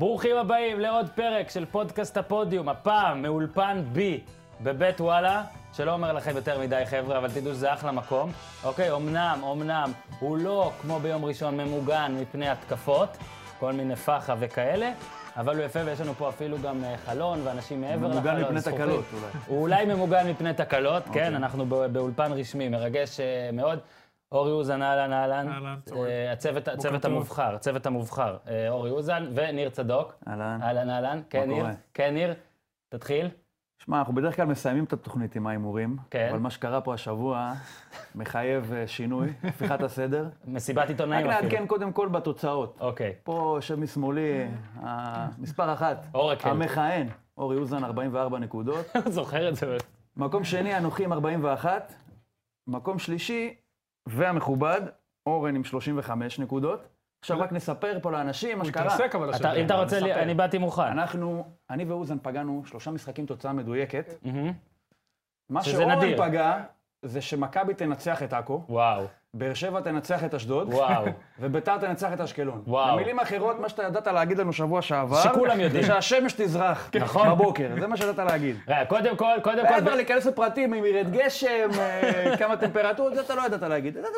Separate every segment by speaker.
Speaker 1: ברוכים הבאים לעוד פרק של פודקאסט הפודיום, הפעם מאולפן בי בבית וואלה, שלא אומר לכם יותר מדי חבר'ה, אבל תדעו שזה אחלה מקום. אוקיי, אמנם, אמנם, הוא לא כמו ביום ראשון ממוגן מפני התקפות, כל מיני פח"ע וכאלה, אבל הוא יפה ויש לנו פה אפילו גם אה, חלון ואנשים מעבר לחלון.
Speaker 2: ממוגן מפני
Speaker 1: זכוכית.
Speaker 2: תקלות, אולי.
Speaker 1: הוא אולי ממוגן מפני תקלות,
Speaker 2: אוקיי.
Speaker 1: כן, אנחנו בא- באולפן רשמי, מרגש אה, מאוד. אורי אוזן, אהלן, אהלן.
Speaker 3: אהלן,
Speaker 1: אה,
Speaker 3: צהריים.
Speaker 1: הצוות, הצוות
Speaker 3: טוב.
Speaker 1: המובחר, הצוות המובחר. אה, אורי אוזן וניר צדוק.
Speaker 2: אהלן.
Speaker 1: אהלן, אהלן. כן, ניר.
Speaker 2: קורה?
Speaker 1: כן, ניר. תתחיל.
Speaker 2: שמע, אנחנו בדרך כלל מסיימים את התוכנית עם ההימורים,
Speaker 1: כן.
Speaker 2: אבל מה שקרה פה השבוע מחייב אה, שינוי, הפיכת הסדר.
Speaker 1: מסיבת
Speaker 2: רק
Speaker 1: עיתונאים אפילו.
Speaker 2: לעדכן קודם כל בתוצאות.
Speaker 1: אוקיי.
Speaker 2: פה יושב משמאלי, אה, מספר אחת,
Speaker 1: אורקל.
Speaker 2: המכהן, אורי אוזן, 44 נקודות.
Speaker 1: כן. זוכר את זה.
Speaker 2: מקום שני, אנוכי עם 41. מקום שלישי, והמכובד, אורן עם 35 נקודות. עכשיו רק נספר פה לאנשים מה
Speaker 3: הוא
Speaker 2: שקרה.
Speaker 3: התרסק אבל
Speaker 1: אתה-
Speaker 3: השבוע.
Speaker 1: אם אתה רוצה, לי-
Speaker 2: מספר.
Speaker 1: אני באתי מוכן.
Speaker 2: אנחנו, אני ואוזן פגענו שלושה משחקים תוצאה מדויקת.
Speaker 1: מהמם.
Speaker 2: מה
Speaker 1: שזה
Speaker 2: שאורן
Speaker 1: נדיר.
Speaker 2: פגע, זה שמכבי תנצח את עכו,
Speaker 1: וואו,
Speaker 2: באר שבע תנצח את אשדוד,
Speaker 1: וואו.
Speaker 2: וביתר תנצח את אשקלון.
Speaker 1: וואו.
Speaker 2: במילים אחרות, מה שאתה ידעת להגיד לנו שבוע שעבר,
Speaker 1: שכולם יודעים. כן,
Speaker 2: זה שהשמש תזרח
Speaker 1: נכון.
Speaker 2: בבוקר, זה מה שידעת להגיד.
Speaker 1: רגע, קודם כל, קודם
Speaker 2: ואז
Speaker 1: כל,
Speaker 2: כבר להיכנס לפרטים, אם ירד גשם, אה, כמה טמפרטורות, זה אתה לא ידעת להגיד. ידעת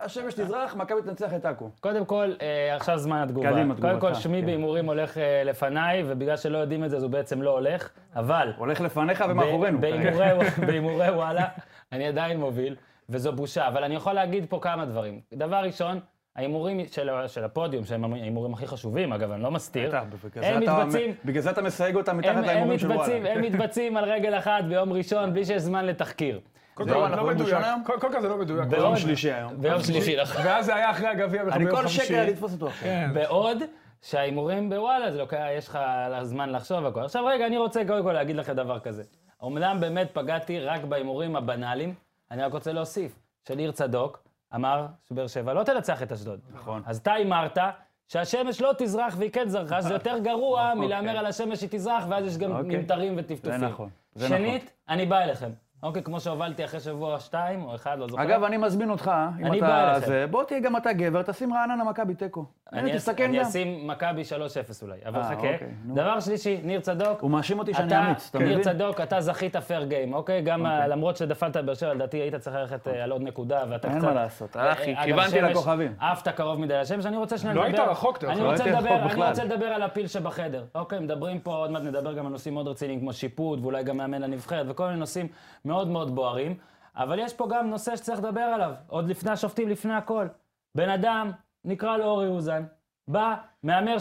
Speaker 2: שהשמש תזרח, מכבי תנצח את עכו.
Speaker 1: קודם כל, אה, עכשיו זמן התגובה.
Speaker 2: קדימה,
Speaker 1: קודם כל,
Speaker 2: תגובתך,
Speaker 1: שמי
Speaker 2: כן.
Speaker 1: בהימורים הולך אה, לפניי, ובגלל שלא יודעים את זה, אז הוא בעצם לא הולך, אבל...
Speaker 2: הולך לפניך
Speaker 1: ב-
Speaker 2: ומאחורינו.
Speaker 1: בהימורי- בהימורי וואלה, אני עדיין מוביל, וזו בושה. אבל אני יכול להגיד פה כמה דברים. דבר ראשון, ההימורים של, ה- של הפודיום, שהם ההימורים הכי חשובים, אגב, אני לא מסתיר,
Speaker 2: בטח, בגלל זה
Speaker 1: הם
Speaker 2: אתה-
Speaker 1: מתבצעים,
Speaker 2: בגלל זה אתה מסייג אותם מתחת
Speaker 1: הם, הם,
Speaker 2: להימורים של
Speaker 1: מתבצעים,
Speaker 2: וואלה.
Speaker 1: הם מתבצעים על רגל אחת ביום ראשון, בלי שיש זמן לתחקיר.
Speaker 3: קודם
Speaker 2: זהו,
Speaker 3: כל,
Speaker 2: אנחנו
Speaker 3: לא
Speaker 2: ביום
Speaker 3: מדויק.
Speaker 2: ראשון?
Speaker 3: קודם כל זה לא מדויק.
Speaker 1: בעוד-
Speaker 2: יום שלישי היום.
Speaker 1: ביום שלישי, נכון.
Speaker 3: ואז זה היה אחרי הגביע ביום
Speaker 2: אני
Speaker 3: חמישי.
Speaker 2: כל שקל לתפוס אותו עכשיו.
Speaker 3: כן.
Speaker 1: בעוד שההימורים בוואלה, זה לוקח, יש לך זמן לחשוב הכל. עכשיו רגע, אני רוצה קודם כל להגיד לכם דבר כזה. אמנם באמת פגעתי רק בהימורים הבנאליים, אני רק רוצה להוסיף, שניר צדוק אמר שבאר שבע לא תנצח את אשדוד.
Speaker 2: נכון.
Speaker 1: אז אתה הימרת שהשמש לא תזרח והיא כן זרחה, שזה יותר גרוע מלהמר על השמש שהיא תזרח, ואז יש גם
Speaker 2: נכון. אוקיי.
Speaker 1: ממטרים וטפטופים.
Speaker 2: זה נכון, זה
Speaker 1: שנית, אני בא אליכם. אוקיי, כמו שהובלתי אחרי שבוע שתיים או אחד, לא זוכר.
Speaker 2: אגב, אני מזמין אותך, אם
Speaker 1: אני
Speaker 2: אתה...
Speaker 1: בא אליכם.
Speaker 2: זה, בוא תהיה גם אתה גבר, תשים רעננה מכבי תיקו.
Speaker 1: אני
Speaker 2: הנה,
Speaker 1: אס-
Speaker 2: תסתכן
Speaker 1: אני
Speaker 2: גם.
Speaker 1: אשים מכבי 3-0 אולי, אבל
Speaker 2: אה,
Speaker 1: חכה.
Speaker 2: אוקיי, נו.
Speaker 1: דבר שלישי, ניר צדוק.
Speaker 2: הוא מאשים אותי שאני
Speaker 1: אתה,
Speaker 2: אמיץ, אתה
Speaker 1: ניר
Speaker 2: מבין?
Speaker 1: צדוק, אתה זכית פייר גיים, אוקיי? גם ה- למרות שדפלת באר שבע, לדעתי היית צריך ללכת אה, על עוד נקודה, ואתה קצת...
Speaker 2: אין מה לעשות, הלכתי,
Speaker 1: אה, אגב,
Speaker 2: כיוונתי
Speaker 1: שמש,
Speaker 2: לכוכבים.
Speaker 1: עפת קרוב מדי לשמש, אני רוצה שנייה
Speaker 3: לא
Speaker 1: לדבר...
Speaker 3: היית רחוק, דרך
Speaker 1: אני
Speaker 3: אגב.
Speaker 2: לא
Speaker 1: רוצה
Speaker 2: הייתי
Speaker 1: לדבר-
Speaker 2: רחוק
Speaker 1: אני
Speaker 2: בכלל.
Speaker 1: רוצה לדבר על הפיל שבחדר. אוקיי, מדברים פה, עוד מעט נדבר גם על נושאים מאוד רציניים כמו שיפוט, ואולי גם מאמן לנבחרת, וכל מיני נושאים מאוד מאוד בוערים. אבל יש פה גם נושא שצריך לדבר עליו, עוד לפני השופטים, לפני הכל. בן אדם, נקרא לו אורי אוזן, בא, מהמר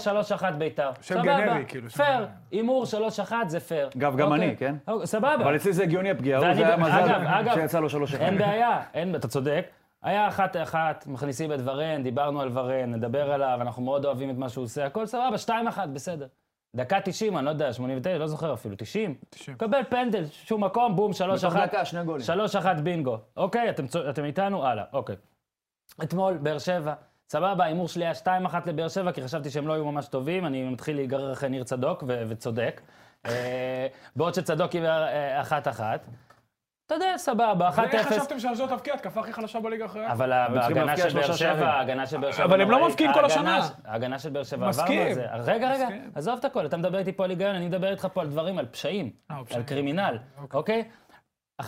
Speaker 1: 3-1 בית"ר.
Speaker 3: שם
Speaker 1: סבבה,
Speaker 3: גנרי, כאילו, שם
Speaker 1: פייר,
Speaker 3: גנרי.
Speaker 1: הימור 3-1 זה פייר.
Speaker 2: אגב, גם
Speaker 1: אוקיי.
Speaker 2: אני, כן?
Speaker 1: אוקיי, סבבה.
Speaker 2: אבל אצלי זה הגיוני הפגיעה, הוא
Speaker 1: ואני
Speaker 2: זה היה
Speaker 1: ב- אגב,
Speaker 2: מזל
Speaker 1: אגב,
Speaker 2: שיצא לו שלוש אחד.
Speaker 1: אין בעיה, אין, אתה צודק. היה אחת-אחת, מכניסים את ורן, דיברנו על ורן, נדבר עליו, אנחנו מאוד אוהבים את מה שהוא עושה, הכל סבבה, שתיים אחת, בסדר. דקה 90, אני לא יודע, 89, לא זוכר אפילו, 90.
Speaker 3: 90.
Speaker 1: קבל פנדל, שום מקום, בום, שלוש
Speaker 2: בתוך
Speaker 1: אחת.
Speaker 2: דקה, שני גולים.
Speaker 1: שלוש אחת בינגו. אוקיי, אתם, צו- אתם איתנו? הלאה, אוקיי. אתמול, באר שבע. סבבה, ההימור שלי היה 2-1 לבאר שבע, כי חשבתי שהם לא היו ממש טובים, אני מתחיל להיגרר אחרי ניר צדוק, ו- וצודק. אה, בעוד שצדוק הימר אה, 1-1. אתה יודע, סבבה, 1-0.
Speaker 3: ואיך חשבתם שאשדוד תבקיע? התקפה הכי חלשה בליגה אחרי...
Speaker 1: אבל
Speaker 2: כן. צריכים
Speaker 1: ההגנה
Speaker 2: להבקיע
Speaker 1: של באר
Speaker 2: שלושה
Speaker 1: שבע,
Speaker 2: שערים.
Speaker 1: ההגנה של באר שבע...
Speaker 3: אבל הם לא
Speaker 1: נוראית.
Speaker 3: מבקיעים כל
Speaker 1: ההגנה-
Speaker 3: השנה.
Speaker 1: ההגנה של באר שבע,
Speaker 3: מסכים.
Speaker 1: עברנו את זה. רגע, רגע,
Speaker 3: מסכים.
Speaker 1: עזוב את הכל, אתה מדבר איתי פה על היגיון, אני מדבר איתך פה על דברים, על פשעים,
Speaker 3: אה,
Speaker 1: על
Speaker 3: פשעים.
Speaker 1: קרימינל, אוקיי? 1-0,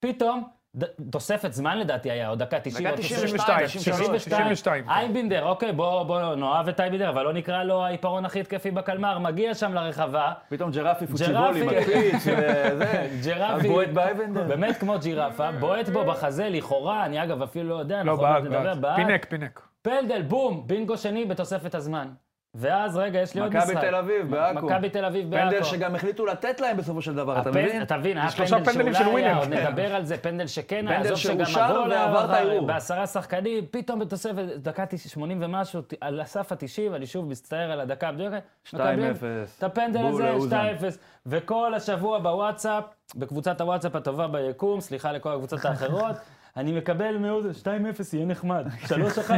Speaker 1: פתאום, ד- תוספת זמן לדעתי היה, או דקה 90, או
Speaker 2: דקה
Speaker 1: תוספת-
Speaker 2: 92,
Speaker 1: 92.
Speaker 3: 92, כן.
Speaker 1: אייבינדר, אוקיי, בוא בוא נאהב את אייבינדר, אבל לא נקרא לו העיפרון הכי התקפי בקלמר, מגיע שם לרחבה,
Speaker 2: פתאום
Speaker 1: ג'רפי.
Speaker 2: ג'רפי פוצ'יבולי מקפיץ, וזה.
Speaker 1: ג'רפי,
Speaker 2: הבועט באבנדר.
Speaker 1: באמת כמו ג'ירפה, בועט בו בחזה, לכאורה, אני אגב אפילו לא יודע,
Speaker 3: לא,
Speaker 1: אנחנו עוד מעט
Speaker 3: בעד,
Speaker 1: נדבר,
Speaker 3: בעד. פינק, פינק.
Speaker 1: פנדל, בום, בינגו שני בתוספת הזמן. ואז, רגע, יש לי עוד משחק.
Speaker 2: מכבי תל אביב, בעכו.
Speaker 1: מכבי תל אביב בעכו.
Speaker 2: פנדל שגם החליטו לתת להם בסופו של דבר, אתה
Speaker 1: הפנדל-
Speaker 2: מבין?
Speaker 1: תבין, היה
Speaker 3: שלושה
Speaker 1: פנדל
Speaker 3: פנדלים של
Speaker 1: שאולי היה,
Speaker 3: ווינר.
Speaker 1: עוד נדבר על זה, פנדל שכן היה,
Speaker 2: פנדל
Speaker 1: עזוב שגם
Speaker 2: שאושר
Speaker 1: הגול היה
Speaker 2: ועבר את
Speaker 1: עבר
Speaker 2: הערעור.
Speaker 1: בעשרה שחקנים, פתאום בתוספת, דקה 90, 80 ומשהו, ת- על הסף ה-90, אני שוב מצטער על הדקה המדויקת.
Speaker 2: 2-0.
Speaker 1: מקבלים את הפנדל
Speaker 2: בול
Speaker 1: הזה,
Speaker 2: לאוזן.
Speaker 1: 2-0. וכל השבוע בוואטסאפ, בקבוצת הוואטסאפ הטובה ביקום, סליחה לכל הקבוצות האחרות, אני מקבל מאוזן, 2-0 יהיה נחמד, 3-1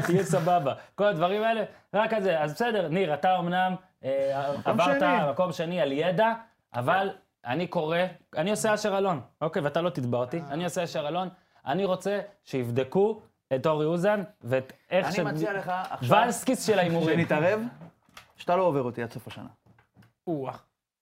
Speaker 1: יהיה סבבה. כל הדברים האלה, רק על זה. אז בסדר, ניר, אתה אמנם אה, עברת
Speaker 2: שני.
Speaker 1: מקום שני על ידע, אבל אני קורא, אני עושה אשר אלון, אוקיי, ואתה לא תתבע אותי, אני עושה אשר אלון, אני רוצה שיבדקו את אורי אוזן ואת איך
Speaker 2: אני מציע לך עכשיו
Speaker 1: ולסקיס של ההימורים.
Speaker 2: שנתערב, שאתה לא עובר אותי עד סוף השנה.
Speaker 3: או-אה.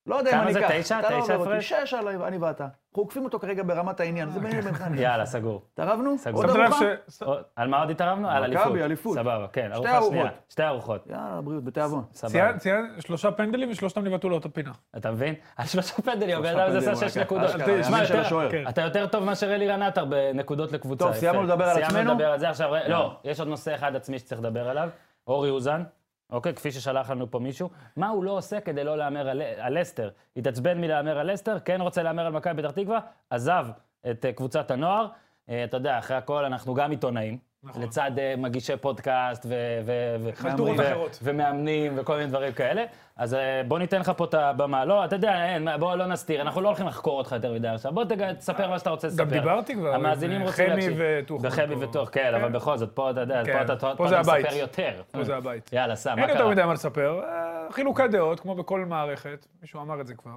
Speaker 2: לא יודע אם
Speaker 1: כמה
Speaker 2: אני
Speaker 1: זה,
Speaker 2: אקח.
Speaker 1: תשע?
Speaker 2: אתה לא
Speaker 1: תשע
Speaker 2: עובר אותי,
Speaker 1: הפרש?
Speaker 2: שש עליי, אני ואתה. אנחנו עוקפים אותו כרגע ברמת העניין,
Speaker 1: אה,
Speaker 2: זה
Speaker 1: כן.
Speaker 2: ביני לבינך. נראה.
Speaker 1: יאללה, סגור.
Speaker 2: התערבנו?
Speaker 1: סגור.
Speaker 2: עוד
Speaker 3: שמת לב
Speaker 2: ארוחה?
Speaker 3: ש...
Speaker 1: עוד- על מה עוד התערבנו? על
Speaker 2: מכבי,
Speaker 1: אליפות.
Speaker 2: אליפות.
Speaker 1: סבבה, כן, ארוחה
Speaker 2: ארוחות.
Speaker 1: שנייה. שתי ארוחות.
Speaker 2: יאללה, בריאות, בתיאבון.
Speaker 1: סבבה.
Speaker 3: ציין, ציין שלושה פנדלים ושלושתם נבעטו לאותה פינה.
Speaker 1: אתה מבין? על שלושה פנדלים, הבן
Speaker 2: שלושה
Speaker 1: אדם הזה
Speaker 2: פנדלים
Speaker 1: עשה
Speaker 2: הוא
Speaker 1: שש
Speaker 2: לקח.
Speaker 1: נקודות.
Speaker 2: אשכרה,
Speaker 1: תשמע,
Speaker 2: הימין של
Speaker 1: יותר-
Speaker 2: השוער.
Speaker 3: כן.
Speaker 1: אתה יותר טוב מאשר אלי רנטר בנקודות לקבוצה.
Speaker 2: טוב,
Speaker 1: יפה.
Speaker 2: סיימנו לדבר על
Speaker 1: סיימנו
Speaker 2: עצמנו? כן.
Speaker 1: לדבר על זה עכשיו. ר-
Speaker 2: יאללה.
Speaker 1: לא, יש עוד נושא אחד עצמי שצריך לדבר עליו. אורי אוזן, אוקיי, כפי ששלח לנו פה מישהו. מה הוא לא עושה כדי לא להמר על- על לסטר? התעצבן מלהמר על לסטר, כן רוצה להמר על מכבי פתח תקווה, עזב את אה, קבוצת הנוער. אה, אתה יודע, אחרי הכל אנחנו גם עיתונאים.
Speaker 3: נכון.
Speaker 1: לצד אה, מגישי פודקאסט ו- ו- ו-
Speaker 3: חלטורות
Speaker 1: ו-
Speaker 3: אחרות.
Speaker 1: ומאמנים וכל מיני דברים כאלה. אז אה, בוא ניתן לך פה את הבמה. לא, אתה יודע, אין, מה, בוא לא נסתיר, אנחנו לא הולכים לחקור אותך יותר מדי עכשיו. בוא תג- תספר מה שאתה רוצה לספר.
Speaker 3: גם דיברתי כבר עם,
Speaker 1: המאזינים
Speaker 3: אה,
Speaker 1: רוצים
Speaker 3: חמי
Speaker 1: להקשיב.
Speaker 3: וטוחמן
Speaker 1: וחמי
Speaker 3: פה.
Speaker 1: וטוח, כן, אבל בכל זאת, פה אתה יודע, אז
Speaker 3: כן,
Speaker 1: פה אתה
Speaker 3: פה
Speaker 1: פה
Speaker 3: זה
Speaker 1: אתה מספר
Speaker 3: הבית.
Speaker 1: יותר.
Speaker 3: פה זה הבית.
Speaker 1: יאללה, סע, מה
Speaker 3: אין יותר
Speaker 1: קרה?
Speaker 3: מדי מה לספר, אה, חילוקי דעות, כמו בכל מערכת, מישהו אמר את זה כבר.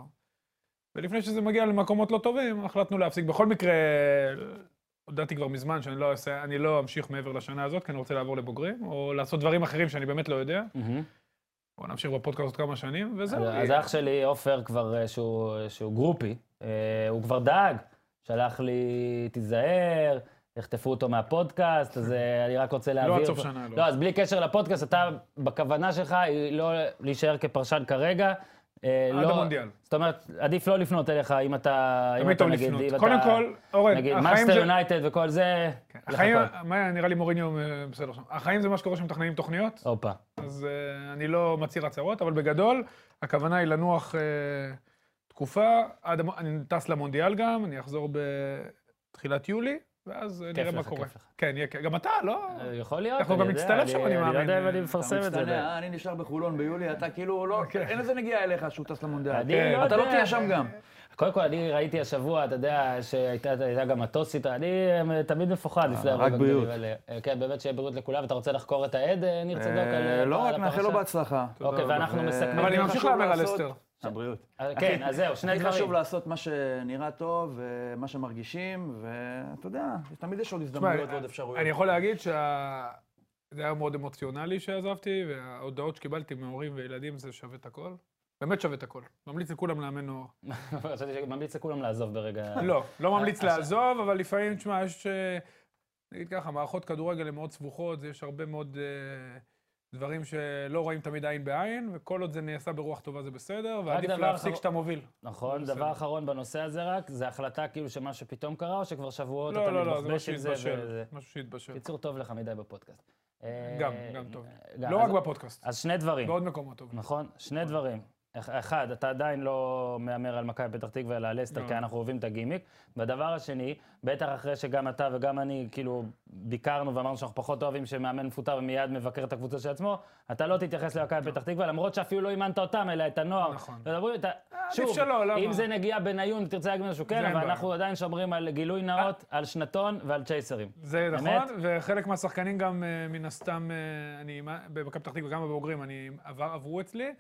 Speaker 3: ולפני שזה מגיע למקומות לא טובים, החלטנו להפסיק. בכל מקרה, הודעתי כבר מזמן שאני לא, אעשה, אני לא אמשיך מעבר לשנה הזאת, כי אני רוצה לעבור לבוגרים, או לעשות דברים אחרים שאני באמת לא יודע.
Speaker 1: מהמם.
Speaker 3: או נמשיך בפודקאסט עוד כמה שנים, וזהו.
Speaker 1: אז אח שלי, עופר, כבר, אה, שהוא שהוא גרופי, אה, הוא כבר דאג. שלח לי, תיזהר, יחטפו אותו מהפודקאסט, אז אה, אני רק רוצה להבהיר.
Speaker 3: לא עד סוף
Speaker 1: פה-
Speaker 3: שנה, לא.
Speaker 1: לא, אז בלי קשר לפודקאסט, אתה, בכוונה שלך היא לא להישאר כפרשן כרגע. אה,
Speaker 3: עד
Speaker 1: לא-
Speaker 3: המונדיאל.
Speaker 1: זאת אומרת, עדיף לא לפנות אליך אם אתה... אם
Speaker 3: תמיד
Speaker 1: אתה,
Speaker 3: טוב
Speaker 1: נגיד,
Speaker 3: לפנות.
Speaker 1: אם
Speaker 3: קודם
Speaker 1: אתה-
Speaker 3: כל, אורן,
Speaker 1: נגיד,
Speaker 3: החיים
Speaker 1: מאסטר
Speaker 3: זה...
Speaker 1: יונייטד וכל זה,
Speaker 3: כן, החיים,
Speaker 1: לחכות.
Speaker 3: מה נראה לי מוריניו אה, בסדר שם. החיים זה מה שקורה שמתכננים תוכניות,
Speaker 1: הופה.
Speaker 3: אז אה, אני לא מצהיר הצהרות, אבל בגדול, הכוונה היא לנוח אה, תקופה, עד, המ- אני טס למונדיאל גם, אני אחזור בתחילת יולי, ואז אה, נראה
Speaker 1: כיף
Speaker 3: מה
Speaker 1: לך,
Speaker 3: קורה.
Speaker 1: כיף לך.
Speaker 3: כן, יהיה כיף. גם אתה, לא?
Speaker 1: אה, יכול להיות,
Speaker 3: אנחנו
Speaker 1: אני
Speaker 3: גם
Speaker 1: יודע,
Speaker 3: נצטלם
Speaker 1: אני-
Speaker 3: שם, אני
Speaker 1: אני לא יודע
Speaker 3: מאמין.
Speaker 1: אם אני
Speaker 3: אתה
Speaker 1: מפרסם
Speaker 2: אתה
Speaker 1: את זה.
Speaker 2: מצטנע, אה, אני נשאר בחולון ביולי, אתה כאילו, לא, אין איזה נגיעה אליך שהוא טס למונדיאל.
Speaker 1: אני לא
Speaker 2: אתה לא
Speaker 1: יודע.
Speaker 2: תהיה שם גם.
Speaker 1: קודם כל, אני ראיתי השבוע, אתה יודע, שהייתה הייתה גם מטוסית, אני אה, תמיד מפוחד לפני הרגעים
Speaker 2: בריאות.
Speaker 1: האלה. אה, כן, באמת שיהיה בריאות לכולם. אתה רוצה לחקור את העד, אה, ניר צדוק? על-
Speaker 2: אה,
Speaker 1: על
Speaker 2: לא רק,
Speaker 1: הפרשה?
Speaker 2: נאחל לו בהצלחה.
Speaker 1: אוקיי, ואנחנו
Speaker 2: אה,
Speaker 1: מסכמים.
Speaker 3: אבל אני
Speaker 2: הכי
Speaker 3: ממשיך
Speaker 2: חשוב
Speaker 3: להמר על
Speaker 2: לעשות-
Speaker 3: אסתר.
Speaker 2: הבריאות.
Speaker 1: אה, כן, אז זהו, שני
Speaker 2: הכי חשוב
Speaker 1: דברים.
Speaker 2: לעשות מה שנראה טוב, ומה שמרגישים, ואתה יודע, תמיד יש עוד
Speaker 3: תשמע,
Speaker 2: הזדמנויות ועוד אפשרויות.
Speaker 3: אני יכול להגיד שה... זה היה מאוד אמוציונלי שעזבתי, וההודעות שקיבלתי מהורים וילדים זה שווה את הכל. באמת שווה את הכל. ממליץ לכולם לאמן נוער.
Speaker 1: חשבתי שממליץ לכולם לעזוב ברגע...
Speaker 3: לא, לא ממליץ
Speaker 1: אה, אה,
Speaker 3: לעזוב, אבל לפעמים, תשמע, יש... אה, נגיד ככה, מערכות כדורגל הן מאוד סבוכות, יש הרבה מאוד אה, דברים שלא רואים תמיד עין בעין, וכל עוד זה נעשה ברוח טובה זה בסדר, ועדיף
Speaker 1: דבר
Speaker 3: להפסיק
Speaker 1: אחרון-
Speaker 3: כשאתה מוביל.
Speaker 1: נכון,
Speaker 3: בסדר.
Speaker 1: דבר אחרון בנושא הזה רק, זה החלטה כאילו שמה שפתאום קרה, או שכבר שבועות אתה
Speaker 3: לא, לא, לא, זה
Speaker 1: מתבחבש
Speaker 3: משהו
Speaker 1: עם זה
Speaker 3: שהתבשל.
Speaker 1: וזה.
Speaker 3: משהו שהתבשל.
Speaker 1: קיצור טוב לך מדי בפודקאסט. אה,
Speaker 3: גם, גם טוב.
Speaker 1: גם,
Speaker 3: לא
Speaker 1: אז-
Speaker 3: רק בפודקאסט,
Speaker 1: אז שני דברים,
Speaker 3: בעוד מקומות טובים.
Speaker 1: נכון? שני דברים. אח- אחד, אתה עדיין לא מהמר על מכבי פתח תקווה, אלא על לסטר,
Speaker 3: לא.
Speaker 1: כי אנחנו אוהבים את הגימיק. והדבר השני, בטח אחרי שגם אתה וגם אני, כאילו, ביקרנו ואמרנו שאנחנו פחות אוהבים שמאמן מפוטר ומיד מבקר את הקבוצה של עצמו, אתה לא תתייחס למכבי פתח תקווה, למרות שאפילו לא אימנת אותם, אלא את הנוער.
Speaker 3: נכון.
Speaker 1: תדברו איתה. שוב,
Speaker 3: שלא, למה?
Speaker 1: אם זה נגיעה בניון, תרצה להגיד משהו, כן,
Speaker 3: לא, אין
Speaker 1: אבל
Speaker 3: בעיה. אה.
Speaker 1: אנחנו עדיין שומרים על גילוי נאות, על שנתון ועל צ'ייסרים.
Speaker 3: זה
Speaker 1: אמת?
Speaker 3: נכון, וחלק מהשחקנים גם אה, מן הסתם, אה, אני מה- במכבי פתח תקווה, גם בבוגרים, אני עבר, עברו אצלי,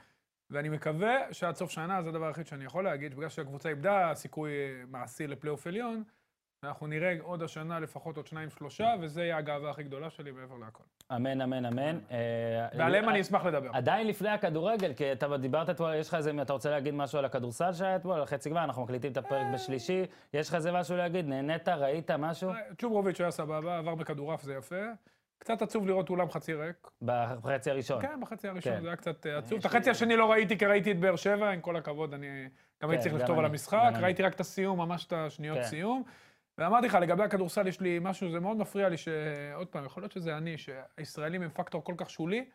Speaker 3: ואני מקווה שעד סוף שנה, זה הדבר היחיד שאני יכול להגיד, בגלל שהקבוצה איבדה סיכוי אה, מעשי לפלייאוף עליון, אנחנו נראה עוד השנה לפחות עוד שניים שלושה, וזה יהיה הגאווה הכי גדולה שלי מעבר להכל.
Speaker 1: אמן, אמן, אמן. אה,
Speaker 3: ועליהם
Speaker 1: אה,
Speaker 3: אני אשמח לדבר.
Speaker 1: עדיין לפני הכדורגל, כי אתה דיברת אתמול, יש לך איזה, אתה רוצה להגיד משהו על הכדורסל שהיה אתמול, על החצי גמר, אנחנו מקליטים את הפרק בשלישי, יש לך איזה משהו להגיד? נהנית? ראית משהו?
Speaker 3: אה, צ'וברוביץ' היה סבבה, עבר בכדורעף, זה יפה. קצת עצוב לראות אולם חצי ריק.
Speaker 1: בחצי הראשון.
Speaker 3: כן, בחצי הראשון
Speaker 1: כן.
Speaker 3: זה היה קצת אה, עצוב. את החצי השני לא ראיתי, כי ראיתי את באר שבע, עם כל הכבוד, אני גם הייתי צריך
Speaker 1: כן, גם
Speaker 3: לכתוב על
Speaker 1: אני,
Speaker 3: המשחק,
Speaker 1: גם אני.
Speaker 3: ראיתי רק את הסיום, ממש את
Speaker 1: כן.
Speaker 3: השניות סיום. ואמרתי לך, לגבי הכדורסל יש לי משהו, זה מאוד מפריע לי, שעוד פעם, יכול להיות שזה אני, שהישראלים הם פקטור כל כך שולי,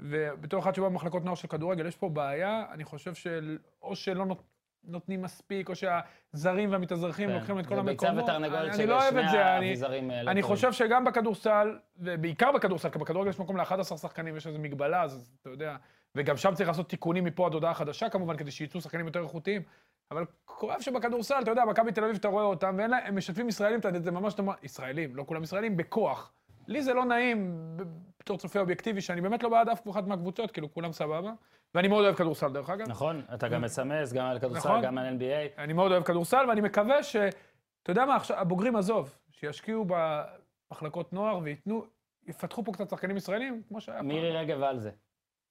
Speaker 3: ובתור אחד שבא במחלקות נוער של כדורגל, יש פה בעיה, אני חושב שאו שלא נות- נותנים מספיק, או שהזרים והמתאזרחים
Speaker 1: כן.
Speaker 3: לוקחים את כל
Speaker 1: זה
Speaker 3: המקומות.
Speaker 1: ביצה ותרנגולת
Speaker 3: אני-
Speaker 1: של
Speaker 3: אני לא אוהב את
Speaker 1: שני
Speaker 3: זה, אני-
Speaker 1: האביזרים אה, לא
Speaker 3: אני
Speaker 1: טובים.
Speaker 3: חושב שגם בכדורסל, ובעיקר בכדורסל, כי בכדורגל יש מקום ל-11 שחקנים, יש איזו מגבלה, אז אתה יודע, וגם שם צריך לעשות תיקונים מפה עד הודעה חדשה, כמובן, כדי שיצאו שחקנים יותר איכותיים. אבל כואב שבכדורסל, אתה יודע, מכבי תל אביב, אתה רואה אותם, ואין להם, הם משתפים ישראלים, אתה יודע, זה ממש, אתה אומר, ישראלים, לא כולם ישראלים, בכוח. לי זה לא נעים, ב- בתור צופה אובייקטיבי, שאני באמת לא בעד אף אחת מהקבוצות, כאילו, כולם סבבה. ואני מאוד אוהב כדורסל, דרך אגב.
Speaker 1: נכון? אתה גם מסמס, גם על כדורסל,
Speaker 3: נכון.
Speaker 1: גם על NBA.
Speaker 3: אני מאוד אוהב כדורסל, ואני מקווה ש... אתה יודע מה, עכשיו, הבוגרים עזוב, שישקיעו במחלקות נוער וייתנו, יפתחו פה קצת שחקנים ישראלים, כמו שהיה פעם.
Speaker 1: מירי רגב על זה.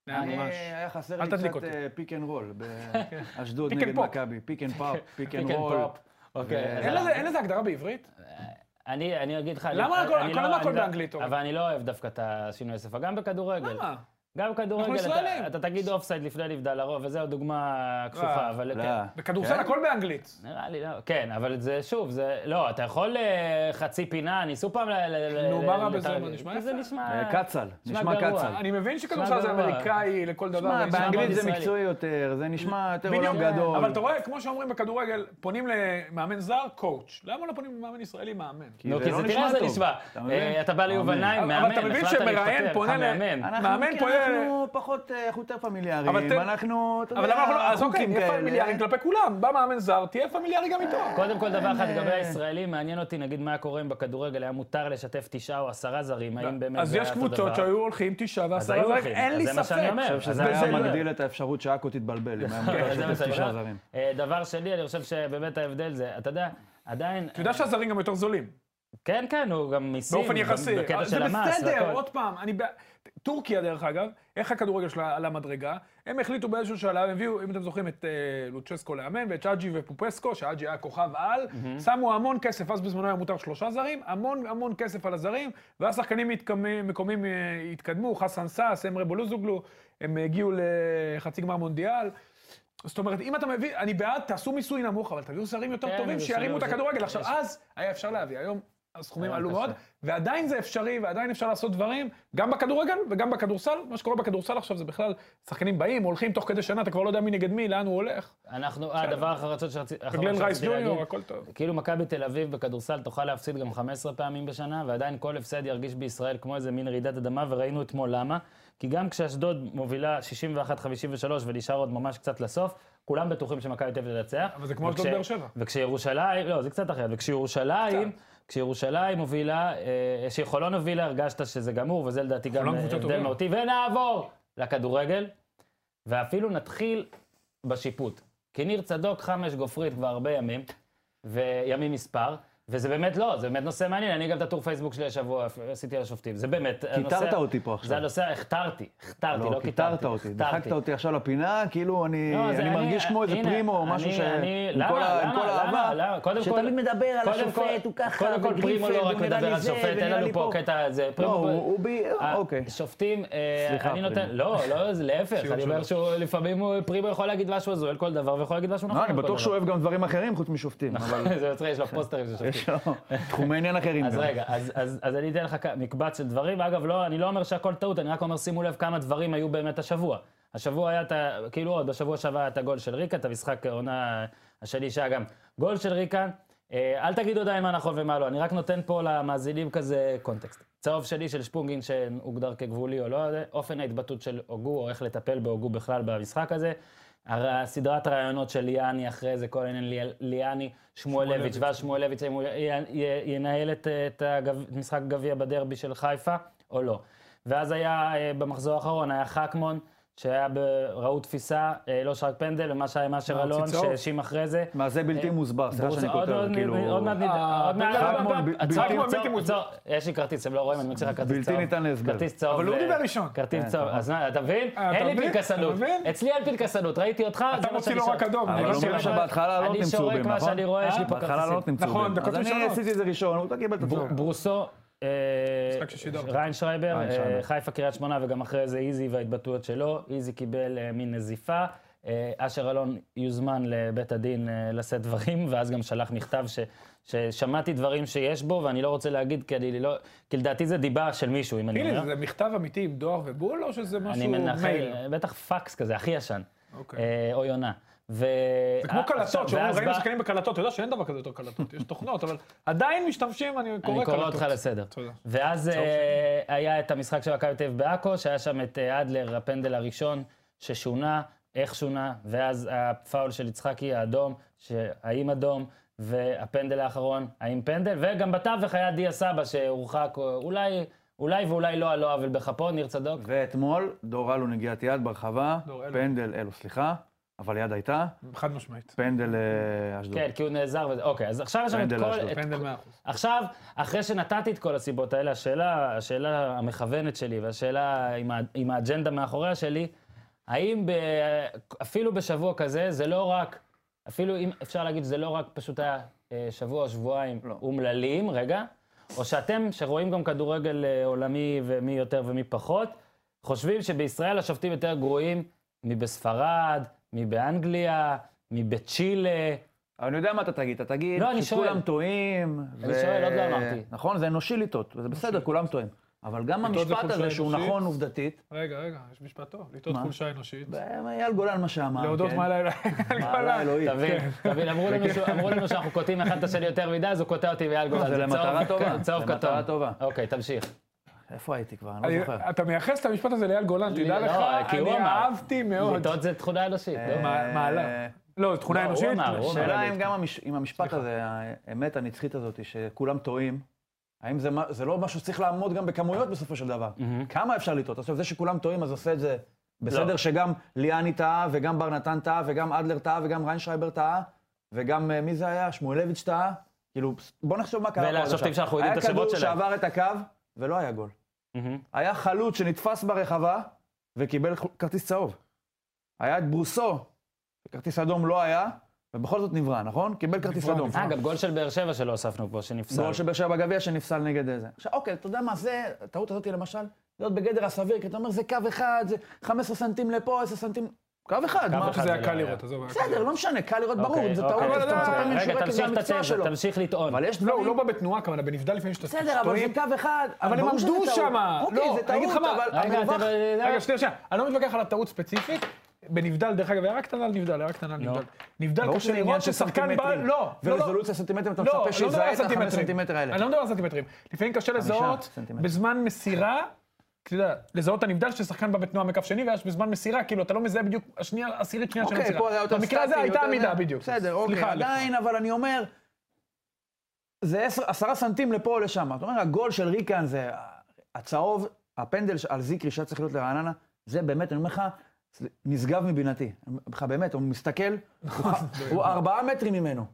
Speaker 3: זה היה ממש.
Speaker 2: אה, היה חסר
Speaker 3: אל
Speaker 2: לי
Speaker 3: תדליק
Speaker 2: קצת
Speaker 3: אותי.
Speaker 2: אה, פיק אנד רול באשדוד
Speaker 3: פיק אנד
Speaker 2: נגד
Speaker 3: פופ.
Speaker 2: מכבי. פיק אנד פופ, פיק
Speaker 1: פיק
Speaker 2: אנד
Speaker 1: אנד
Speaker 2: רול.
Speaker 1: פופ. כן, אוקיי.
Speaker 2: ו-
Speaker 1: אז
Speaker 3: אין לזה- אין לזה הגדרה בעברית?
Speaker 2: אה,
Speaker 1: אני, אני אגיד לך...
Speaker 3: למה
Speaker 1: אני-
Speaker 3: הכל-
Speaker 1: אני
Speaker 3: הכל-
Speaker 1: לא-
Speaker 3: למה
Speaker 1: אני
Speaker 3: הכל
Speaker 1: לא-
Speaker 3: באנגלית, אורן?
Speaker 1: אבל אני לא אוהב דווקא את השינוי שפה, גם בכדורגל.
Speaker 3: למה?
Speaker 1: גם בכדורגל,
Speaker 3: אנחנו ישראלים.
Speaker 1: אתה, אתה תגיד אופסייד לפני נבדל לרוב, וזו דוגמה כפופה,
Speaker 3: אה,
Speaker 1: אבל
Speaker 2: לא.
Speaker 1: כן.
Speaker 3: בכדורסל
Speaker 2: כן?
Speaker 3: הכל באנגלית.
Speaker 1: נראה לי, לא. כן, אבל זה, שוב, זה... לא, אתה יכול אה, חצי פינה, ניסו פעם ל... ל-
Speaker 3: נו,
Speaker 1: ל-
Speaker 3: מה
Speaker 1: ל-
Speaker 3: רע בזה?
Speaker 1: לתרג-
Speaker 3: מה, נשמע
Speaker 1: כי זה
Speaker 3: יפה.
Speaker 1: נשמע...
Speaker 2: אה, קצל,
Speaker 1: נשמע
Speaker 2: נשמע
Speaker 1: גרוע.
Speaker 2: קצל.
Speaker 3: אני מבין שכדורסל זה
Speaker 1: גרוע.
Speaker 3: אמריקאי לכל דבר.
Speaker 2: כן? שמע,
Speaker 3: ואני שם-
Speaker 2: באנגלית זה
Speaker 1: ישראלי.
Speaker 2: מקצועי יותר, זה נשמע יותר
Speaker 3: בדיוק,
Speaker 2: עולם גדול.
Speaker 3: אבל אתה רואה, כמו שאומרים בכדורגל, פונים למאמן זר, קואוץ'. למה לא פונים למאמן ישראלי, מאמן?
Speaker 1: נו,
Speaker 2: זה
Speaker 1: כי
Speaker 2: לא
Speaker 1: כאילו, זה,
Speaker 2: נשמע
Speaker 1: תראה איזה
Speaker 2: טוב.
Speaker 1: נשמע.
Speaker 2: אתה מבין?
Speaker 1: אה, אתה בא ליובניים,
Speaker 3: אבל-
Speaker 1: מאמן,
Speaker 3: אבל אתה מבין
Speaker 1: החלטת
Speaker 3: שמראיין
Speaker 1: להתפטר,
Speaker 3: פונה
Speaker 1: לך
Speaker 3: ל-
Speaker 1: אה, מאמן.
Speaker 2: אנחנו
Speaker 3: מאמן
Speaker 2: כן,
Speaker 3: פונה-
Speaker 2: אנחנו פחות, אה, אנחנו יותר
Speaker 3: אבל
Speaker 2: פמיליאריים,
Speaker 3: ת-
Speaker 2: אנחנו, אתה
Speaker 3: אבל למה אנחנו לא... אז אוקיי,
Speaker 2: חוקים
Speaker 3: נהיה
Speaker 2: כאלה.
Speaker 3: פמיליאריים כלפי כולם. בא מאמן זר, תהיה פמיליארי גם איתו.
Speaker 1: קודם כל, דבר אחד
Speaker 2: אה.
Speaker 1: לגבי הישראלים, מעניין אותי, נגיד, מה קורה אם בכדורגל היה מותר לשתף תשעה או עשרה זרים, האם באמת
Speaker 3: לא. אז
Speaker 1: זה היה
Speaker 3: יש
Speaker 1: אותו
Speaker 3: קבוצות
Speaker 1: דבר?
Speaker 3: שהיו הולכים תשעה ועשרה
Speaker 1: היו
Speaker 3: זרים,
Speaker 1: הולכים,
Speaker 3: אין
Speaker 1: אז
Speaker 3: לי
Speaker 1: זה מה שאני
Speaker 3: ספק.
Speaker 1: אומר.
Speaker 2: אני חושב שזה
Speaker 1: אז זה
Speaker 2: היה
Speaker 1: לא-
Speaker 2: מגדיל את האפשרות שעכו תתבלבל, אם היה
Speaker 1: כן,
Speaker 2: מותר
Speaker 1: זה מה
Speaker 2: לשתף
Speaker 1: שאני
Speaker 2: תשעה
Speaker 1: אומר.
Speaker 2: זרים.
Speaker 1: אה, דבר שני, אני חושב שבאמת ההבדל זה, אתה יודע, עדיין...
Speaker 3: אתה יודע שהזרים גם יותר זולים,
Speaker 1: כן, כן, הוא גם מיסים.
Speaker 3: באופן
Speaker 1: גם
Speaker 3: יחסי. אה,
Speaker 1: בקטע
Speaker 3: זה
Speaker 1: של המס
Speaker 3: בסדר,
Speaker 1: והכל.
Speaker 3: עוד פעם. אני בע- טורקיה, דרך אגב, איך הכדורגל שלה על המדרגה? הם החליטו באיזשהו שלב, הביאו, אם אתם זוכרים, את אה, לוצ'סקו לאמן, ואת שאג'י ופופסקו, שאג'י היה כוכב על, שמו המון כסף, אז בזמנו היה מותר שלושה זרים, המון המון כסף על הזרים, ואז שחקנים מתקמ- מקומיים אה, התקדמו, חסן סאס, אמרה בולוזוגלו, הם הגיעו לחצי גמר מונדיאל. זאת אומרת, אם אתה מביא, אני בעד, תעשו מיסוי נמוך, אבל תביאו שרים יותר
Speaker 1: כן,
Speaker 3: טובים,
Speaker 1: זה
Speaker 3: שירימו את
Speaker 1: שילוב, זה-
Speaker 3: הכדורגל. עכשיו,
Speaker 1: יש-
Speaker 3: אז היה אפשר להביא, היום הסכומים
Speaker 1: היום
Speaker 3: עלו
Speaker 1: אה, קשה.
Speaker 3: מאוד, ועדיין זה אפשרי, ועדיין אפשר לעשות דברים, גם בכדורגל וגם בכדורסל. מה שקורה בכדורסל עכשיו זה בכלל, שחקנים באים, הולכים תוך כדי שנה, אתה כבר לא יודע מי נגד מי, לאן הוא הולך.
Speaker 1: אנחנו, אה, הדבר האחרון שרציתי האחרון
Speaker 3: וגלן רייס
Speaker 1: שרציתי
Speaker 3: ג'וניור,
Speaker 1: להגיד,
Speaker 3: הכל טוב.
Speaker 1: כאילו מכבי תל אביב בכדורסל תוכל להפסיד גם 15 פעמים בשנה, ועדיין כל הפסד ירגיש בישראל כמו איזה מין רעידת אדמה, וראינו אתמול למה. כי גם כשאשדוד מובילה 61-53 ונשאר עוד ממש קצת לסוף, כולם בטוחים שמכבי תל אביב תנצח.
Speaker 3: אבל זה כמו אשדוד
Speaker 1: וכש-
Speaker 3: באר שבע. כן.
Speaker 1: וכשירושלים, לא, זה קצת אחרת, וכשירושלים, כשירושלים הובילה, אה, שחולון הובילה, הרגשת שזה גמור, וזה לדעתי גם אה,
Speaker 3: חולון קבוצה
Speaker 1: הבדל
Speaker 3: טובה.
Speaker 1: מהותי. ונעבור לכדורגל, ואפילו נתחיל בשיפוט. כי ניר צדוק חמש גופרית כבר הרבה ימים, וימים מספר, וזה באמת לא, זה באמת נושא מעניין. אני גם את הטור פייסבוק שלי השבוע עשיתי על השופטים, זה באמת הנושא...
Speaker 2: כיתרת אותי פה
Speaker 1: זה
Speaker 2: עכשיו.
Speaker 1: הנושא, הכתרתי, הכתרתי, לא
Speaker 2: לא, כיתרת אותי, דחקת
Speaker 1: הכתרתי.
Speaker 2: אותי עכשיו לפינה, כאילו אני
Speaker 1: לא, זה
Speaker 2: אני מרגיש כמו איזה
Speaker 1: הנה,
Speaker 2: פרימו או
Speaker 1: אני-
Speaker 2: משהו ש...
Speaker 1: אני-
Speaker 2: עם
Speaker 1: למה?
Speaker 2: כל ה- עם
Speaker 1: למה?
Speaker 2: כל
Speaker 1: למה?
Speaker 2: האהבה,
Speaker 1: למה? קודם כל-
Speaker 2: שתמיד מדבר על
Speaker 1: קודם
Speaker 2: השופט,
Speaker 1: כל-
Speaker 2: הוא ככה,
Speaker 1: קודם כל פרימו
Speaker 2: וגריפלד,
Speaker 1: לא רק
Speaker 2: הוא נראה
Speaker 1: מדבר
Speaker 2: לי
Speaker 1: על
Speaker 2: זה,
Speaker 1: שופט, אין
Speaker 2: ונראה
Speaker 1: לנו
Speaker 2: לי
Speaker 1: פה
Speaker 2: פה.
Speaker 1: קטע, זה
Speaker 2: לא,
Speaker 1: פרימו...
Speaker 2: הוא הוא בי...
Speaker 1: ה-
Speaker 2: אוקיי.
Speaker 1: אה, שופטים, אה,
Speaker 2: סליחה,
Speaker 1: אני נותן,
Speaker 2: פרימו.
Speaker 1: לא, לא, זה להפך,
Speaker 3: שיעור
Speaker 1: אני אומר שהוא, לפעמים הוא- פרימו יכול להגיד משהו הזוי על כל דבר, ויכול להגיד משהו נכון
Speaker 2: לא,
Speaker 1: על כל
Speaker 2: אני
Speaker 1: דבר.
Speaker 2: בטוח שהוא אוהב גם דברים אחרים חוץ משופטים, אבל
Speaker 1: זה יוצא, יש לו פוסטרים של שופטים.
Speaker 2: יש לו תחומי עניין אחרים.
Speaker 1: אוקיי. אז
Speaker 2: גם.
Speaker 1: רגע, אז, אז, אז אני אתן לך כ- מקבץ של דברים. אגב, לא, אני לא אומר שהכל טעות, אני רק אומר, שימו לב כמה דברים היו באמת השבוע. השבוע היה את ה... כאילו עוד, בשבוע שעבר היה את הגול של ריקה, את המשחק העונה השני שהיה גם גול של ריקה. אה, אל תגידו עדיין מה נכון ומה לא, אני רק נותן פה למאזינים כזה קונטקסט. צהוב שלי של שפונגין שהוגדר כגבולי או לא, יודע, אופן ההתבטאות של הוגו, או איך לטפל בהוגו בכלל במשחק הזה. הר- סדרת הרעיונות של ליאני אחרי זה, כל העניין ליה- ליאני, שמואלביץ', ואז שמואלביץ', האם הוא י- י- ינהל את, אה, את הגב- את משחק גביע בדרבי של חיפה או לא. ואז היה, אה, במחזור האחרון, היה חכמון, שהיה, ב- ראו תפיסה, אה, לא שרק פנדל, ומה שהיה עם אשר אלון,
Speaker 3: צהוב.
Speaker 1: שהאשים אחרי זה.
Speaker 2: מה זה בלתי מוסבר, סליחה
Speaker 1: ברור
Speaker 2: שאני
Speaker 1: ש- אה, עוד-
Speaker 2: כותב,
Speaker 1: עוד-
Speaker 2: כאילו...
Speaker 1: עוד מעט נד-
Speaker 3: אה,
Speaker 1: עוד מעט...
Speaker 3: חכמון,
Speaker 1: עוד מעט-
Speaker 2: ב-
Speaker 1: עצור,
Speaker 3: בלתי-
Speaker 1: עצור,
Speaker 3: בלתי מוצדק.
Speaker 1: עצור. יש לי כרטיס, הם לא רואים, אני מוציא לך כרטיס
Speaker 2: בלתי
Speaker 1: צהוב.
Speaker 2: ניתן להסבר.
Speaker 1: כרטיס צהוב.
Speaker 3: אבל הוא
Speaker 1: ל-
Speaker 3: דיבר ראשון.
Speaker 1: כרטיס
Speaker 2: כן,
Speaker 1: צהוב,
Speaker 2: נכון.
Speaker 1: אז מה, אתה מבין?
Speaker 3: אה, אתה
Speaker 1: אין לי
Speaker 3: מבין?
Speaker 1: פנקסנות.
Speaker 3: אתה מבין?
Speaker 1: אצלי אין פנקסנות, ראיתי אותך,
Speaker 3: אתה
Speaker 1: זה מה
Speaker 3: מוציא
Speaker 1: שאני
Speaker 3: לו
Speaker 1: שואל.
Speaker 3: רק אדום.
Speaker 1: אני
Speaker 2: אבל
Speaker 3: לא
Speaker 2: אומרים
Speaker 1: שורק-
Speaker 3: שומע.
Speaker 2: שבהתחלה לא
Speaker 1: אני
Speaker 2: נמצאו
Speaker 1: שורק
Speaker 2: בים,
Speaker 1: מה
Speaker 2: נכון?
Speaker 1: שאני רואה, יש לי פה
Speaker 2: בהתחלה לא
Speaker 1: כרטיסים.
Speaker 2: נותנים צהובים.
Speaker 3: נכון, דקות
Speaker 2: אז אני
Speaker 3: ראשונות.
Speaker 2: עשיתי איזה ראשון, הוא קיבל את הצהוב.
Speaker 1: בר- ברוסו, אה,
Speaker 3: משחק ששידרת.
Speaker 1: ריין שרייבר,
Speaker 2: ריין
Speaker 1: אה,
Speaker 2: שרייבר.
Speaker 1: חיפה קריית שמונה וגם אחרי זה איזי וההתבטאויות שלו, איזי קיבל אה, מין נזיפה. אה, אשר אלון יוזמן לבית הדין אה, לשאת דברים, ואז גם שלח מכתב ש, ששמעתי דברים שיש בו, ואני לא רוצה להגיד, כי, אני לא, כי לדעתי זה דיבה של מישהו, אם אני
Speaker 3: תגיד לי,
Speaker 1: אומר.
Speaker 3: זה מכתב אמיתי עם דואר ובול, או שזה
Speaker 1: אני
Speaker 3: משהו מייל?
Speaker 1: מנחל, בטח פקס כזה, הכי ישן,
Speaker 3: אוקיי.
Speaker 1: אה, או יונה. ו... אה,
Speaker 3: זה כמו
Speaker 1: עכשיו,
Speaker 3: קלטות, שאומרים,
Speaker 1: ואז
Speaker 3: ראינו
Speaker 1: בא-
Speaker 3: שחקנים בקלטות, אתה יודע שאין דבר כזה יותר קלטות, יש תוכנות, אבל עדיין משתמשים, אני קורא
Speaker 1: אני
Speaker 3: קלטות.
Speaker 1: קורא אותך לסדר.
Speaker 3: תודה.
Speaker 1: ואז
Speaker 3: צהוב
Speaker 1: אה, היה את המשחק של מכבי תל אביב בעכו, שהיה שם את אה, אדלר, הפנדל הראשון, ששונה, איך שונה, ואז הפאול של יצחקי האדום, שהאם אדום, והפנדל האחרון, האם פנדל, וגם בתווך היה דיה סבא שהורחק, אה, אולי, אולי ואולי לא, על לא עוול בכפו, ניר צדוק.
Speaker 2: ואתמול, דור אלו נגיעת יד ברחבה,
Speaker 3: דור אלו.
Speaker 2: פנדל, אלו, סליחה. אבל יד הייתה,
Speaker 3: חד משמעית.
Speaker 2: פנדל אה, אשדוד.
Speaker 1: כן, כי הוא נעזר וזה. אוקיי, אז עכשיו יש לנו את
Speaker 2: פנדל
Speaker 1: כל...
Speaker 2: אשדוד.
Speaker 1: את-
Speaker 3: פנדל 100%.
Speaker 1: עכשיו, אחרי שנתתי את כל הסיבות האלה, השאלה, השאלה המכוונת שלי והשאלה עם, ה, עם האג'נדה מאחוריה שלי, האם ב, אפילו בשבוע כזה, זה לא רק, אפילו אם אפשר להגיד שזה לא רק פשוט היה אה, שבוע או שבועיים
Speaker 2: לא.
Speaker 1: אומללים, רגע, או שאתם, שרואים גם כדורגל אה, עולמי ומי יותר ומי פחות, חושבים שבישראל השופטים יותר גרועים מבספרד, מבאנגליה, מבצ'ילה,
Speaker 2: אבל אני יודע מה אתה תגיד, אתה תגיד
Speaker 1: לא, אני
Speaker 2: שכולם
Speaker 1: שואל.
Speaker 2: טועים.
Speaker 1: אני שואל, עוד לא אמרתי.
Speaker 2: נכון, זה אנושי לטעות, וזה בסדר, כולם טועים. אבל גם
Speaker 3: לטעות זה
Speaker 2: המשפט
Speaker 3: חולשה
Speaker 2: הזה, שהוא
Speaker 3: אנושית.
Speaker 2: נכון עובדתית,
Speaker 3: רגע, רגע, יש משפט טוב. לטעות
Speaker 2: מה?
Speaker 3: חולשה אנושית.
Speaker 1: אה,
Speaker 2: ואייל גולן מה שאמר,
Speaker 3: להודות
Speaker 2: כן?
Speaker 3: מעלה אליי.
Speaker 1: לא,
Speaker 2: מעלה אלוהית.
Speaker 1: תבין,
Speaker 2: כן.
Speaker 1: תבין, אמרו לנו שהוא- אמרו לנו שאנחנו קוטעים אחד את השני יותר מדי, אז הוא קוטע אותי ואייל גולן.
Speaker 2: זה למטרה
Speaker 1: צהוב-
Speaker 2: טובה,
Speaker 1: כן, צהוב
Speaker 2: למטרה
Speaker 1: כתום.
Speaker 2: טובה.
Speaker 1: אוקיי, תמשיך.
Speaker 2: איפה הייתי כבר? אני לא זוכר.
Speaker 3: אתה מייחס את המשפט הזה לאייל גולן, תדע
Speaker 1: לא,
Speaker 3: לך,
Speaker 1: כי הוא
Speaker 3: אני
Speaker 1: אמר.
Speaker 3: אהבתי מאוד.
Speaker 1: לטעות זה תכונה אנושית,
Speaker 2: אה,
Speaker 1: לא?
Speaker 3: מה- מעלה. לא, תכונה
Speaker 1: לא, הוא
Speaker 3: אנושית.
Speaker 1: אמר, הוא אמר.
Speaker 2: השאלה אם גם המש- אם המשפט הזה, האמת הנצחית הזאת, שכולם טועים, האם זה מה- זה לא משהו שצריך לעמוד גם בכמויות בסופו של דבר?
Speaker 1: מהמם.
Speaker 2: כמה אפשר לטעות? עכשיו, זה שכולם טועים, אז עושה את זה
Speaker 1: לא.
Speaker 2: בסדר שגם ליאני טעה, וגם בר נתן טעה, וגם אדלר טעה, וגם ריינשרייבר טעה, וגם אה, מי זה היה? שמואלביץ' טעה. כאילו, בוא נחשוב מה קרה פה
Speaker 1: ואלה
Speaker 2: עד
Speaker 1: השופטים
Speaker 2: עכשיו.
Speaker 1: שאנחנו יודעים את השמות שלהם.
Speaker 2: היה כדור שעבר את הקו, ולא היה גול.
Speaker 1: מהמם.
Speaker 2: היה חלוץ שנתפס ברחבה וקיבל חו- כרטיס צהוב. היה את ברוסו, כרטיס אדום לא היה, ובכל זאת נברא, נכון? קיבל כרטיס
Speaker 3: נברא,
Speaker 2: אדום.
Speaker 3: נברא.
Speaker 1: אה, גם גול של באר שבע שלא הוספנו פה, שנפסל.
Speaker 2: גול של באר שבע בגביע שנפסל נגד זה. עכשיו, אוקיי, אתה יודע מה זה, הטעות הזאת למשל, להיות בגדר הסביר, כי אתה אומר, זה קו אחד, זה 15 סנטים לפה, 10 סנטים... קו אחד,
Speaker 1: קו
Speaker 2: מה?
Speaker 1: אחד.
Speaker 3: שזה היה
Speaker 1: זה
Speaker 3: קל
Speaker 1: לא
Speaker 3: לראות, עזוב. היה קל
Speaker 2: בסדר,
Speaker 3: לראות.
Speaker 2: לא משנה, קל לראות,
Speaker 1: אוקיי,
Speaker 2: ברור, זה
Speaker 1: אוקיי,
Speaker 2: טעות,
Speaker 1: אוקיי.
Speaker 2: אז אתה
Speaker 3: אה,
Speaker 2: מצפה ממנו שהוא
Speaker 1: רגע,
Speaker 2: רק זה
Speaker 1: תמשיך את
Speaker 2: המקצוע
Speaker 1: התזה,
Speaker 2: שלו.
Speaker 1: תמשיך לטעון.
Speaker 2: אבל יש
Speaker 3: לא, הוא
Speaker 2: דברים-
Speaker 3: לא בא בתנועה כמובן, בנבדל לפעמים שאתה
Speaker 2: בסדר, אבל זה
Speaker 3: טועים.
Speaker 2: קו אחד.
Speaker 3: אבל הם
Speaker 2: ברור שזה
Speaker 3: עמדו
Speaker 2: טעות.
Speaker 3: שמה.
Speaker 2: אוקיי,
Speaker 3: לא,
Speaker 2: זה
Speaker 3: אני אגיד לך
Speaker 2: טעות,
Speaker 3: מה,
Speaker 2: אבל
Speaker 1: רגע,
Speaker 2: המרווח...
Speaker 1: אתם-
Speaker 3: רגע, שנייה, שנייה. אני לא מתווכח על הטעות ספציפית. בנבדל, דרך אגב, היה רק קטנה על נבדל, היה רק קטנה על
Speaker 1: נו.
Speaker 3: נבדל. נבדל
Speaker 2: ברור
Speaker 3: קשה
Speaker 2: שזה לא עניין
Speaker 3: לראות
Speaker 2: של
Speaker 3: ששחקן בא...
Speaker 2: סנטימטרים.
Speaker 3: לא, לא, לא.
Speaker 2: ורזולוציה סנטימטרים, אתה
Speaker 3: לא,
Speaker 2: מצפה
Speaker 3: לא מדבר
Speaker 2: שיזהה
Speaker 3: על
Speaker 2: את החמש
Speaker 3: סנטימטרים.
Speaker 2: סנטימטר האלה.
Speaker 3: אני לא מדבר על סנטימטרים. לפעמים קשה לזהות
Speaker 2: סנטימטר.
Speaker 3: בזמן מסירה, אתה יודע, לזהות את הנבדל ששחקן בא בתנועה מקו שני, ואז בזמן מסירה, כאילו, אתה לא מזהה בדיוק השנייה, עשירית שנייה של
Speaker 2: אוקיי, פה זה היה
Speaker 3: המסירה.
Speaker 2: יותר סטטי.
Speaker 3: במקרה הזה
Speaker 2: יותר
Speaker 3: הייתה
Speaker 2: זה.
Speaker 3: עמידה בדיוק.
Speaker 2: בסדר, אוקיי,
Speaker 3: סליחה, לך.
Speaker 2: עדיין, אבל אני אומר, זה עשר- עשרה סנטים לפה או לשם. אתה אומר, הגול של ריקן זה הצהוב, הפנדל ש- על זיקרי שהיה צריך להיות לרעננה, זה באמת, אני אומר לך, זה נשגב מבינתי. אני אומר לך, באמת, הוא מסתכל, הוא- הוא ארבעה מטרים ממנו.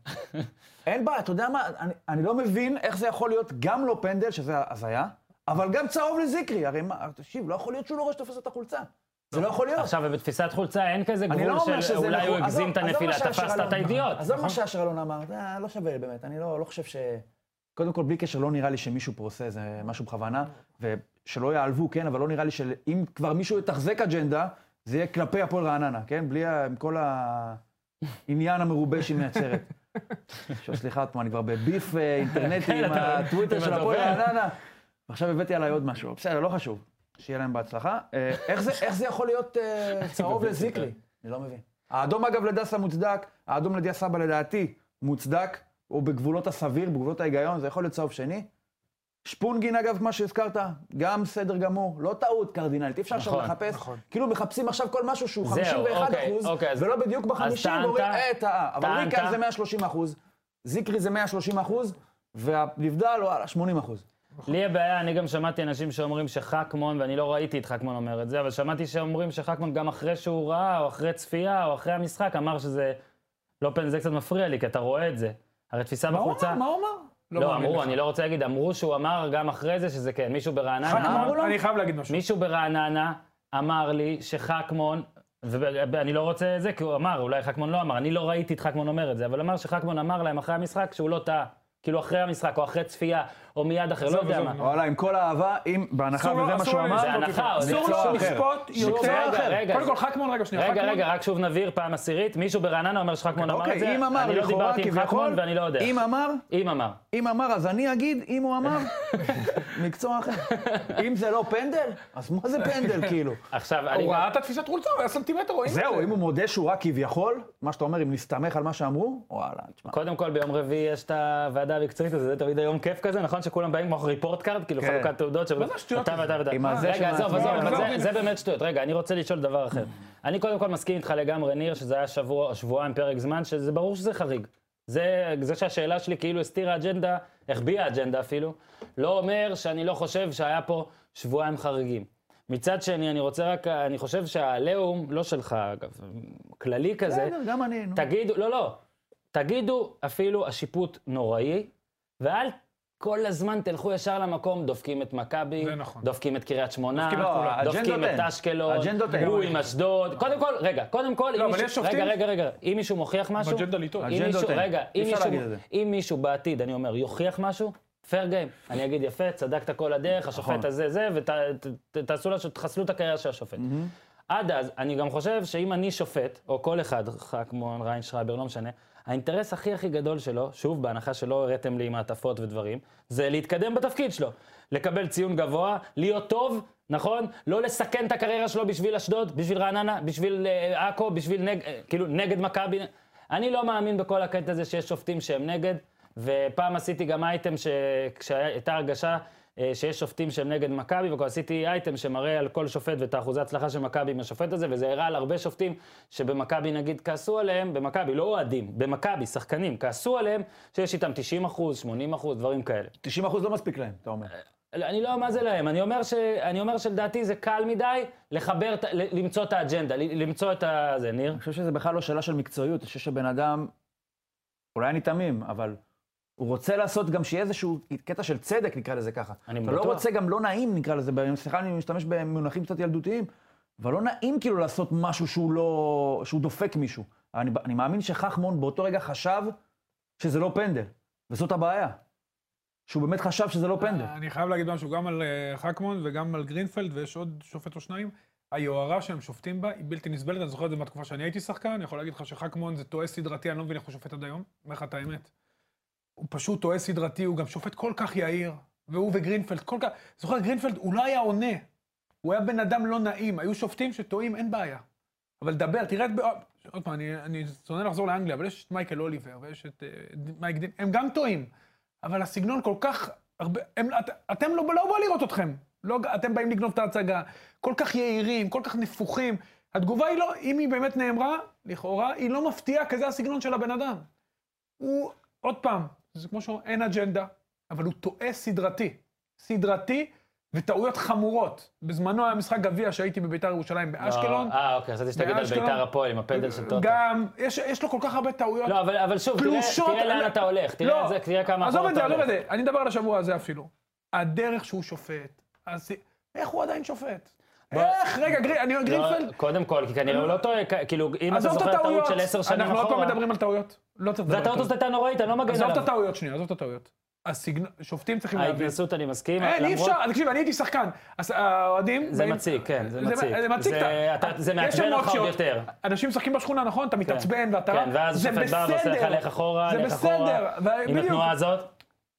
Speaker 2: אין בעיה, אתה יודע מה, אני- אני לא מבין איך זה יכול להיות גם לא פנדל, שזה הזיה, אבל גם צהוב לזיקרי. הרי מה, תקשיב, לא יכול להיות שהוא לא רואה שתופס את החולצה. זה לא יכול להיות.
Speaker 1: עכשיו, ובתפיסת חולצה אין כזה
Speaker 2: אני לא
Speaker 1: גבול
Speaker 2: אומר
Speaker 1: של
Speaker 2: שזה
Speaker 1: אולי הוא
Speaker 2: נכון.
Speaker 1: הגזים
Speaker 2: עזוב-
Speaker 1: את
Speaker 2: עזוב מה
Speaker 1: הנפילה,
Speaker 2: שאשר
Speaker 1: תפסת
Speaker 2: אלון-
Speaker 1: את נכון? האידיוט.
Speaker 2: עזוב מה שאשר אלון אמר, זה לא שווה באמת, אני לא לא חושב ש... קודם כל, בלי קשר, לא נראה לי שמישהו פה עושה איזה משהו בכוונה, ושלא יעלבו, כן, אבל לא נראה לי שאם כבר מישהו יתחזק אג'נדה, זה יהיה כלפי הפועל רעננה, כן? בלי ה- עם כל העניין המרובה שהיא מייצרת. עכשיו, סליחה, עוד פעם, אני כבר בביף אה, אינטרנטי
Speaker 1: כן,
Speaker 2: עם
Speaker 1: אתה-
Speaker 2: הטוויטר
Speaker 1: עם
Speaker 2: של הפועל
Speaker 1: הדובר.
Speaker 2: רעננה. עכשיו הבאתי עליי עוד משהו, בסדר, לא חשוב. שיהיה להם בהצלחה. אה, איך זה- איך זה יכול להיות אה, צהוב
Speaker 1: כן.
Speaker 2: לזיקרי? אני לא מבין. האדום, אגב, לדסה מוצדק, האדום לדיה סבא לדעתי מוצדק, או בגבולות הסביר, בגבולות ההיגיון, זה יכול להיות צהוב שני. שפונגין, אגב, מה שהזכרת, גם בסדר גמור, לא טעות קרדינלית, אי אפשר עכשיו
Speaker 1: נכון,
Speaker 2: לחפש,
Speaker 3: נכון.
Speaker 2: כאילו מחפשים עכשיו כל משהו שהוא
Speaker 1: זהו,
Speaker 2: 51
Speaker 1: אוקיי,
Speaker 2: אחוז,
Speaker 1: אוקיי, אז-
Speaker 2: ולא בדיוק ב-50,
Speaker 1: טענת-
Speaker 2: ואומרים, אה, טעה. אבל
Speaker 1: טענת-
Speaker 2: ריקן זה 130 אחוז, זיקרי זה 130 אחוז, והנבדל, וואלה, 80 אחוז.
Speaker 1: לי הבעיה, אני גם שמעתי אנשים שאומרים שחכמון, ואני לא ראיתי את חכמון אומר את זה, אבל שמעתי שאומרים שחכמון גם אחרי שהוא ראה, או אחרי צפייה, או אחרי המשחק, אמר שזה לא פנדל, זה קצת מפריע לי, כי אתה רואה את זה. הרי תפיסה
Speaker 3: מה הוא אמר?
Speaker 1: בחולצה...
Speaker 3: מה הוא אמר?
Speaker 1: לא,
Speaker 3: מאמין
Speaker 1: אמרו,
Speaker 3: לך.
Speaker 1: אני לא רוצה להגיד, אמרו שהוא אמר גם אחרי זה שזה כן, מישהו
Speaker 3: חכמון,
Speaker 1: ברעננה אמר...
Speaker 3: אני חייב להגיד משהו.
Speaker 1: מישהו ברעננה אמר לי שחכמון, ואני לא רוצה את זה, כי הוא אמר, אולי חכמון לא אמר, אני לא ראיתי את חכמון אומר את זה, אבל אמר שחכמון אמר להם אחרי המשחק שהוא לא טעה. כאילו אחרי המשחק, או אחרי צפייה, או מיד אחרי, לא
Speaker 3: עזוב,
Speaker 1: יודע
Speaker 3: עזוב,
Speaker 1: מה.
Speaker 3: נו.
Speaker 2: וואלה, עם כל האהבה, אם, בהנחה
Speaker 3: אסור לו-
Speaker 2: וזה מה
Speaker 3: אסור
Speaker 2: שהוא
Speaker 3: לו
Speaker 2: אמר,
Speaker 1: זה הנחה, או זה
Speaker 3: אסור
Speaker 2: מקצוע
Speaker 3: לו
Speaker 2: אחר.
Speaker 3: לשפוט
Speaker 1: רגע,
Speaker 3: יותר.
Speaker 1: רגע,
Speaker 3: קודם
Speaker 1: זה-
Speaker 3: כל, חכמון, רגע, שנייה.
Speaker 1: רגע,
Speaker 3: חכמון-
Speaker 1: רגע, רק שוב נבהיר פעם עשירית, מישהו ברעננה אומר שחכמון אמר את
Speaker 2: אוקיי,
Speaker 1: זה,
Speaker 2: אם אמר,
Speaker 1: אני לא
Speaker 2: לכאורה,
Speaker 1: דיברתי עם חכמון
Speaker 2: כביכול,
Speaker 1: ואני לא יודע.
Speaker 2: אם אמר,
Speaker 1: אם אמר.
Speaker 2: אם אמר, אז אני אגיד, אם הוא אמר, מקצוע אחר. אם זה לא פנדל, אז מה זה פנדל, כאילו?
Speaker 1: עכשיו, אני...
Speaker 3: הוא ראה את התפיסת חולצה, הוא היה סנטימטר, רואים את זה.
Speaker 2: זהו, אם הוא מודה שהוא רק כביכול, מה שאתה אומר, אם נסתמך על מה שאמרו, וואלה, תשמע.
Speaker 1: קודם כל, ביום רביעי יש את הוועדה המקצועית הזאת, זה תמיד היום כיף כזה, נכון? שכולם באים כמו ריפורט קארד, כאילו
Speaker 2: כן.
Speaker 1: חלוקת תעודות,
Speaker 3: מה זה השטויות
Speaker 1: שאתה
Speaker 3: הזה?
Speaker 1: ואתה ואתה.
Speaker 2: עם הזה
Speaker 1: רגע, עזוב,
Speaker 2: שמעצבן.
Speaker 1: עזוב, אבל
Speaker 3: עזוב,
Speaker 1: זה-
Speaker 3: הנה.
Speaker 1: זה באמת שטויות. רגע, אני רוצה לשאול דבר אחר. אני קודם כל מסכים איתך לגמרי, ניר, שזה היה שבוע או שבועיים פרק זמן, שזה ברור שזה חריג. זה, זה שהשאלה שלי כאילו הסתירה אג'נדה, החביאה אג'נדה אפילו, לא אומר שאני לא חושב שהיה פה שבועיים חריגים. מצד שני, אני רוצה רק, אני חושב שהעליהום, לא שלך אגב, כללי כזה,
Speaker 2: בסדר, גם אני, נו.
Speaker 1: תגידו, לא, לא, תגידו אפילו השיפוט נוראי, ואל כל הזמן תלכו ישר למקום, דופקים את מכבי,
Speaker 3: זה נכון.
Speaker 1: דופקים את קריית שמונה,
Speaker 3: דופקים את כולם.
Speaker 1: דופקים
Speaker 2: האג'נדות
Speaker 1: את
Speaker 2: הן.
Speaker 1: אשקלון,
Speaker 2: האג'נדות הן.
Speaker 1: הוא עם אשדוד, קודם כל, רגע, קודם כל, אם
Speaker 3: לא, אבל
Speaker 1: מישהו-
Speaker 3: יש שופטים-
Speaker 1: רגע, רגע, רגע, אם מישהו מוכיח משהו,
Speaker 3: באג'נדה לטעות.
Speaker 1: אם
Speaker 2: אג'נדות
Speaker 1: מישהו-
Speaker 2: אין.
Speaker 1: רגע,
Speaker 2: אי
Speaker 1: אם
Speaker 2: אפשר
Speaker 1: מישהו-
Speaker 2: להגיד את זה.
Speaker 1: אם מישהו בעתיד, אני אומר, יוכיח משהו, פייר גיים. אני אגיד, יפה, צדקת כל הדרך, השופט
Speaker 2: נכון.
Speaker 1: הזה, זה, ותעשו, תחסלו את הקריירה של השופט. עד אז, אני גם חושב שאם אני שופט, או כל אחד, ח- כמו ריין שרייבר, לא משנה, האינטרס הכי הכי גדול שלו, שוב, בהנחה שלא הראתם לי מעטפות ודברים, זה להתקדם בתפקיד שלו. לקבל ציון גבוה, להיות טוב, נכון? לא לסכן את הקריירה שלו בשביל אשדוד, בשביל רעננה, בשביל אה, עכו, בשביל נג... אה, כאילו, נגד מכבי. אני לא מאמין בכל הקטע הזה שיש שופטים שהם נגד, ופעם עשיתי גם אייטם שכשהייתה הרגשה אה, שיש שופטים שהם נגד מכבי, וכבר עשיתי אייטם שמראה על כל שופט ואת האחוזי הצלחה של מכבי עם השופט הזה, וזה הראה על הרבה שופטים שבמכבי נגיד כעסו עליהם, במכבי, לא אוהדים, במכבי, שחקנים, כעסו עליהם שיש איתם 90 אחוז, 80 אחוז, דברים כאלה.
Speaker 2: 90% לא מספיק להם, אתה אומר.
Speaker 1: אני לא, מה זה להם? אני אומר, ש, אני אומר שלדעתי זה קל מדי לחבר, את ה- ל- למצוא את האג'נדה, ל- למצוא את ה... זה, ניר?
Speaker 2: אני חושב שזה בכלל לא שאלה של מקצועיות, אני חושב שבן אדם, אולי אני תמים, אבל הוא רוצה לעשות גם שיהיה איזשהו קטע של צדק, נקרא לזה ככה.
Speaker 1: אני
Speaker 2: אתה לא
Speaker 1: בטוח.
Speaker 2: רוצה גם לא נעים, נקרא לזה, ב- סליחה, אני משתמש במונחים קצת ילדותיים, אבל לא נעים כאילו לעשות משהו שהוא לא, שהוא דופק מישהו. אני, אני מאמין שחכמון באותו רגע חשב שזה לא פנדל, וזאת הבעיה. שהוא באמת חשב שזה לא פנדל.
Speaker 3: אה, אני חייב להגיד משהו גם על אה, חכמון וגם על גרינפלד, ויש עוד שופט או שניים. היוהרה שהם שופטים בה היא בלתי נסבלת, אני זוכר את זה מהתקופה שאני הייתי שחקן, אני יכול להגיד לך שחכמון זה טועה סדרתי, אני לא מבין איך הוא שופט עד היום, אומר לך את האמת. הוא פשוט טועה סדרתי, הוא גם שופט כל כך יהיר, והוא וגרינפלד כל כך... זוכר, גרינפלד, הוא לא היה עונה, הוא היה בן אדם לא נעים, היו שופטים שטועים, אין בעיה. אבל דבר, תראה את... ב- אה, עוד פעם, אני, אני שונא לחזור לאנגליה, אבל יש את מייקל אוליבר, ויש את אה, ד- מייק דין, הם גם טועים. אבל הסגנון כל כך הרבה... הם, את, אתם לא, לא בא לראות אתכם. לא, אתם באים לגנוב את ההצגה. כל כך יהירים, כל כך נפוחים. התגובה היא לא, אם היא באמת נאמרה, לכאורה, היא לא מפתיעה, כי זה הסגנון של הבן אדם. הוא, עוד פעם, זה כמו שאומרים, אין אג'נדה, אבל הוא טועה סדרתי. סדרתי וטעויות חמורות. בזמנו היה משחק גביע שהייתי בביתר ירושלים באשקלון.
Speaker 1: אה, אוקיי, חשבתי שתגיד על
Speaker 3: באשקלון.
Speaker 1: ביתר הפועל עם הפנדל של טוטו.
Speaker 3: גם, יש, יש לו כל כך הרבה טעויות.
Speaker 1: לא, אבל, אבל שוב, תראה,
Speaker 3: פלושות-
Speaker 1: תראה לאן אתה הולך, תראה,
Speaker 3: לא,
Speaker 1: זה, תראה כמה
Speaker 3: עזוב
Speaker 1: אחורה
Speaker 3: את זה,
Speaker 1: אתה
Speaker 3: עזוב
Speaker 1: הולך.
Speaker 3: את זה. אני מדבר על השבוע הזה אפילו. הדרך שהוא שופט, אז איך הוא עדיין שופט?
Speaker 1: בוא-
Speaker 3: איך? רגע, גרי- אני אומר גרינפלד,
Speaker 1: לא, קודם כל, כי כנראה הוא לא טועה, כ- כאילו, אם אתה
Speaker 3: עזוב את
Speaker 1: זוכר טעות
Speaker 3: הטעויות.
Speaker 1: של עשר שנים
Speaker 3: אנחנו עוד פעם
Speaker 1: אחורה,
Speaker 3: מדברים על טעויות. לא צריך לדבר על
Speaker 1: והטעות הזאת
Speaker 3: טעויות.
Speaker 1: הייתה נוראית, אני לא מגן
Speaker 3: עזוב את
Speaker 1: עליו.
Speaker 3: הטעויות שנייה, עזוב את הטעויות. הסגנון, שופטים צריכים להבין.
Speaker 1: ההתנסות, אני מסכים,
Speaker 3: אין, אי
Speaker 1: אה, למרות-
Speaker 3: אפשר, תקשיב, אני הייתי שחקן. אז האוהדים...
Speaker 1: זה
Speaker 3: באים-
Speaker 1: מציק, כן, זה
Speaker 3: זה-
Speaker 1: מציק.
Speaker 3: זה מציק,
Speaker 1: זה-
Speaker 3: אתה-
Speaker 1: אתה- זה
Speaker 3: יש
Speaker 1: מעצבן אותך עוד
Speaker 3: אמוציות.
Speaker 1: יותר.
Speaker 3: אנשים משחקים בשכונה, נכון? אתה מתעצבן ואתה... לא-
Speaker 1: כן, ואז
Speaker 3: זה
Speaker 1: השופט בא ועושה לך
Speaker 3: בסדר.
Speaker 1: לך אחורה,
Speaker 3: זה
Speaker 1: לך אחורה,
Speaker 3: בסדר, ו-
Speaker 1: עם
Speaker 3: בדיוק.
Speaker 1: התנועה הזאת.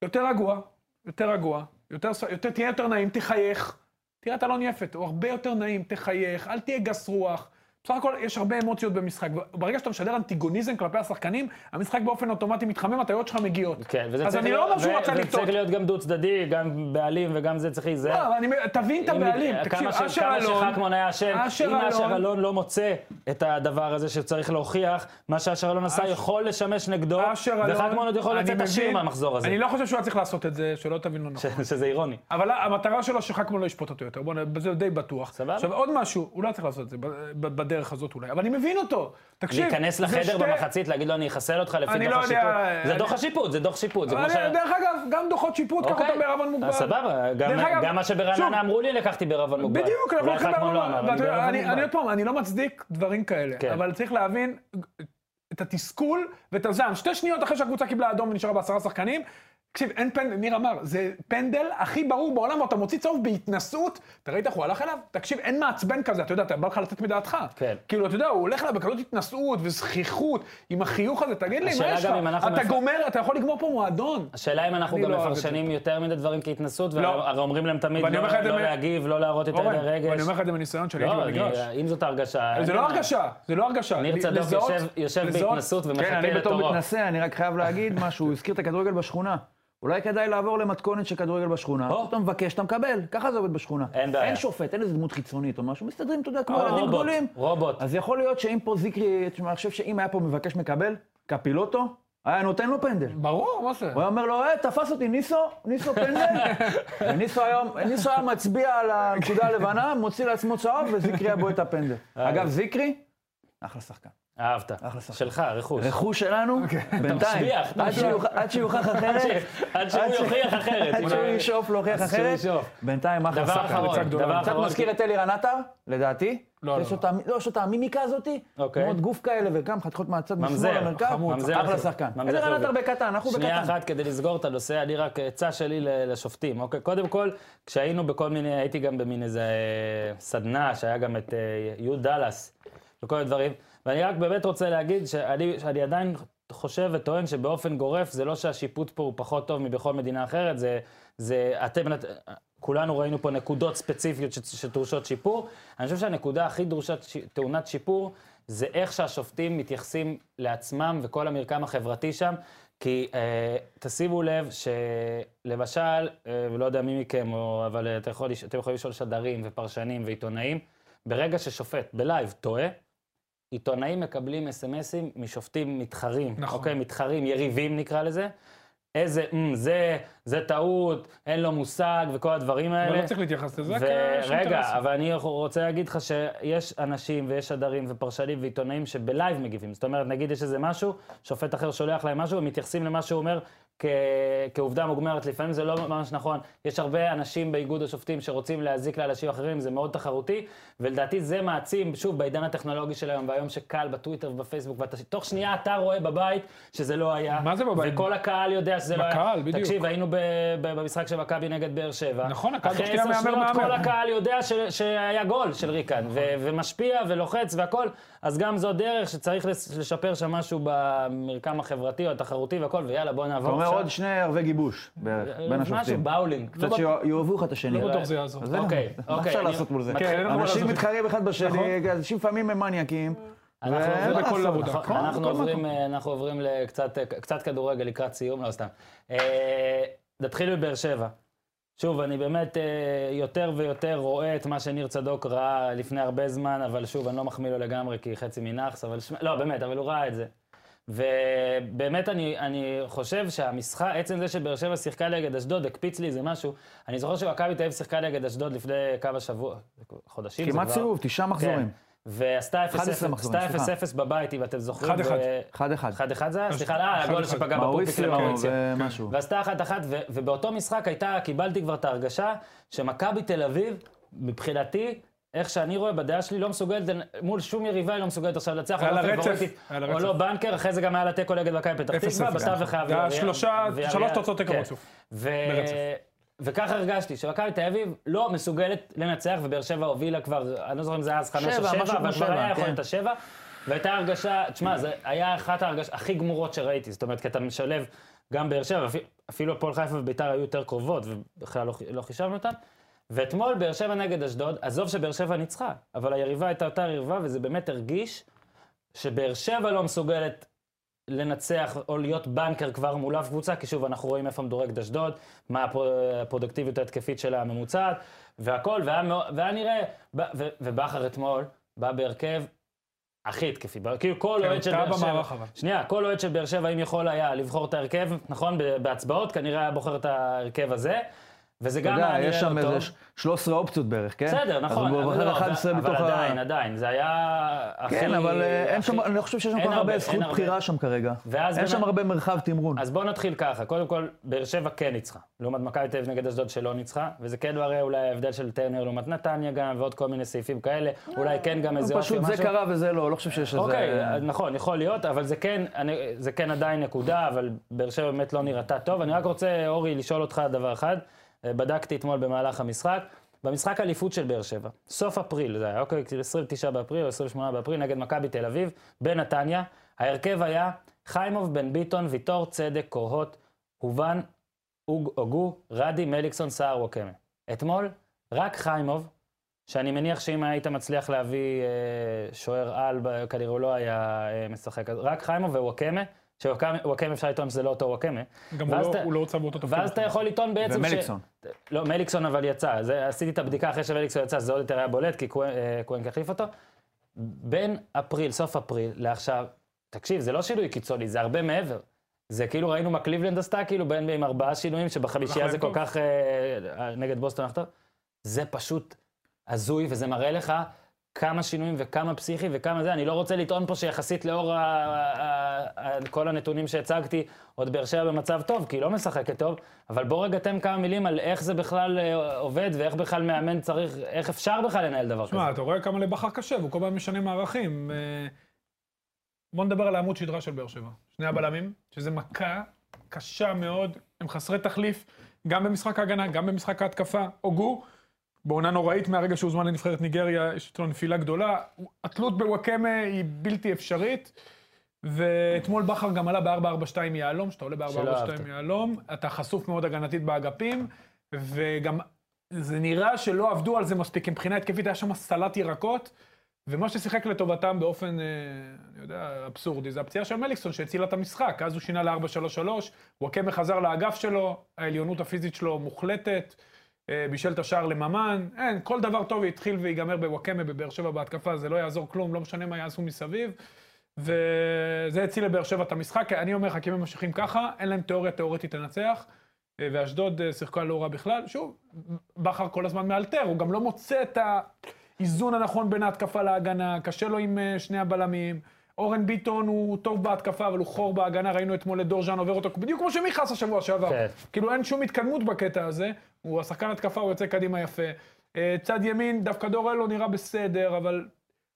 Speaker 3: יותר רגוע, יותר רגוע, יותר, ס- יותר, תהיה יותר נעים, תחייך. תראה את אלון יפת, הוא הרבה יותר נעים, תחייך, אל תהיה גס רוח. בסך הכל יש הרבה אמוציות במשחק. ברגע שאתה משדר אנטיגוניזם כלפי השחקנים, המשחק באופן אוטומטי מתחמם, הטעויות שלך מגיעות.
Speaker 1: כן, וזה
Speaker 3: אז
Speaker 1: צריך
Speaker 3: אני לא אומר
Speaker 1: להיות-
Speaker 3: שהוא
Speaker 1: ו-
Speaker 3: רצה
Speaker 1: וזה
Speaker 3: לטעות.
Speaker 1: צריך להיות גם דו-צדדי, גם בעלים וגם זה צריך להיזהר.
Speaker 3: לא, אבל אני, תבין את
Speaker 1: אם- אה,
Speaker 3: הבעלים.
Speaker 1: כמה
Speaker 3: תקשיב,
Speaker 1: ש-
Speaker 3: אשר
Speaker 1: כמה
Speaker 3: אלון,
Speaker 1: שחכמון היה אשם,
Speaker 3: אשר
Speaker 1: אם אשר
Speaker 3: אלון-
Speaker 1: אלון לא מוצא את הדבר הזה שצריך להוכיח, מה שאשר אלון עשה
Speaker 3: אש-
Speaker 1: יכול לשמש נגדו,
Speaker 3: אשר אלון,
Speaker 1: וחכמון עוד יכול
Speaker 3: אני
Speaker 1: לצאת
Speaker 3: מבין-
Speaker 1: עשיר מהמחזור הזה,
Speaker 3: אני לא חושב שהוא היה צריך לעשות את זה, שלא תבין לא נכון.
Speaker 1: ש- שזה אירוני.
Speaker 3: אבל המטרה שלו שחכמון לא ישפוט אותו יותר, בוא נ... בזה די בטוח.
Speaker 1: סבבה.
Speaker 3: עכשיו עוד משהו, הוא לא צריך לעשות את זה ב- ב- בדרך הזאת אולי, אבל אני מבין אותו. תקשיב,
Speaker 1: להיכנס
Speaker 3: זה
Speaker 1: לחדר
Speaker 3: שתי-
Speaker 1: במחצית, להגיד לו אני אחסל אותך לפי
Speaker 3: אני
Speaker 1: דוח
Speaker 3: לא
Speaker 1: השיפוט.
Speaker 3: יודע,
Speaker 1: זה
Speaker 3: אני- לא
Speaker 1: דוח השיפוט, זה דוח שיפוט, זה כמו
Speaker 3: אבל
Speaker 1: ש...
Speaker 3: דרך אגב, גם דוחות שיפוט, קח אותם בערבון מוגבל.
Speaker 1: אז סבבה, גם-
Speaker 3: דרך אגב,
Speaker 1: גם מה
Speaker 3: שוב,
Speaker 1: שברעננה אמרו לי לקחתי בערבון מוגבל.
Speaker 3: בדיוק, אנחנו
Speaker 1: אולי
Speaker 3: הולכים
Speaker 1: חכמון
Speaker 3: בערבון
Speaker 1: לא אמר,
Speaker 3: מוגבל.
Speaker 1: אני בערבון
Speaker 3: ואני- אני
Speaker 1: מוגבל.
Speaker 3: עוד פעם, אני לא מצדיק דברים
Speaker 1: כן.
Speaker 3: כאלה, אבל צריך להבין את התסכול ואת הזעם. שתי שניות אחרי שהקבוצה קיבלה אדום ונשארה בעשרה שחקנים, תקשיב, אין פנדל, ניר אמר, זה פנדל הכי ברור בעולם, ואתה מוציא צהוב בהתנשאות, אתה ראית איך הוא הלך אליו? תקשיב, אין מעצבן כזה, אתה יודע, אתה בא לך לתת מדעתך.
Speaker 1: כן.
Speaker 3: כאילו, אתה יודע, הוא הולך אליו בכזאת התנשאות וזכיחות, עם החיוך הזה, תגיד לי, מה
Speaker 1: השאלה
Speaker 3: יש לך?
Speaker 1: גם אם אנחנו
Speaker 3: אתה
Speaker 1: מפ-
Speaker 3: גומר, אתה יכול לגמור פה מועדון.
Speaker 1: השאלה אם אנחנו
Speaker 3: אני
Speaker 1: גם
Speaker 3: לא אוהב
Speaker 1: מפרשנים יותר מדי דברים כהתנסות,
Speaker 3: לא.
Speaker 1: והרי אומרים להם תמיד
Speaker 3: ואני
Speaker 1: לא
Speaker 3: אומר לך את זה
Speaker 1: לא
Speaker 3: מ-
Speaker 1: להגיב, לא להראות יותר
Speaker 3: אורן,
Speaker 1: מדי רגש.
Speaker 3: אני אומר לך את זה מניסיון שלי, הייתי
Speaker 1: לא,
Speaker 3: במגרש.
Speaker 1: אני- אם זאת הרגשה... אה,
Speaker 3: זה
Speaker 1: אין
Speaker 2: אה,
Speaker 3: לא
Speaker 1: בעיה.
Speaker 3: הרגשה, זה לא הרגשה.
Speaker 1: ניר
Speaker 3: ל-
Speaker 1: צדוק
Speaker 3: לזהות-
Speaker 1: יושב- יושב
Speaker 3: לזהות-
Speaker 1: בהתנסות
Speaker 2: כן,
Speaker 1: ומחכה
Speaker 2: אני בתור
Speaker 1: לתורו.
Speaker 2: מתנשא, אני רק חייב להגיד משהו, הוא הזכיר את הכדורגל בשכונה. אולי כדאי לעבור למתכונת של כדורגל בשכונה.
Speaker 1: או.
Speaker 2: אתה מבקש, אתה מקבל, ככה זה עובד בשכונה.
Speaker 1: אין בעיה.
Speaker 2: אין שופט, אין איזה דמות חיצונית או משהו, מסתדרים, אתה יודע, כמו
Speaker 1: או,
Speaker 2: ילדים
Speaker 1: רובוט,
Speaker 2: גדולים.
Speaker 1: רובוט.
Speaker 2: אז יכול להיות שאם פה זיקרי, תשמע, אני חושב שאם היה פה מבקש מקבל, קפילוטו, היה נותן לו פנדל.
Speaker 3: ברור, מה זה?
Speaker 2: הוא היה אומר לו, אה, תפס אותי ניסו, ניסו פנדל. וניסו היה, ניסו היה מצביע על הנקודה הלבנה, מוציא לעצמו צהוב, וזיקרי היה בועט את הפנדל.
Speaker 1: אה.
Speaker 2: אגב, זיקרי, אחלה שחקן.
Speaker 1: אהבת.
Speaker 2: אחלה שחקן.
Speaker 1: שלך, רכוש.
Speaker 2: רכוש שלנו,
Speaker 3: אוקיי.
Speaker 2: בינתיים,
Speaker 1: תשביח,
Speaker 2: עד
Speaker 1: תשביח.
Speaker 2: שיוכ- עד שיוכח אחרת,
Speaker 1: עד שהוא
Speaker 2: עד ש-
Speaker 1: יוכיח אחרת.
Speaker 2: עד שהוא ישאוף להוכיח
Speaker 1: אז שהוא
Speaker 2: אחרת,
Speaker 1: ישאוף.
Speaker 2: בינתיים אחלה
Speaker 1: דבר
Speaker 2: שחקן.
Speaker 1: אחרון,
Speaker 3: ריצה גדולה.
Speaker 1: דבר
Speaker 2: קצת
Speaker 1: אחרון.
Speaker 2: מזכיר את אלירן עטר, לדעתי.
Speaker 3: לא, לא,
Speaker 2: יש
Speaker 3: לא.
Speaker 2: לו את המ- לא, יש לו את המימיקה הזאתי,
Speaker 1: אוקיי.
Speaker 2: תנועות גוף כאלה, וגם חתיכות מהצד משמאל
Speaker 1: ממזר,
Speaker 2: למרכז,
Speaker 1: חמוד. ממזר
Speaker 2: אחלה
Speaker 1: חיובי.
Speaker 2: שחקן.
Speaker 1: ממזר
Speaker 2: אלירן
Speaker 1: חיובי.
Speaker 2: עטר בקטן, אנחנו בקטן.
Speaker 1: שנייה אחת כדי לסגור את הנושא, אני רק עצה שלי ל- לשופטים, אוקיי? קודם כל, כשהיינו בכל מיני, הייתי גם במין איזה אה, סדנה, שהיה גם את אה, יו דאלאס וכל הדברים, ואני רק באמת רוצה להגיד שאני, שאני עדיין חושב וטוען שבאופן גורף זה לא שהשיפוט פה הוא פחות טוב מבכל מדינה אחרת, זה, זה אתם, נת- כולנו ראינו פה נקודות ספציפיות ש, שדרושות שיפור. אני חושב שהנקודה הכי דרושה ש, טעונת שיפור זה איך שהשופטים מתייחסים לעצמם וכל המרקם החברתי שם. כי אה, תשימו לב שלמשל, אה, ולא יודע מי מכם, או, אבל אה, אתה יכול, לש- אתם יכולים לשאול שדרים ופרשנים ועיתונאים, ברגע ששופט בלייב טועה, עיתונאים מקבלים אס.אם.אסים משופטים מתחרים.
Speaker 3: נכון.
Speaker 1: אוקיי, מתחרים, יריבים נקרא לזה. איזה, "אמ, זה, זה טעות, אין לו מושג וכל הדברים האלה.
Speaker 3: אבל לא צריך להתייחס לזה, כי יש
Speaker 1: ורגע,
Speaker 3: אינטרסים.
Speaker 1: אבל אני רוצה להגיד לך שיש אנשים ויש שדרים ופרשנים ועיתונאים שבלייב מגיבים. זאת אומרת, נגיד יש איזה משהו, שופט אחר שולח להם משהו, הם מתייחסים למה שהוא אומר כ... כעובדה מוגמרת, לפעמים זה לא ממש נכון. יש הרבה אנשים באיגוד השופטים שרוצים להזיק לאנשים אחרים, זה מאוד תחרותי, ולדעתי זה מעצים, שוב, בעידן הטכנולוגי של היום, והיום שקל בטוויטר ובפייסבוק, ואתה- תוך שנייה אתה רואה בבית שזה לא היה.
Speaker 3: מה זה בבית?
Speaker 1: וכל הקהל יודע שזה לא היה.
Speaker 3: בקהל, בדיוק.
Speaker 1: תקשיב, היינו ב... ב... במשחק של מכבי נגד באר שבע.
Speaker 3: נכון, הקהל תוך
Speaker 1: אחרי
Speaker 3: שנייה
Speaker 1: עשר
Speaker 3: מהמר
Speaker 1: שניות
Speaker 3: מהמר.
Speaker 1: כל הקהל יודע ש- שהיה גול של ריקן, ו-
Speaker 2: נכון.
Speaker 1: ומשפיע ולוחץ והכל, אז גם זו דרך שצריך לס- לשפר שם משהו במרקם החברתי או התחרותי והכל, ויאללה, בוא
Speaker 2: אתה
Speaker 1: נעבור
Speaker 2: אומר
Speaker 1: עכשיו.
Speaker 2: עוד שני ערבי גיבוש בערך, בין
Speaker 1: לא, אה, משהו,
Speaker 2: השופטים.
Speaker 1: באולינג. לא
Speaker 2: קצת שיאהבו אחד את השני.
Speaker 3: לא בטוח זה יעזור.
Speaker 2: אז זהו,
Speaker 1: אוקיי,
Speaker 2: מה
Speaker 1: אוקיי,
Speaker 2: אפשר
Speaker 1: אני-
Speaker 2: לעשות מול זה?
Speaker 1: כן,
Speaker 3: אין לנו מה
Speaker 2: אנשים
Speaker 3: לעשות.
Speaker 2: מתחרים אחד בשני, אה,
Speaker 3: נכון.
Speaker 2: אנשים לפעמים הם מניאקים.
Speaker 1: אנחנו
Speaker 2: ואין
Speaker 1: עוברים
Speaker 2: מה
Speaker 3: בכל
Speaker 2: לעשות.
Speaker 3: עבודה.
Speaker 1: נכון,
Speaker 3: נכון,
Speaker 1: אנחנו
Speaker 3: בכל
Speaker 1: עוברים, אה, אנחנו עוברים לקצת אה, קצת כדורגל לקראת סיום, לא סתם. אה, נתחיל מבאר שבע. שוב, אני באמת אה, יותר ויותר רואה את מה שניר צדוק ראה לפני הרבה זמן, אבל שוב, אני לא מחמיא לו לגמרי כי חצי מנאחס, אבל שמע, לא, באמת, אבל הוא ראה את זה. ובאמת אני, אני חושב שהמשחק, עצם זה שבאר שבע שיחקה נגד אשדוד, הקפיץ לי איזה משהו. אני זוכר שמכבי תל אביב שיחקה נגד אשדוד לפני כמה שבוע, חודשים זה כבר. כן.
Speaker 2: כמעט סיבוב, תשעה מחזורים.
Speaker 1: ועשתה 0-0
Speaker 2: 11 מחזורים,
Speaker 1: עשתה 0-0 בבית, אם אתם זוכרים.
Speaker 3: 1-1.
Speaker 1: ו-
Speaker 2: אחד אחד.
Speaker 1: 1-1 זה היה? סליחה, אה, הגול
Speaker 3: 1-1.
Speaker 1: שפגע בפופיק
Speaker 2: מאוריסיו
Speaker 1: למאוריסיו.
Speaker 2: ומשהו.
Speaker 1: ועשתה 1-1, ו- ובאותו משחק הייתה, קיבלתי כבר את ההרגשה שמכבי תל אביב, מבחינתי, איך שאני רואה, בדעה שלי, לא מסוגלת, לנ- מול שום יריבה היא לא מסוגלת עכשיו לנצח.
Speaker 3: על
Speaker 1: או לא
Speaker 3: הרצף,
Speaker 1: פייבוריטית,
Speaker 3: על הרצף.
Speaker 1: או לא בנקר, אחרי זה גם היה לה תיקו נגד מכבי פתח
Speaker 3: אפס
Speaker 1: תקווה,
Speaker 3: אפס,
Speaker 1: בתווך
Speaker 3: נכון.
Speaker 1: היה...
Speaker 3: זה היה
Speaker 1: ואריאל-
Speaker 3: שלושה-
Speaker 1: ואריאל-
Speaker 3: שלוש תוצאות תיקו
Speaker 1: כן.
Speaker 3: רצוף.
Speaker 1: ו...
Speaker 3: ברצף.
Speaker 1: וככה הרגשתי, שמכבי תל אביב לא מסוגלת לנצח, ובאר שבע הובילה כבר, אני לא זוכר אם זה היה אז חמש או
Speaker 2: שבע,
Speaker 1: שבע,
Speaker 2: משהו
Speaker 1: אבל
Speaker 2: כמו
Speaker 1: כבר
Speaker 2: שבע,
Speaker 1: היה
Speaker 2: כן.
Speaker 1: יכולת השבע. והייתה הרגשה, תשמע, זה היה אחת ההרגשות הכי גמורות שראיתי, זאת אומרת, כי אתה משלב גם באר שבע, אפי- אפילו הפועל חיפה וביתר היו יותר קרובות, ובכלל לא, לא חישבנו אותן. ואתמול באר שבע נגד אשדוד, עזוב שבאר שבע ניצחה, אבל היריבה הייתה אותה יריבה, וזה באמת הרגיש שבאר שבע לא מסוגלת לנצח או להיות בנקר כבר מול אף קבוצה, כי שוב, אנחנו רואים איפה מדורגת אשדוד, מה הפרו- הפרודקטיביות ההתקפית שלה הממוצעת, והכל, והיה, מאו- והיה נראה, ב- ו- ובכר אתמול בא בהרכב הכי התקפי, ב- כאילו כל
Speaker 3: כן,
Speaker 1: אוהד של
Speaker 3: טעה
Speaker 1: באר שבע,
Speaker 3: במערך אבל.
Speaker 1: שנייה, כל אוהד של באר שבע, אם יכול היה לבחור את ההרכב, נכון, ב- בהצבעות, כנראה היה בוחר את ההרכב הזה, וזה
Speaker 2: אתה
Speaker 1: גם
Speaker 2: יודע,
Speaker 1: היה נראה
Speaker 2: יש שם
Speaker 1: לא טוב.
Speaker 2: איזה ש- 13 אופציות בערך, כן?
Speaker 1: בסדר, נכון,
Speaker 2: אז הוא
Speaker 1: אבל,
Speaker 2: בוחר
Speaker 1: לא,
Speaker 2: 11
Speaker 1: אבל
Speaker 2: מתוך ה...
Speaker 1: עדיין, עדיין, זה היה הכי...
Speaker 2: כן, אבל אה, אין שם,
Speaker 1: הכי-
Speaker 2: אני לא חושב שיש שם
Speaker 1: אין
Speaker 2: כל כך הרבה
Speaker 1: אין
Speaker 2: זכות בחירה שם כרגע.
Speaker 1: ואז
Speaker 2: אין
Speaker 1: בין
Speaker 2: שם
Speaker 1: ה-
Speaker 2: הרבה מרחב תמרון.
Speaker 1: אז בואו נתחיל ככה, קודם כל, באר שבע כן ניצחה. לעומת מכבי תל אביב נגד אשדוד שלא ניצחה, וזה כן מראה אולי ההבדל של טרנר לעומת נתניה גם, ועוד כל מיני סעיפים כאלה, אולי כן גם איזה אופי או
Speaker 2: אה, פשוט
Speaker 1: משהו.
Speaker 2: זה קרה וזה לא, לא חושב שיש איזה...
Speaker 1: אוקיי, אז נכון, יכול להיות, אבל זה כן, אני, זה כן עדיין נקודה, אבל באר שבע באמת לא נראתה טוב. אני רק רוצה, אורי, לשאול אותך דבר אחד. אה, בדקתי אתמול במהלך המשחק. במשחק אליפות של באר שבע, סוף אפריל זה היה, אוקיי? כאילו 29 באפריל או 28 באפריל נגד מכבי תל אביב, בנתניה. ההרכב היה חיימוב, בן ביטון, ויטור, צדק, קורהוט, הובן, אוג- אוגו, רדי, מליקסון, סער, ווקמה. אתמול, רק חיימוב, שאני מניח שאם היית מצליח להביא אה, שוער על, ב- כנראה הוא לא היה אה, משחק, אז רק חיימוב ווואקמה, שוואקמה אפשר לטעון שזה לא אותו וואקמה,
Speaker 3: גם
Speaker 1: ואז
Speaker 3: הוא
Speaker 1: אתה-
Speaker 3: לא- הוא לא הוצא באותו תפקיד.
Speaker 1: ואז אתה יכול לטעון בעצם
Speaker 2: ומליקסון.
Speaker 1: לא, מליקסון אבל יצא, זה, עשיתי את הבדיקה אחרי שמליקסון יצא, זה עוד יותר היה בולט, כי קוו- אה, קוונק החליף אותו. בין אפריל, סוף אפריל, לעכשיו, תקשיב, זה לא שינוי קיצוני, זה הרבה מעבר. זה כאילו ראינו מה קליבלנד עשתה, כאילו בין עם ארבעה שינויים, שבחמישייה
Speaker 3: הלך
Speaker 1: זה כל
Speaker 3: להם טוב.
Speaker 1: כך... אה, נגד בוסטון הלך טוב. זה פשוט הזוי, וזה מראה לך כמה שינויים וכמה פסיכי וכמה זה. אני לא רוצה לטעון פה שיחסית לאור ה- ה- ה- כל הנתונים שהצגתי, עוד באר שבע במצב טוב, כי היא לא משחקת טוב, אבל בוא רגע תן כמה מילים על איך זה בכלל אה, עובד, ואיך בכלל מאמן צריך, איך אפשר בכלל לנהל דבר כזה.
Speaker 3: שמע, אתה רואה כמה לבכר קשה, והוא כל פעם משנה מערכים. אה, בוא נדבר על העמוד שדרה של באר שבע. שני הבלמים, שזה מכה קשה מאוד, הם חסרי תחליף, גם במשחק ההגנה, גם במשחק ההתקפה. הוגו, בעונה נוראית מהרגע שהוזמן לנבחרת ניגריה, יש לו נפילה גדולה. התלות בוואקמה היא בלתי אפשרית. ואתמול בכר גם עלה ב-442 יהלום, שאתה עולה
Speaker 1: שלא אהבת.
Speaker 3: ב-442 יהלום, אתה חשוף מאוד הגנתית באגפים, וגם זה נראה שלא עבדו על זה מספיק, כי מבחינה התקפית היה שם סלט ירקות, ומה ששיחק לטובתם באופן, אה, אני יודע, אבסורדי, זה הפציעה של מליקסון שהצילה את המשחק, אז הוא שינה ל-4-3-3, וואקמה חזר לאגף שלו, העליונות הפיזית שלו מוחלטת, אה, בישל את השער לממן, אין, כל דבר טוב יתחיל ויגמר בוואקמה בבאר שבע בהתקפה, זה לא יעזור כלום, לא משנה מה יעשו מסביב. וזה הציל לבאר שבע את המשחק. אני אומר לך, כי אם הם ממשיכים ככה, אין להם תיאוריה תיאורטית לנצח. אה, ואשדוד אה, שיחקה לא רע בכלל. שוב, בכר כל הזמן מאלתר, הוא גם לא מוצא את האיזון הנכון בין ההתקפה להגנה, קשה לו עם אה, שני הבלמים. אורן ביטון הוא טוב בהתקפה, אבל הוא חור בהגנה, ראינו אתמול את דורז'אן עובר אותו, בדיוק כמו שמיכס השבוע שעבר.
Speaker 1: כן.
Speaker 3: כאילו אין שום התקדמות בקטע הזה, הוא השחקן התקפה, הוא יוצא קדימה יפה. אה, צד ימין, דווקא דורלו נראה בסדר, אבל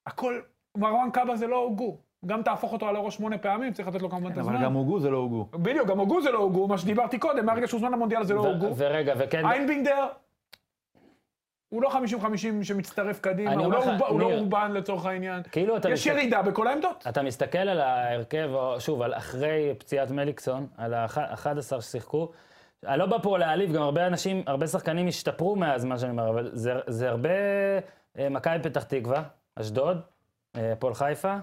Speaker 3: הכל, מרואן קאבה זה לא הוגו. גם תהפוך אותו על הראש שמונה פעמים, צריך לתת לו כמובן את הזמן.
Speaker 2: אבל גם הוגו זה לא הוגו.
Speaker 3: בדיוק, גם הוגו זה לא הוגו, מה שדיברתי קודם, מהרגע שהוזמן למונדיאל זה לא
Speaker 1: ו-
Speaker 3: הוגו.
Speaker 1: ורגע, וכן...
Speaker 3: איינבינדר, הוא לא 50-50 שמצטרף קדימה,
Speaker 1: אני
Speaker 3: הוא לא
Speaker 1: אומר לך,
Speaker 3: אורבן- הוא לא
Speaker 1: ניר.
Speaker 3: אורבן לצורך העניין.
Speaker 1: כאילו אתה
Speaker 3: יש ירידה בכל העמדות.
Speaker 1: אתה מסתכל על ההרכב, או- שוב, על אחרי פציעת מליקסון, על ה-11 ששיחקו. אני לא בא פה להעליב, גם הרבה אנשים, הרבה שחקנים השתפרו מאז, מה שאני אומר, אבל זה, זה הרבה... אה, מכבי פתח תקווה, אשדוד, אה, הפועל חיפה,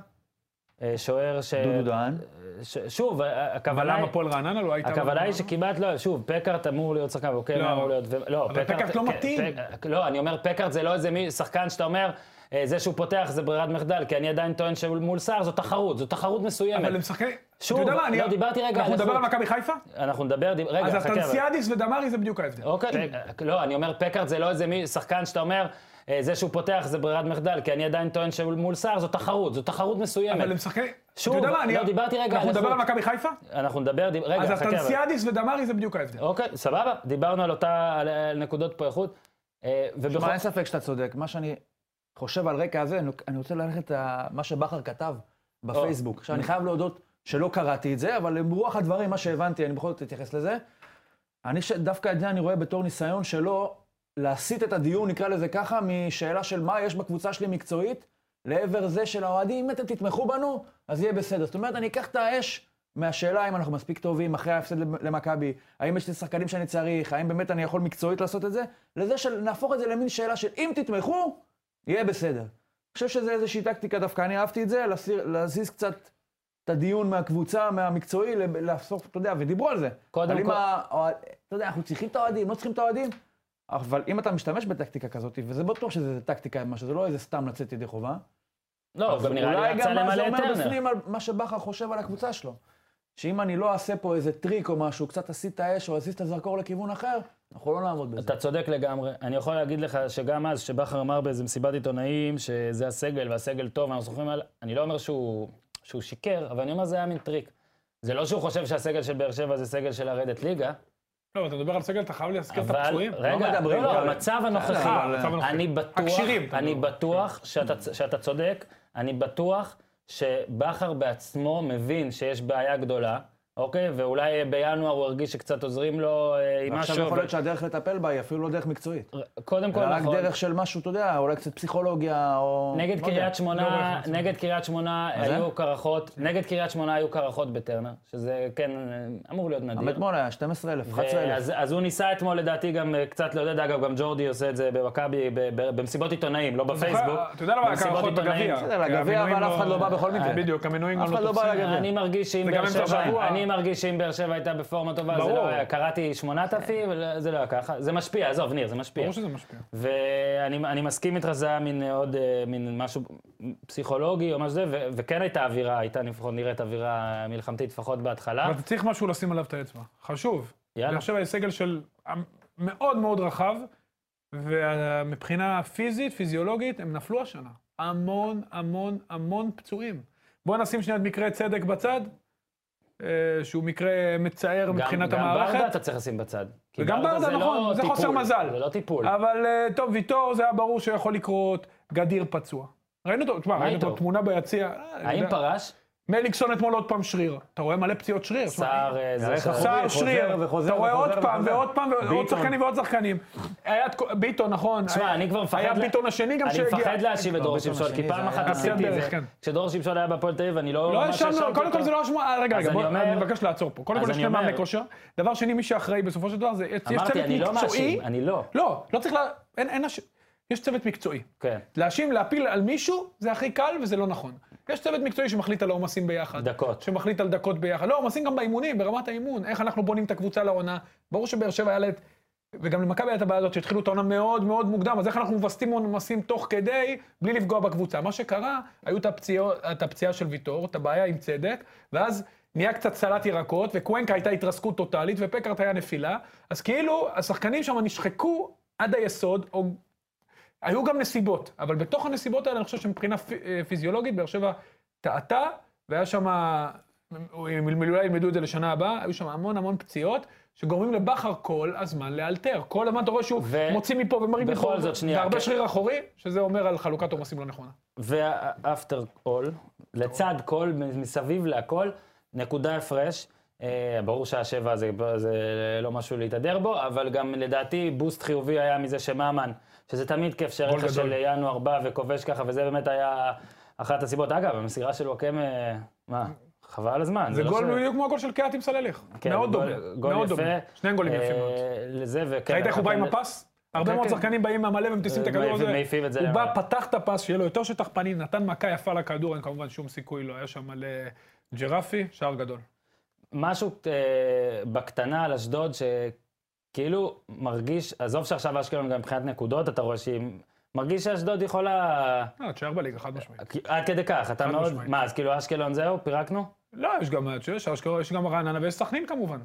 Speaker 1: אה, שוער ש...
Speaker 2: דודו דהן.
Speaker 1: ש... שוב, ה- ה-
Speaker 3: אבל
Speaker 1: הכוונה...
Speaker 3: למה הפועל רעננה לא הייתה?
Speaker 1: הכוונה היא
Speaker 3: ברעננה?
Speaker 1: שכמעט לא, שוב, פקארט אמור להיות שחקן, אוקיי,
Speaker 3: לא.
Speaker 1: לא אמור להיות, ו- לא,
Speaker 3: אבל פקארט לא
Speaker 1: כן,
Speaker 3: מתאים.
Speaker 1: פק- לא, אני אומר, פקארט זה לא איזה מי- שחקן שאתה אומר, אה, זה שהוא פותח זה ברירת מחדל, כי אני עדיין טוען שמול סער זו תחרות, זו תחרות
Speaker 3: אבל הם
Speaker 1: מסוימת.
Speaker 3: שחקנים...
Speaker 1: שוב,
Speaker 3: אתה יודע מה, אני...
Speaker 1: לא דיברתי רגע
Speaker 3: אנחנו
Speaker 1: על
Speaker 3: נדבר על
Speaker 1: איכות.
Speaker 3: מכבי חיפה?
Speaker 1: אנחנו נדבר, דיב- רגע,
Speaker 3: אז כן.
Speaker 1: חכה. אבל-
Speaker 3: אסטנסיאדיס ודמרי זה בדיוק ההבדל.
Speaker 1: אוקיי, רגע, לא, אני אומר, פקארט זה לא איזה מי- שחקן שאתה אומר, אה, זה שהוא פותח זה ברירת מחדל, כי אני עדיין טוען שמול סער זו תחרות, זו תחרות
Speaker 3: אבל הם
Speaker 1: מסוימת.
Speaker 3: שחקנים...
Speaker 1: שוב,
Speaker 3: אתה יודע מה, אני...
Speaker 1: לא, דיברתי רגע
Speaker 3: אנחנו
Speaker 1: על
Speaker 3: נדבר על
Speaker 1: איכות.
Speaker 3: מכבי חיפה?
Speaker 1: אנחנו נדבר, דיב- רגע,
Speaker 3: אז
Speaker 1: חכה. אבל-
Speaker 3: אסטנסיאדיס ודמרי זה בדיוק ההבדל.
Speaker 1: אוקיי, סבבה, דיברנו על אותה, על- על נקודות פה איכות. אה, ובכל...
Speaker 2: מה, אין ספק שאתה צודק. מה שאני חושב על רקע הזה, אני- אני רוצה ללכת למה שבכר כתב בפייסבוק. עכשיו, אני חייב להודות שלא קראתי את זה, אבל עם רוח הדברים, מה שהבנתי, אני בכל זאת אתייחס לזה. אני ש- דווקא את זה אני רואה בתור ניסיון שלו להסיט את הדיון, נקרא לזה ככה, משאלה של מה יש בקבוצה שלי מקצועית, לעבר זה של האוהדים, אם אתם תתמכו בנו, אז יהיה בסדר. זאת אומרת, אני אקח את האש מהשאלה אם אנחנו מספיק טובים אחרי ההפסד למכבי, האם יש לי שחקנים שאני צריך, האם באמת אני יכול מקצועית לעשות את זה, לזה שנהפוך את זה למין שאלה של אם תתמכו, יהיה בסדר. אני חושב שזה איזושהי טקטיקה דווקא, אני אהבתי את זה, להסיר- להזיז קצת את הדיון מהקבוצה, מהמקצועי, לב- להפוך, אתה יודע, ודיברו על זה.
Speaker 1: קודם
Speaker 2: אבל אם
Speaker 1: כל-
Speaker 2: האוהד- אתה יודע, אנחנו צריכים את האוהדים, לא צריכים את האוהדים, אבל אם אתה משתמש בטקטיקה כזאת, וזה בטוח שזה טקטיקה, מה שזה לא איזה סתם לצאת ידי חובה,
Speaker 1: לא,
Speaker 2: אז
Speaker 1: גם נראה
Speaker 2: אולי
Speaker 1: לי רצה
Speaker 2: גם מה זה
Speaker 1: למלא את
Speaker 2: אומר
Speaker 1: טרנר.
Speaker 2: בפנים על מה שבכר חושב על הקבוצה שלו. שאם אני לא אעשה פה איזה טריק או משהו, קצת אסיט את האש או אזיז את הזרקור לכיוון אחר, אנחנו לא נעמוד בזה.
Speaker 1: אתה צודק לגמרי. אני יכול להגיד לך שגם אז, שבכר אמר באיזה מסיבת עיתונאים שזה הסגל והסגל טוב, אנחנו זוכרים על... אני לא אומר שהוא, שהוא שיקר, אבל אני אומר זה היה מין טריק. זה לא שהוא חושב שהסגל של באר שבע זה סגל של לרדת ליגה,
Speaker 3: לא, אתה מדבר על סגל, אתה חייב להזכיר את
Speaker 1: אבל...
Speaker 3: הפצועים.
Speaker 2: לא
Speaker 1: רגע,
Speaker 2: מדברים,
Speaker 1: לא, לא,
Speaker 2: אבל-
Speaker 1: המצב
Speaker 2: בסדר,
Speaker 1: הנוכחי,
Speaker 2: אבל-
Speaker 3: המצב הנוכחי.
Speaker 1: אני בטוח,
Speaker 3: הקשירים, אתה
Speaker 1: אני
Speaker 3: אומר. כן.
Speaker 1: בטוח שאתה, צ- שאתה צודק, אני בטוח שבכר בעצמו מבין שיש בעיה גדולה, אוקיי? ואולי בינואר הוא הרגיש שקצת עוזרים לו אה, עם משהו.
Speaker 2: עכשיו יכול
Speaker 1: אבל-
Speaker 2: להיות שהדרך לטפל בה היא אפילו לא דרך מקצועית.
Speaker 1: קודם כל,
Speaker 2: אלא רק
Speaker 1: נכון.
Speaker 2: דרך של משהו, אתה יודע, אולי קצת פסיכולוגיה או...
Speaker 1: נגד
Speaker 2: לא יודע.
Speaker 1: קריית
Speaker 3: לא רואה
Speaker 1: שמונה,
Speaker 3: איך מצביעים.
Speaker 1: נגד קריית שמונה
Speaker 2: זה?
Speaker 1: היו קרחות, נגד קריית שמונה היו קרחות בטרנר, שזה כן אה, אמור להיות נדיר. אה,
Speaker 2: גם אתמול היה 12,000, 11,000.
Speaker 1: אז, אז הוא ניסה אתמול לדעתי גם אה, קצת לעודד, אגב, גם ג'ורדי עושה את זה במכבי, ב- ב- במסיבות עיתונאים, לא בפייסבוק.
Speaker 3: אתה יודע למה
Speaker 1: במסיבות
Speaker 3: הקרחות
Speaker 1: עיתונאים.
Speaker 3: בגביע?
Speaker 2: בסדר,
Speaker 3: כי
Speaker 2: לגביע,
Speaker 3: המינויים אה,
Speaker 2: אבל אף אחד לא בא בכל מקרה.
Speaker 3: בדיוק, המנויים
Speaker 2: אף
Speaker 3: גם לא
Speaker 2: אחד לא בא
Speaker 3: תופסים.
Speaker 2: לגביע.
Speaker 1: אני מרגיש שאם
Speaker 3: וגם
Speaker 1: באר
Speaker 3: אמצע
Speaker 1: שבע,
Speaker 3: השבוע.
Speaker 1: אני מרגיש שאם באר שבע הייתה בפורמה טובה, זה
Speaker 3: ברור. כן.
Speaker 1: לא היה, קראתי שמונת אלפים, ולא- זה לא היה ככה. זה משפיע, עזוב, ניר, זה משפיע.
Speaker 3: ברור שזה משפיע.
Speaker 1: אה? ואני אני מסכים איתך, זה היה מין עוד, אה, מין משהו פסיכולוגי או משהו זה, ו- וכן הייתה אווירה, הייתה לפחות נראית אווירה מלחמתית, לפחות בהתחלה.
Speaker 3: אבל אתה צריך משהו לשים עליו את האצבע. חשוב.
Speaker 1: יאללה.
Speaker 3: באר שבע היא סגל של מאוד מאוד רחב, ומבחינה פיזית, פיזיולוגית, הם נפלו השנה. המון, המון, המון פצועים. בואו נשים שנייה את מקרה צדק בצד, אה, שהוא מקרה מצער
Speaker 1: גם-
Speaker 3: מבחינת
Speaker 1: גם ברדה
Speaker 3: המערכת.
Speaker 1: אתה צריך לשים בצד. כי
Speaker 3: וגם ברדה,
Speaker 1: זה לא
Speaker 3: נכון, זה
Speaker 1: טיפול,
Speaker 3: חוסר מזל.
Speaker 1: זה לא טיפול.
Speaker 3: אבל אה, טוב, ויטור, זה היה ברור שיכול לקרות, גדיר פצוע. ראינו אותו, תשמע,
Speaker 1: מה
Speaker 3: ראינו
Speaker 1: איתו?
Speaker 3: אותו תמונה ביציע. אה, אני
Speaker 1: האם
Speaker 3: יודע.
Speaker 1: פרש?
Speaker 3: מליקסון אתמול עוד פעם שריר. אתה רואה מלא פציעות שריר. תשמע,
Speaker 1: סער אה, זה
Speaker 2: יאללה,
Speaker 1: שם.
Speaker 2: חזר.
Speaker 3: סער
Speaker 2: וחוזר,
Speaker 3: שריר,
Speaker 2: וחוזר,
Speaker 3: אתה רואה
Speaker 2: וחוזר,
Speaker 3: עוד פעם
Speaker 2: וחוזר.
Speaker 3: ועוד פעם ועוד
Speaker 2: ביטון.
Speaker 3: שחקנים ועוד שחקנים. היה את כל- ביטון, נכון.
Speaker 1: תשמע,
Speaker 3: היה-
Speaker 1: אני כבר מפחד...
Speaker 3: היה
Speaker 1: לה-
Speaker 3: ביטון השני גם
Speaker 1: אני
Speaker 3: שהגיע.
Speaker 1: מפחד להאשים את דור
Speaker 2: ביטון
Speaker 1: שמשון, כי
Speaker 2: השני
Speaker 1: פעם
Speaker 2: זה
Speaker 1: אחת
Speaker 2: היה-
Speaker 1: עשיתי את
Speaker 3: הסדר,
Speaker 1: זה.
Speaker 3: כן.
Speaker 1: כשדור שמשון היה בהפועל תל אביב, אני לא...
Speaker 3: לא
Speaker 1: ממש
Speaker 3: האשמנו,
Speaker 1: האשמתי
Speaker 3: קודם כל
Speaker 1: אותו.
Speaker 3: זה לא אשמה, רגע,
Speaker 1: אז
Speaker 3: רגע,
Speaker 1: אני
Speaker 3: בוא-
Speaker 1: אומר-
Speaker 3: אני מבקש לעצור פה. קודם
Speaker 1: אז
Speaker 3: כל יש
Speaker 1: אני
Speaker 3: שני מאמני
Speaker 1: אומר-
Speaker 3: כושר. דבר שני, מי שאחראי בסופו של דבר זה, יש צוות
Speaker 1: אמרתי, אני לא
Speaker 3: מקצועי.
Speaker 1: מאשים, אני לא.
Speaker 3: לא, לא צריך לה... אין, אין... אש- יש צוות מקצועי.
Speaker 1: כן,
Speaker 3: להאשים, להפיל על מישהו, זה הכי קל וזה לא נכון. יש צוות מקצועי שמחליט על העומסים ביחד.
Speaker 1: דקות.
Speaker 3: שמחליט על דקות ביחד. לא, עומסים גם באימונים, ברמת האימון. איך אנחנו בונים את הקבוצה לעונה. ברור שבאר שבע היה לה את... וגם למכבי הייתה בעיה הזאת שהתחילו את העונה מאוד מאוד מוקדם, אז איך אנחנו מווסתים עומסים תוך כדי, בלי לפגוע בקבוצה. מה שקרה, היו את הפציעו- את הפציעה של ויטור, את הבעיה עם צדק, ואז נהיה קצת סלט ירקות, וקוונקה הייתה התרסקות טוטאלית, ופקארט היה נפילה. אז כאילו, השחקנים שם נשחקו עד היסוד, או היו גם נסיבות, אבל בתוך הנסיבות האלה אני חושב שמבחינה פי- אה, פיזיולוגית, באר שבע טעתה, והיה שם, אם אולי ילמדו את זה לשנה הבאה, היו שם המון המון פציעות, שגורמים לבכר כל הזמן לאלתר. כל הזמן אתה רואה שהוא
Speaker 1: ו-
Speaker 3: מוציא מפה ומרים
Speaker 1: בכל
Speaker 3: מפה,
Speaker 1: זאת, שנייה,
Speaker 3: והרבה
Speaker 1: כן.
Speaker 3: שריר אחורי, שזה אומר על חלוקת עומסים לא נכונה.
Speaker 1: ואפטר אול, לצד כל, מסביב להכל, נקודה הפרש. אה, ברור שהשבע זה, זה לא משהו להתהדר בו, אבל גם לדעתי בוסט חיובי היה מזה שממן, שזה תמיד כיף
Speaker 3: גול
Speaker 1: שהרכש
Speaker 3: גדול.
Speaker 1: של ינואר בא וכובש ככה, וזה באמת היה אחת הסיבות. אגב, המסירה של וואקם, אה, מה, חבל על הזמן.
Speaker 3: זה
Speaker 1: לא
Speaker 3: גול
Speaker 1: ש-
Speaker 3: בדיוק כמו הגול של קהת עם סלליך.
Speaker 1: כן,
Speaker 3: מאוד דומה,
Speaker 1: גול- גול
Speaker 3: מאוד
Speaker 1: יפה.
Speaker 3: דומה. שני גולים יפים
Speaker 1: אה, כן,
Speaker 3: מאוד.
Speaker 1: לזה וכן.
Speaker 3: ראית איך הוא בא עם
Speaker 1: הפנדל-
Speaker 3: הפס? הרבה
Speaker 1: כן,
Speaker 3: מאוד
Speaker 1: כן.
Speaker 3: שחקנים באים מהמלא ומטיסים את
Speaker 1: אה,
Speaker 3: הכדור הזה.
Speaker 1: מעיפים את זה
Speaker 3: הוא
Speaker 1: למעלה.
Speaker 3: בא, פתח את הפס, שיהיה לו יותר שטח פנים, נתן מכה יפה לכדור, אין כמובן שום סיכוי, לא היה שם מלא ג'רפי, שער גדול.
Speaker 1: משהו אה, בקטנה על אשדוד, שכאילו מרגיש, עזוב שעכשיו אשקלון גם מבחינת נקודות, אתה רואה שהיא... מרגיש שאשדוד יכולה...
Speaker 3: אה, תשאר בליגה, חד משמעית.
Speaker 1: עד כדי כך, אתה
Speaker 3: חד
Speaker 1: מאוד...
Speaker 3: משמעית.
Speaker 1: מה, אז כאילו אשקלון זהו? פירקנו?
Speaker 3: לא, יש גם, יש, אשכרה, יש גם רעננה ויש סכנין כמובן.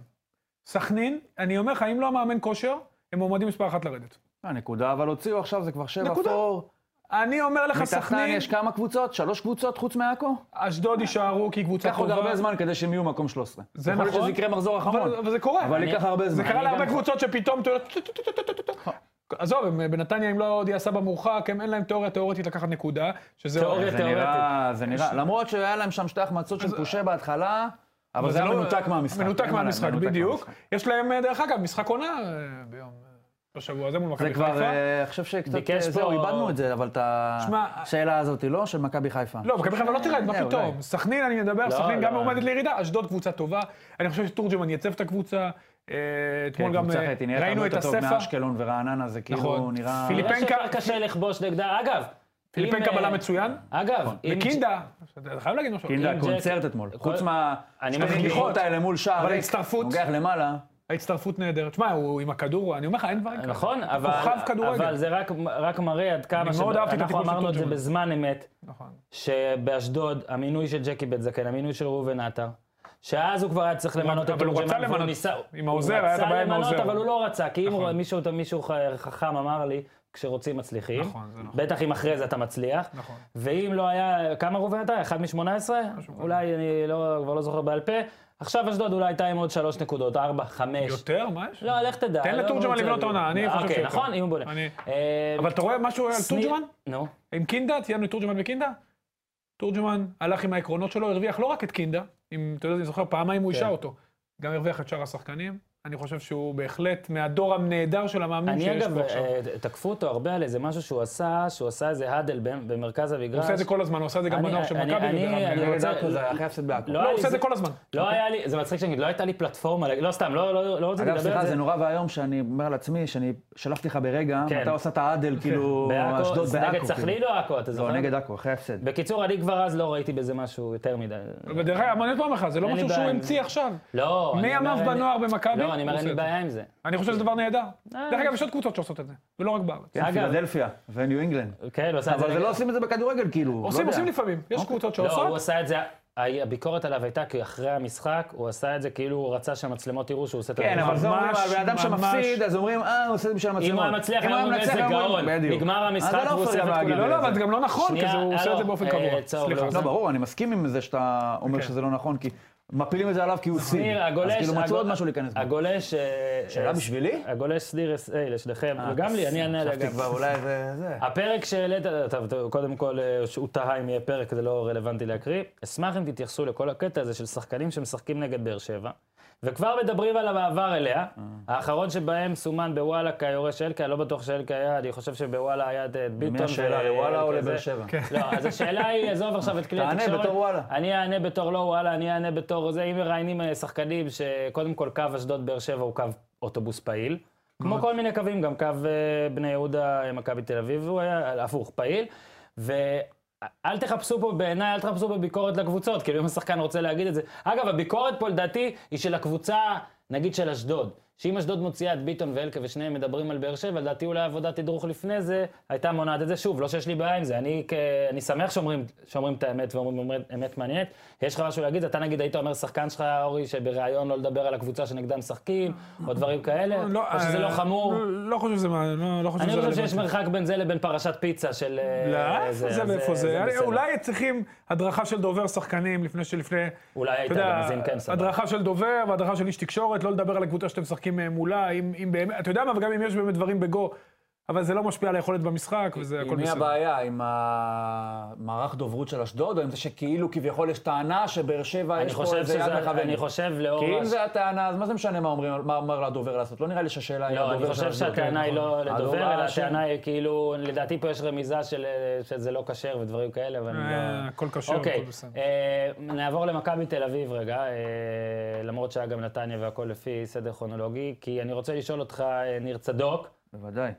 Speaker 3: סכנין, אני אומר לך, אם לא המאמן כושר, הם מועמדים מספר אחת לרדת.
Speaker 2: הנקודה, אבל הוציאו עכשיו, זה כבר שבע
Speaker 3: נקודה.
Speaker 2: פור.
Speaker 3: אני אומר לך,
Speaker 2: מתחתן
Speaker 3: סכנין,
Speaker 2: יש כמה קבוצות? שלוש קבוצות חוץ מעכו?
Speaker 3: אשדוד יישארו כי קבוצה
Speaker 2: ייקח עוד
Speaker 3: טובה.
Speaker 2: הרבה זמן כדי שהם יהיו מקום 13.
Speaker 3: זה
Speaker 2: יכול להיות
Speaker 3: נכון.
Speaker 2: שזה יקרה מחזור אחרון.
Speaker 3: אבל, אבל זה קורה.
Speaker 2: אבל
Speaker 1: אני-
Speaker 2: ייקח הרבה
Speaker 3: זה
Speaker 2: זמן. אה.
Speaker 3: קרה
Speaker 1: אני
Speaker 3: להרבה
Speaker 1: גם-
Speaker 3: קבוצות שפתאום... אתה יודע, טו, טו, טו, טו, טו, טו, טו. עזוב, הם בנתניה, אם לא הודיע סבא מורחק, הם אין להם תיאוריה תיאורטית לקחת נקודה, שזה...
Speaker 1: תיאוריה
Speaker 2: זה
Speaker 1: תיאורטית.
Speaker 2: נראה, זה נראה. למרות שהיה להם שם שתי החמצות של פושה בהתחלה, אבל זה היה
Speaker 3: לא-
Speaker 2: מנותק מהמשחק.
Speaker 3: מנותק
Speaker 2: אין מה
Speaker 3: מהמשחק,
Speaker 2: לעשות, מנותק
Speaker 3: בדיוק.
Speaker 2: מהמשחק.
Speaker 3: יש להם, אה, דרך אגב, משחק עונה אה, ביום... אה, בשבוע הזה מול
Speaker 2: זה
Speaker 3: מכבי
Speaker 2: כבר,
Speaker 3: חיפה.
Speaker 2: אה, אני חושב שקצת, אה,
Speaker 1: ביקש
Speaker 2: זהו,
Speaker 1: פה-
Speaker 2: איבדנו את זה, אבל את
Speaker 3: שמע,
Speaker 2: השאלה הזאת, לא? של מכבי חיפה.
Speaker 3: לא, מכבי חיפה לא תרד, מה
Speaker 2: אה, אולי.
Speaker 3: פתאום? סכנין, אני מדבר,
Speaker 1: לא,
Speaker 3: סכנין גם
Speaker 1: לא.
Speaker 3: מועמדת לירידה, אשדוד קבוצה טובה. אני חושב שתורג'מן ייצב את הקבוצה. אה,
Speaker 2: כן,
Speaker 3: אתמול גם
Speaker 2: קבוצה
Speaker 3: אה,
Speaker 2: אחרת, היא נראית הרבה
Speaker 3: ראינו את
Speaker 2: יותר טוב
Speaker 3: הספח.
Speaker 2: מאשקלון ורעננה, זה כאילו
Speaker 3: נכון.
Speaker 2: נראה...
Speaker 3: פיליפ-
Speaker 1: נראה
Speaker 3: פיליפנקה-
Speaker 1: שיותר קשה לכבוש נגדה. אגב,
Speaker 3: פיליפנקה
Speaker 1: אם, אה,
Speaker 3: בלם מצוין. נכון.
Speaker 1: אגב, אם-
Speaker 3: וקינדה, אתה חייב להגיד משהו.
Speaker 2: קינדה,
Speaker 1: אם
Speaker 2: קונצרט
Speaker 1: ג'ק-
Speaker 2: אתמול.
Speaker 1: כל-
Speaker 2: חוץ מה...
Speaker 1: אני
Speaker 2: שתי
Speaker 1: מבין.
Speaker 2: חתיכות האלה מול שער
Speaker 3: אבל
Speaker 2: ריק,
Speaker 3: ההצטרפות-
Speaker 2: נוגח למעלה.
Speaker 3: ההצטרפות נהדרת. תשמע, הוא עם הכדור, אני אומר לך, אין דברים כאלה.
Speaker 1: נכון, אבל,
Speaker 3: כוכב כדורגל.
Speaker 1: אבל זה רק, רק מראה עד כמה
Speaker 3: אני מאוד אהבתי את
Speaker 1: שאנחנו
Speaker 3: הטיפול של
Speaker 1: אמרנו את זה
Speaker 3: תורג'מן.
Speaker 1: בזמן אמת,
Speaker 3: נכון.
Speaker 1: שבאשדוד, המינוי של ג'קי בן זקן, המינוי של ראובן עטר, שאז הוא כבר היה צריך למנות את
Speaker 3: אבל הוא רצה
Speaker 1: תורג'מן, והוא
Speaker 3: למנות.
Speaker 1: ניסה...
Speaker 3: עם העוזר, היה את
Speaker 1: הוא
Speaker 3: הבעיה
Speaker 1: רצה
Speaker 3: עם
Speaker 1: למנות,
Speaker 3: העוזר.
Speaker 1: אבל הוא לא רצה, כי אם
Speaker 3: נכון.
Speaker 1: הוא- מישהו מישהו ח- חכם אמר לי, כשרוצים מצליחים.
Speaker 3: נכון, זה נכון.
Speaker 1: בטח אם אחרי זה אתה מצליח.
Speaker 3: נכון.
Speaker 1: ואם לא היה, כמה ראובן עטר? אחד מ-18? אולי, אני לא, כבר לא זוכר בעל פה. עכשיו אשדוד אולי הייתה עם עוד שלוש נקודות, ארבע, חמש.
Speaker 3: יותר, מה יש?
Speaker 1: לא, לך תדע.
Speaker 3: תן
Speaker 1: לא
Speaker 3: לתורג'מן
Speaker 1: רוצה-
Speaker 3: לבנות עונה, אני חושב
Speaker 1: אוקיי,
Speaker 3: שיותר.
Speaker 1: נכון, אם הוא בונה.
Speaker 3: אני-
Speaker 1: אה,
Speaker 3: אבל אתה רואה משהו על
Speaker 1: סני-
Speaker 3: תורג'מן?
Speaker 1: נו.
Speaker 3: עם קינדה, ציינו את תורג'מן וקינדה. תורג'מן הלך עם העקרונות שלו, הרוויח לא רק את קינדה, אם אתה יודע, אני זוכר, פעמיים הוא
Speaker 1: כן.
Speaker 3: השעה אותו. גם הרוויח את שאר השחקנים, אני חושב שהוא בהחלט מהדור הנהדר של המאמנים
Speaker 1: אני
Speaker 3: שיש
Speaker 1: אגב,
Speaker 3: פה עכשיו.
Speaker 1: אה, תקפו אותו הרבה על איזה משהו שהוא עשה, שהוא עשה איזה האדל במ- במרכז המגרש.
Speaker 3: הוא עושה את זה כל הזמן, הוא עושה את זה גם
Speaker 1: אני-
Speaker 3: בנוער של
Speaker 1: אני-
Speaker 3: מכבי.
Speaker 1: אני-
Speaker 3: הוא יודע,
Speaker 1: אני
Speaker 3: אבל-
Speaker 1: רוצה-
Speaker 2: נגד עכו זה היה אחרי הפסד בעכו.
Speaker 1: לא,
Speaker 3: לא, הוא עושה את
Speaker 1: זה-
Speaker 3: זה כל הזמן.
Speaker 1: לא היה לי, זה מצחיק שאני, לא הייתה לי פלטפורמה, לא סתם, לא- לא לא רציתי
Speaker 2: אגב,
Speaker 1: לדבר
Speaker 2: סליחה,
Speaker 1: על
Speaker 2: זה
Speaker 1: זה.
Speaker 2: נורא ואיום שאני אומר על עצמי, שאני שלחתי לך ברגע,
Speaker 1: כן.
Speaker 2: אתה עושה את העדל, כאילו,
Speaker 1: בעכו,
Speaker 2: אשדוד
Speaker 1: זה
Speaker 2: בעכו.
Speaker 1: נגד נכון. סכלין
Speaker 2: כאילו.
Speaker 1: או עכו, אתה זוכר?
Speaker 2: לא, נגד עכו, אחרי ההפסד.
Speaker 1: בקיצור, אני כבר אז לא ראיתי בזה משהו יותר מדי.
Speaker 3: ודרך אגב, אני עוד פעם אחת, זה לא
Speaker 1: אין לי
Speaker 3: משהו
Speaker 1: בעיה
Speaker 3: שהוא
Speaker 1: עם זה.
Speaker 3: המציא עכשיו.
Speaker 1: לא, אני
Speaker 3: מימיו
Speaker 1: אומר, אין לי-
Speaker 3: בנוער במכבי,
Speaker 1: לא, אני אומר,
Speaker 3: הוא
Speaker 1: אין לי
Speaker 3: עושה את
Speaker 1: בעיה עם זה.
Speaker 3: אני חושב שזה דבר נהדר.
Speaker 1: אה.
Speaker 3: דרך אגב, יש עוד קבוצות שעושות את זה, ולא רק בארץ.
Speaker 2: כן,
Speaker 1: אגב-
Speaker 2: פילדלפיה וניו אינגלנד.
Speaker 1: כן, הוא עשה את זה.
Speaker 2: אבל זה
Speaker 1: נגד-
Speaker 2: לא עושים את זה בכדורגל, כאילו, לא
Speaker 3: עושים,
Speaker 2: יודע.
Speaker 3: עושים לפעמים. יש קבוצות
Speaker 1: לא, הוא
Speaker 3: שעושות.
Speaker 1: עשה את זה, הביקורת עליו הייתה כי אחרי המשחק, הוא עשה את זה כאילו הוא רצה שהמצלמות יראו שהוא עושה את
Speaker 2: כן,
Speaker 1: הדבר.
Speaker 2: אבל זה אומרים,
Speaker 3: ממש,
Speaker 2: על בן אדם
Speaker 3: ממש.
Speaker 2: שמפסיד, אז אומרים, אה, הוא עושה את זה בשביל המצלמות.
Speaker 1: אם הוא היה מצליח,
Speaker 2: אם הוא
Speaker 1: היה אומר,
Speaker 2: מנצח,
Speaker 1: איזה
Speaker 2: היה אומרים,
Speaker 1: גאון.
Speaker 2: בדיוק.
Speaker 1: נגמר
Speaker 2: אז זה
Speaker 1: המשחק,
Speaker 2: לא
Speaker 1: והוא
Speaker 2: פייר
Speaker 1: עושה את
Speaker 2: גם
Speaker 1: כולם.
Speaker 2: להגיד
Speaker 3: לא,
Speaker 2: על
Speaker 3: לא,
Speaker 2: זה.
Speaker 3: אבל זה גם לא נכון, כי
Speaker 1: שנייה,
Speaker 3: זה- הוא עושה את זה
Speaker 1: הלו,
Speaker 3: באופן
Speaker 1: אה,
Speaker 3: קבוע.
Speaker 1: צהוב,
Speaker 3: סליחה.
Speaker 1: לא,
Speaker 2: לא, ברור, אני מסכים עם זה שאתה אומר
Speaker 3: אוקיי.
Speaker 2: שזה לא נכון, כי מפילים את זה עליו כי הוא צי.
Speaker 1: שניר,
Speaker 2: אז
Speaker 1: כן. הגולש...
Speaker 2: כאילו מצאו
Speaker 1: הגול-
Speaker 2: עוד משהו להיכנס בו.
Speaker 1: הגולש... אה,
Speaker 2: שאלה
Speaker 1: אה,
Speaker 2: בשבילי?
Speaker 1: הגולש שניר אס.איי לשניכם,
Speaker 2: אה,
Speaker 1: וגם לי, אני אענה אה, עליה
Speaker 2: חשבתי
Speaker 1: גם.
Speaker 2: כבר אולי זה... זה.
Speaker 1: הפרק שהעלית, טוב, טוב, קודם כל, אה, שהוא תהה אם יהיה פרק, זה לא רלוונטי להקריא. אשמח אם תתייחסו לכל הקטע הזה של שחקנים שמשחקים נגד באר שבע, וכבר מדברים על המעבר אליה.
Speaker 2: אה.
Speaker 1: האחרון שבהם סומן בוואלה כיורש אלקה, לא בטוח שאלקה היה, אני חושב שבוואלה היה את את ביטון.
Speaker 2: מי השאלה,
Speaker 1: ו-
Speaker 2: לוואלה או
Speaker 1: אלקה זה.
Speaker 2: לבאר שבע?
Speaker 1: לא, אז השאלה היא, עזוב עכשיו את כלי
Speaker 2: תענה
Speaker 1: התקשורת.
Speaker 2: בתור וואלה.
Speaker 1: אני אענה בתור לא וואלה, אני אענה בתור זה. אם מראיינים אה, שחקנים שקודם כל קו אשדוד באר שבע הוא קו אוטובוס פעיל. כמו כל מיני קווים, גם קו אה, בני יהודה, אה, מכבי תל אביב, הוא היה אה, הפוך, פעיל. ואל תחפשו פה, בעיניי, אל תחפשו בביקורת לקבוצות, כאילו אם השחקן רוצה להגיד את זה. אגב, הביקורת פה לדעתי היא של הקבוצה, נגיד של אשדוד. שאם אשדוד מוציאה את ביטון ואלקה ושניהם מדברים על באר שבע, לדעתי אולי עבודת תדרוך לפני זה הייתה מונעת את זה. שוב, לא שיש לי בעיה עם זה, אני, כ... אני שמח שאומרים, שאומרים את האמת ואומרים אמת- אמת מעניינת. יש לך משהו להגיד? אתה נגיד היית אומר, שחקן שלך, אורי, שבריאיון לא לדבר על הקבוצה שנגדם משחקים, או דברים כאלה, או שזה לא
Speaker 3: אה,
Speaker 1: חמור.
Speaker 3: לא- לא חושב שזה... מה- לא- לא שזה
Speaker 1: אני חושב שיש
Speaker 3: רלוונטי.
Speaker 1: מרחק בין זה לבין פרשת פיצה של... אה,
Speaker 3: לא,
Speaker 1: אז,
Speaker 3: זה ואיפה זה.
Speaker 1: בסדר.
Speaker 3: אולי צריכים הדרכה של דובר שחקנים לפני שלפני...
Speaker 1: אולי הייתה גם, אז אם כן, סבבה.
Speaker 3: הדרכה של דובר והדרכה של איש תקשורת, לא לדבר על הקבוצה שאתם משחקים אה, מולה, אם אם באמת... אתה יודע מה, וגם אם יש באמת דברים בגו, אבל זה לא משפיע על היכולת במשחק, וזה הכל
Speaker 2: עם מי
Speaker 3: בסדר.
Speaker 2: הבעיה? עם המערך דוברות של אשדוד, או עם זה שכאילו כביכול יש טענה שבאר שבע
Speaker 1: אני
Speaker 2: יש פה
Speaker 1: חושב
Speaker 2: איזה יד
Speaker 1: שזה... אני
Speaker 2: מכוונת?
Speaker 1: חושב לאור...
Speaker 2: כי אם
Speaker 1: הש-
Speaker 2: זה הטענה, אז מה זה משנה מה אומרים, מה אומר לדובר לעשות? לא נראה לי שהשאלה היא
Speaker 1: לא, אני
Speaker 2: הדובר של
Speaker 1: חושב
Speaker 2: אשדוד.
Speaker 1: שהטענה היא לא
Speaker 2: הדובר
Speaker 1: לדובר, אלא
Speaker 2: של-
Speaker 1: הטענה היא כאילו, לדעתי פה יש רמיזה של אה, שזה לא כשר ודברים כאלה, אבל אני
Speaker 3: אה,
Speaker 1: לא...
Speaker 3: הכל קשור, הכל
Speaker 1: אוקיי,
Speaker 3: בסדר.
Speaker 1: אה, נעבור למכבי תל אביב רגע, אה, למרות שהיה גם נתניה והכל לפי סדר כרונולוגי, כי אני רוצה לשאול אותך, אה, ניר צדוק,
Speaker 2: בוודאי,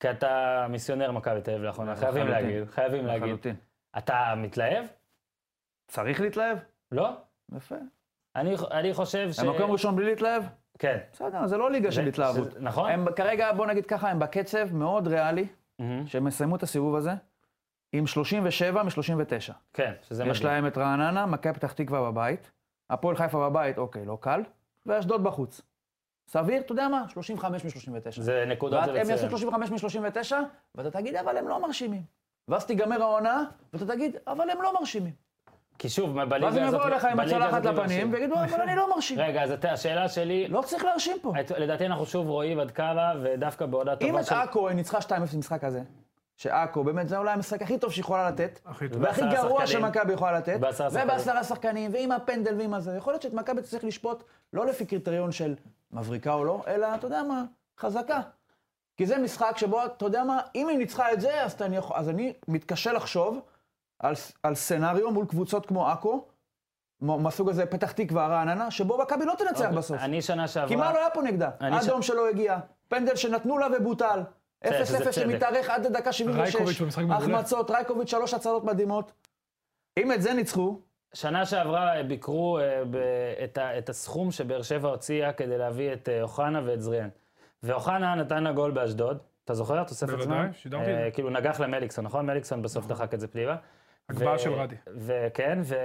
Speaker 1: כי אתה מיסיונר מכבי תל אביב לאחרונה, חייבים
Speaker 2: אה, לחלוטין.
Speaker 1: להגיד, חייבים להגיד.
Speaker 2: לחלוטין.
Speaker 1: אתה מתלהב?
Speaker 2: צריך להתלהב?
Speaker 1: לא?
Speaker 2: יפה.
Speaker 1: אני, אני חושב ש...
Speaker 2: המקום ראשון בלי להתלהב?
Speaker 1: כן.
Speaker 2: בסדר, זה לא ליגה של
Speaker 1: זה-
Speaker 2: התלהבות.
Speaker 1: זה- נכון?
Speaker 2: הם כרגע, בוא נגיד ככה, הם בקצב מאוד ריאלי,
Speaker 1: מהמם.
Speaker 2: שהם יסיימו את הסיבוב הזה עם 37 מ-39.
Speaker 1: כן, שזה
Speaker 2: יש להם את רעננה, מכבי פתח תקווה בבית, הפועל חיפה בבית, אוקיי, לא קל, ואשדוד בחוץ. סביר, אתה יודע מה? 35 מ-39.
Speaker 1: זה נקודות זה
Speaker 2: והם יעשו
Speaker 1: מצוין.
Speaker 2: 35 מ-39, ואתה תגיד, אבל הם לא מרשימים. ואז תיגמר העונה, ואתה תגיד, אבל הם לא מרשימים.
Speaker 1: כי שוב, מה, בליגה
Speaker 2: ואז
Speaker 1: הזאת...
Speaker 2: הם יבואו אליך עם
Speaker 1: בליגה
Speaker 2: הצלחת
Speaker 1: הזאת
Speaker 2: לפנים,
Speaker 1: מבקשים.
Speaker 2: ויגידו, אבל אני לא מרשים.
Speaker 1: רגע, אז אתה- השאלה שלי,
Speaker 2: לא צריך להרשים פה.
Speaker 1: את- לדעתי אנחנו שוב רואים עד כמה, ודווקא בעונה
Speaker 2: אם
Speaker 1: טובה
Speaker 2: את עכו היא ניצחה 2-0 במשחק הזה, שעכו באמת זה אולי המשחק הכי טוב שהיא יכולה לתת,
Speaker 3: הכי טוב.
Speaker 2: והכי
Speaker 1: בעשרה
Speaker 2: גרוע
Speaker 1: שחקנים.
Speaker 2: שמכבי יכולה לתת,
Speaker 1: בעשרה שחקנים.
Speaker 2: ובעשרה שחקנים, ועם הפנדל ועם הזה, יכול להיות שאת מכבי צריך לשפוט לא לפי קריטריון של מבריקה או לא, אלא, אתה יודע מה, חזקה. כי זה משחק שבו, אתה יודע מה, אם היא ניצחה את זה, אז, אתה- אני, יכול- אז אני מתקשה לחשוב על, ס- על סצנריו מול קבוצות כמו עכו, מ- מהסוג הזה, פתח תקווה, רעננה, שבו מכבי לא תנצח בסוף.
Speaker 1: אוקיי, אני שנה
Speaker 2: כי מה
Speaker 1: שעברה...
Speaker 2: לא היה פה נגדה?
Speaker 1: אני ש-
Speaker 2: אדום שלא הגיע, פנדל שנתנו לה ובוטל, 0-0
Speaker 1: שזה צדק.
Speaker 2: שמתארך עד לדקה 76,
Speaker 3: רייקוביץ' במשחק מעולה.
Speaker 2: החמצות, רייקוביץ', שלוש הצלות מדהימות. אם את זה ניצחו,
Speaker 1: שנה שעברה אה, ביקרו אה, ב- את ה- את הסכום שבאר שבע הוציאה כדי להביא את אה, אוחנה ואת זריאן. ואוחנה נתן לה גול באשדוד, אתה זוכר? תוספת זמן?
Speaker 3: בוודאי, שידרתי את
Speaker 1: אה,
Speaker 3: זה.
Speaker 1: כאילו נגח למליקסון, נכון? מליקסון בסוף דחק את זה פנימה.
Speaker 3: הגבהה
Speaker 1: ו-
Speaker 3: של רדי.
Speaker 1: וכן, ו...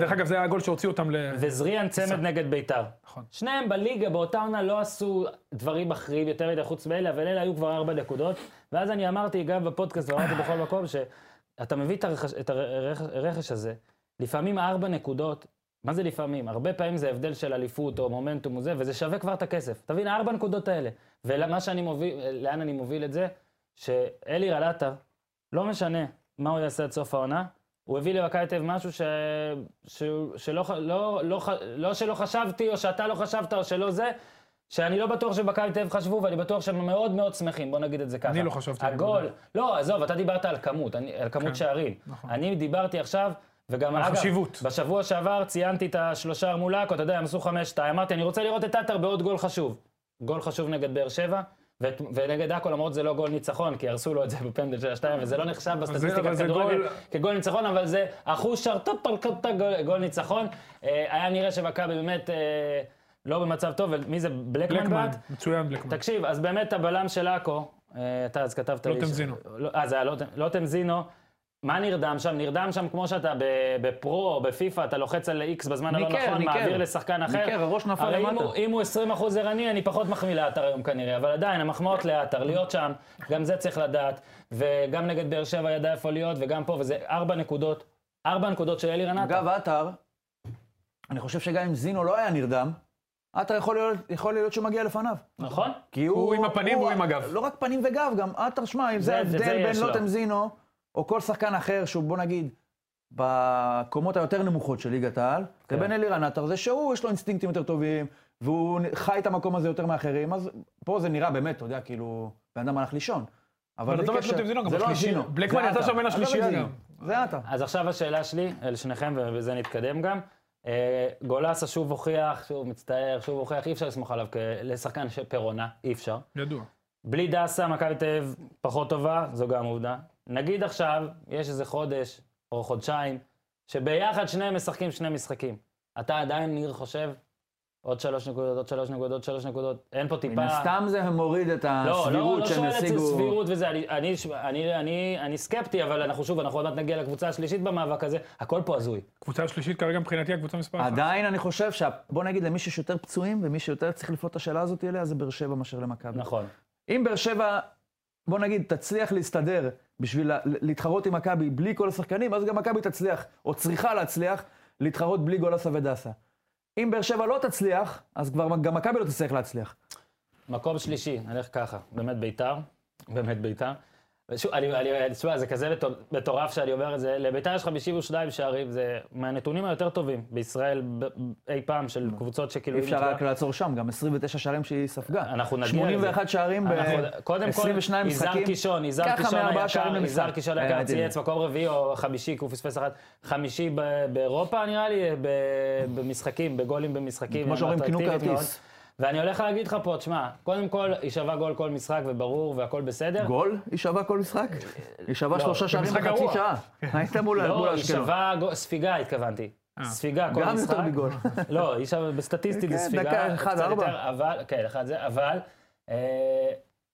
Speaker 3: דרך אגב, זה היה הגול שהוציא אותם ל...
Speaker 1: וזריאן צמד נגד ביתר.
Speaker 3: נכון.
Speaker 1: שניהם בליגה באותה עונה לא עשו דברים מכריעים יותר מדי חוץ מאלה, אבל אלה היו כבר ארבע נקודות. ואז אני אמרתי, גם בפודקאסט ואמרתי בכל מקום, שאתה מביא את הרכש- את הרכש הרכש הזה, לפעמים ארבע נקודות, מה זה לפעמים? הרבה פעמים זה הבדל של אליפות או מומנטום וזה, וזה שווה כבר את הכסף. תבין, הארבע נקודות האלה. ולמה שאני מוביל, לאן אני מוביל את זה? שאלי רלטה, לא משנה מה הוא יעשה עד סוף העונה, הוא הביא למכבי תל אביב משהו ש... ש... שלא ח- לא, לא, ח- לא שלא חשבתי, או שאתה לא חשבת, או שלא זה, שאני לא בטוח שבקהל תל אביב חשבו, ואני בטוח שהם מאוד מאוד שמחים, בוא נגיד את זה ככה.
Speaker 3: אני לא חשבתי על
Speaker 1: הגול,
Speaker 3: זה.
Speaker 1: לא, עזוב, אתה דיברת על כמות, אני, על כמות
Speaker 3: כן,
Speaker 1: שערים.
Speaker 3: נכון.
Speaker 1: אני דיברתי עכשיו, וגם
Speaker 3: על
Speaker 1: אגב,
Speaker 3: חשיבות.
Speaker 1: בשבוע שעבר ציינתי את השלושה מול עכו, אתה יודע, הם עשו חמש-שתיים, אמרתי, אני רוצה לראות את עטר בעוד גול חשוב. גול חשוב נגד באר שבע, ואת- ונגד עכו, למרות זה לא גול ניצחון, כי הרסו לו את זה בפנדל של השתיים, וזה לא נחשב בסטטיסטיקת
Speaker 3: אבל זה
Speaker 1: כדורגל
Speaker 3: גול-
Speaker 1: כגול ניצחון, אבל זה אחוז שרטוטרקוטה גול, גול ניצחון. אה, היה נראה שמכבי באמת אה, לא במצב טוב, ומי זה? בלקמן
Speaker 3: בלקמן,
Speaker 1: בעט?
Speaker 3: מצוין בלקמן.
Speaker 1: תקשיב, אז באמת הבלם של עכו, אה, אתה אז כתבת לי...
Speaker 3: לוטם
Speaker 1: ש-
Speaker 3: זינו.
Speaker 1: לא- אה, זה היה לוטם- לוטם זינו. מה נרדם שם? נרדם שם כמו שאתה ב- בפרו, או בפיפא, אתה לוחץ על איקס בזמן הלא
Speaker 2: ניקר,
Speaker 1: נכון,
Speaker 2: ניקר.
Speaker 1: מעביר לשחקן אחר.
Speaker 2: ניקר, הראש נפל
Speaker 1: הרי אם
Speaker 2: למטה.
Speaker 1: הוא- אם הוא 20% ערני, אני פחות מחמיא לעטר היום כנראה, אבל עדיין, המחמאות לעטר, להיות שם, גם זה צריך לדעת. וגם נגד באר שבע ידע איפה להיות, וגם פה, וזה ארבע נקודות, ארבע נקודות של אלירן עטר.
Speaker 2: אגב, עטר, אני חושב שגם אם זינו לא היה נרדם, עטר יכול להיות- יכול להיות שהוא מגיע לפניו.
Speaker 1: נכון?
Speaker 2: כי
Speaker 3: הוא עם הפנים והוא עם הגב.
Speaker 2: לא רק פנים וגב, גם עטר, שמע, אם
Speaker 1: זה-
Speaker 2: זה
Speaker 1: זה
Speaker 2: ההבדל בין
Speaker 1: יש לא. לו.
Speaker 2: לוטם זינו, או כל שחקן אחר שהוא, בוא נגיד, בקומות היותר נמוכות של ליגת העל,
Speaker 1: כן.
Speaker 2: לבין אלירן עטר, זה שהוא, יש לו אינסטינקטים יותר טובים, והוא חי את המקום הזה יותר מאחרים, אז פה זה נראה באמת, אתה יודע, כאילו, בן אדם הלך לישון.
Speaker 3: אבל
Speaker 2: בלי
Speaker 3: עזוב את
Speaker 2: קשר,
Speaker 3: לוטם זינו, גם
Speaker 2: זה לא
Speaker 3: השלישי-
Speaker 2: הזינו,
Speaker 3: בלקמן
Speaker 2: זה
Speaker 3: יצא
Speaker 2: עטר.
Speaker 3: שם בין
Speaker 2: עזוב את
Speaker 3: השלישייה
Speaker 2: זינו,
Speaker 3: גם.
Speaker 2: זה עטר.
Speaker 1: אז עכשיו השאלה שלי, אל שניכם, ובזה נתקדם גם. אה, גולסה שוב הוכיח, שוב מצטער, שוב הוכיח, אי אפשר לסמוך עליו כשחקן פרעונה, אי אפשר.
Speaker 3: ידוע.
Speaker 1: בלי דסה, מכבי תל אביב פחות טובה, זו גם עובדה. נגיד עכשיו, יש איזה חודש או חודשיים, שביחד שניהם משחקים שני משחקים. אתה עדיין, ניר, חושב, עוד שלוש נקודות, עוד שלוש נקודות, עוד שלוש נקודות, אין פה טיפה...
Speaker 2: מן הסתם זה מוריד את
Speaker 1: לא, לא, לא
Speaker 2: הסבירות שהם
Speaker 1: שואל את זה
Speaker 2: ישיגו...
Speaker 1: סבירות וזה, אני, אני, אני, אני, אני סקפטי, אבל אנחנו שוב, אנחנו עוד מעט נגיע לקבוצה השלישית במאבק הזה, הכל פה הזוי.
Speaker 3: קבוצה השלישית כרגע מבחינתי הקבוצה מספר
Speaker 1: נכון.
Speaker 3: אחת.
Speaker 2: עדיין אני חושב שה... בוא נגיד למי שיש יותר פצועים ומי שיותר צריך לפנות את השאלה הזאת אליה, זה באר שבע מאשר למכבי.
Speaker 1: נכון.
Speaker 2: אם באר שבע, בוא נגיד, תצליח להסתדר בשביל לה- להתחרות עם מכבי בלי כל השחקנים, אז גם מכבי תצליח, או צריכה להצליח, להתחרות בלי גולסה ודסה. אם באר שבע לא תצליח, אז כבר גם מכבי לא תצליח להצליח.
Speaker 1: מקום שלישי, נלך ככה, באמת ביתר, באמת ביתר. ושוב, אני, אני, אני- תשמע, זה כזה מטור- מטורף שאני אומר את זה, לביתר יש 52 שערים, זה מהנתונים היותר טובים בישראל ב- אי פעם של קבוצות שכאילו...
Speaker 2: אי
Speaker 1: אם
Speaker 2: אפשר
Speaker 1: אתה-
Speaker 2: רק לעצור שם, גם 29 שערים שהיא ספגה.
Speaker 1: אנחנו נגיע לזה.
Speaker 2: 81 שערים
Speaker 1: אנחנו- קודם כל,
Speaker 2: ב-22 משחקים.
Speaker 1: יזהר קישון, יזהר
Speaker 2: ככה
Speaker 1: קישון
Speaker 2: מארבעה
Speaker 1: היקר,
Speaker 2: שערים למשחק. אה,
Speaker 1: יזהר קישון
Speaker 2: היה
Speaker 1: היקר
Speaker 2: מדהים.
Speaker 1: צייץ מקום רביעי או חמישי, כי הוא פספס אחת, חמישי ב- באירופה נראה לי, ב- במשחקים, בגולים במשחקים.
Speaker 2: כמו שאומרים, קנו
Speaker 1: אטרקטיבית מאוד.
Speaker 2: כרטיס.
Speaker 1: ואני הולך להגיד לך פה, תשמע, קודם כל, היא שווה גול כל משחק וברור והכל בסדר.
Speaker 2: גול? היא שווה כל משחק? היא שווה
Speaker 1: לא,
Speaker 2: שלושה שערים
Speaker 3: במשחק
Speaker 2: בחצי
Speaker 3: גרוע.
Speaker 2: שעה. היית מול מול
Speaker 1: לא, היא
Speaker 2: אשקלון.
Speaker 1: שווה גול- ספיגה, התכוונתי.
Speaker 3: אה.
Speaker 1: ספיגה כל
Speaker 2: גם
Speaker 1: משחק.
Speaker 2: יותר מגול.
Speaker 1: לא, היא שם בסטטיסטית זה
Speaker 2: כן,
Speaker 1: ספיגה.
Speaker 2: דקה, אחד,
Speaker 1: קצת
Speaker 2: ארבע.
Speaker 1: יותר, אבל, כן, אחד זה, אבל, אה,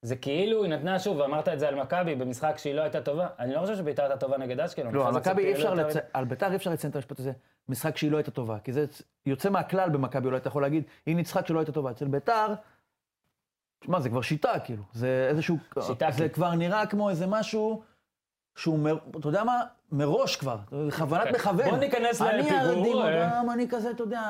Speaker 1: זה כאילו היא נתנה שוב, ואמרת את זה על מכבי, במשחק שהיא לא הייתה טובה. אני לא חושב שביתר הייתה טובה נגד אשקלון.
Speaker 2: לא,
Speaker 1: בכל
Speaker 2: על
Speaker 1: זאת
Speaker 2: מכבי
Speaker 1: זה
Speaker 2: אי אפשר
Speaker 1: כאילו יותר-
Speaker 2: לציין, על ביתר אי אפשר לציין את המשפט הזה, משחק שהיא לא הייתה טובה, כי זה יוצא מהכלל במכבי, אולי אתה יכול להגיד, היא ניצחה כשלא הייתה טובה. אצל ביתר, שמע, זה כבר שיטה, כאילו. זה איזשהו...
Speaker 1: שיטה,
Speaker 2: זה
Speaker 1: כן.
Speaker 2: כבר נראה כמו איזה משהו שהוא, מר- אתה יודע מה? מראש כבר, זה בכוונת
Speaker 1: כן.
Speaker 2: מכוון.
Speaker 1: בוא ניכנס
Speaker 2: אני
Speaker 1: לפיגור,
Speaker 2: ארדים
Speaker 1: אה.
Speaker 2: אותם, אני כזה, אתה יודע,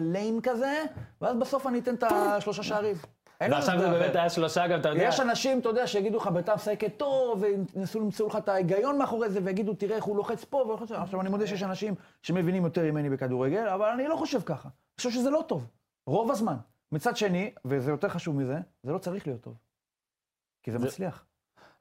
Speaker 2: ליים כזה, ואז בסוף אני אתן את השלושה שערים. אין
Speaker 1: ועכשיו
Speaker 2: לנו
Speaker 1: זה
Speaker 2: הסבר
Speaker 1: באמת
Speaker 2: אחר.
Speaker 1: היה שלושה גם, אתה יודע.
Speaker 2: יש אנשים, אתה יודע, שיגידו לך ביתר משחקת טוב, וינסו למצוא לך את ההיגיון מאחורי זה, ויגידו, תראה איך הוא לוחץ פה ולוחץ שם. עכשיו, אני מודה שיש אנשים שמבינים יותר ממני בכדורגל, אבל אני לא חושב ככה. אני חושב שזה לא טוב, רוב הזמן. מצד שני, וזה יותר חשוב מזה, זה לא צריך להיות טוב. כי זה
Speaker 1: זה-
Speaker 2: מצליח.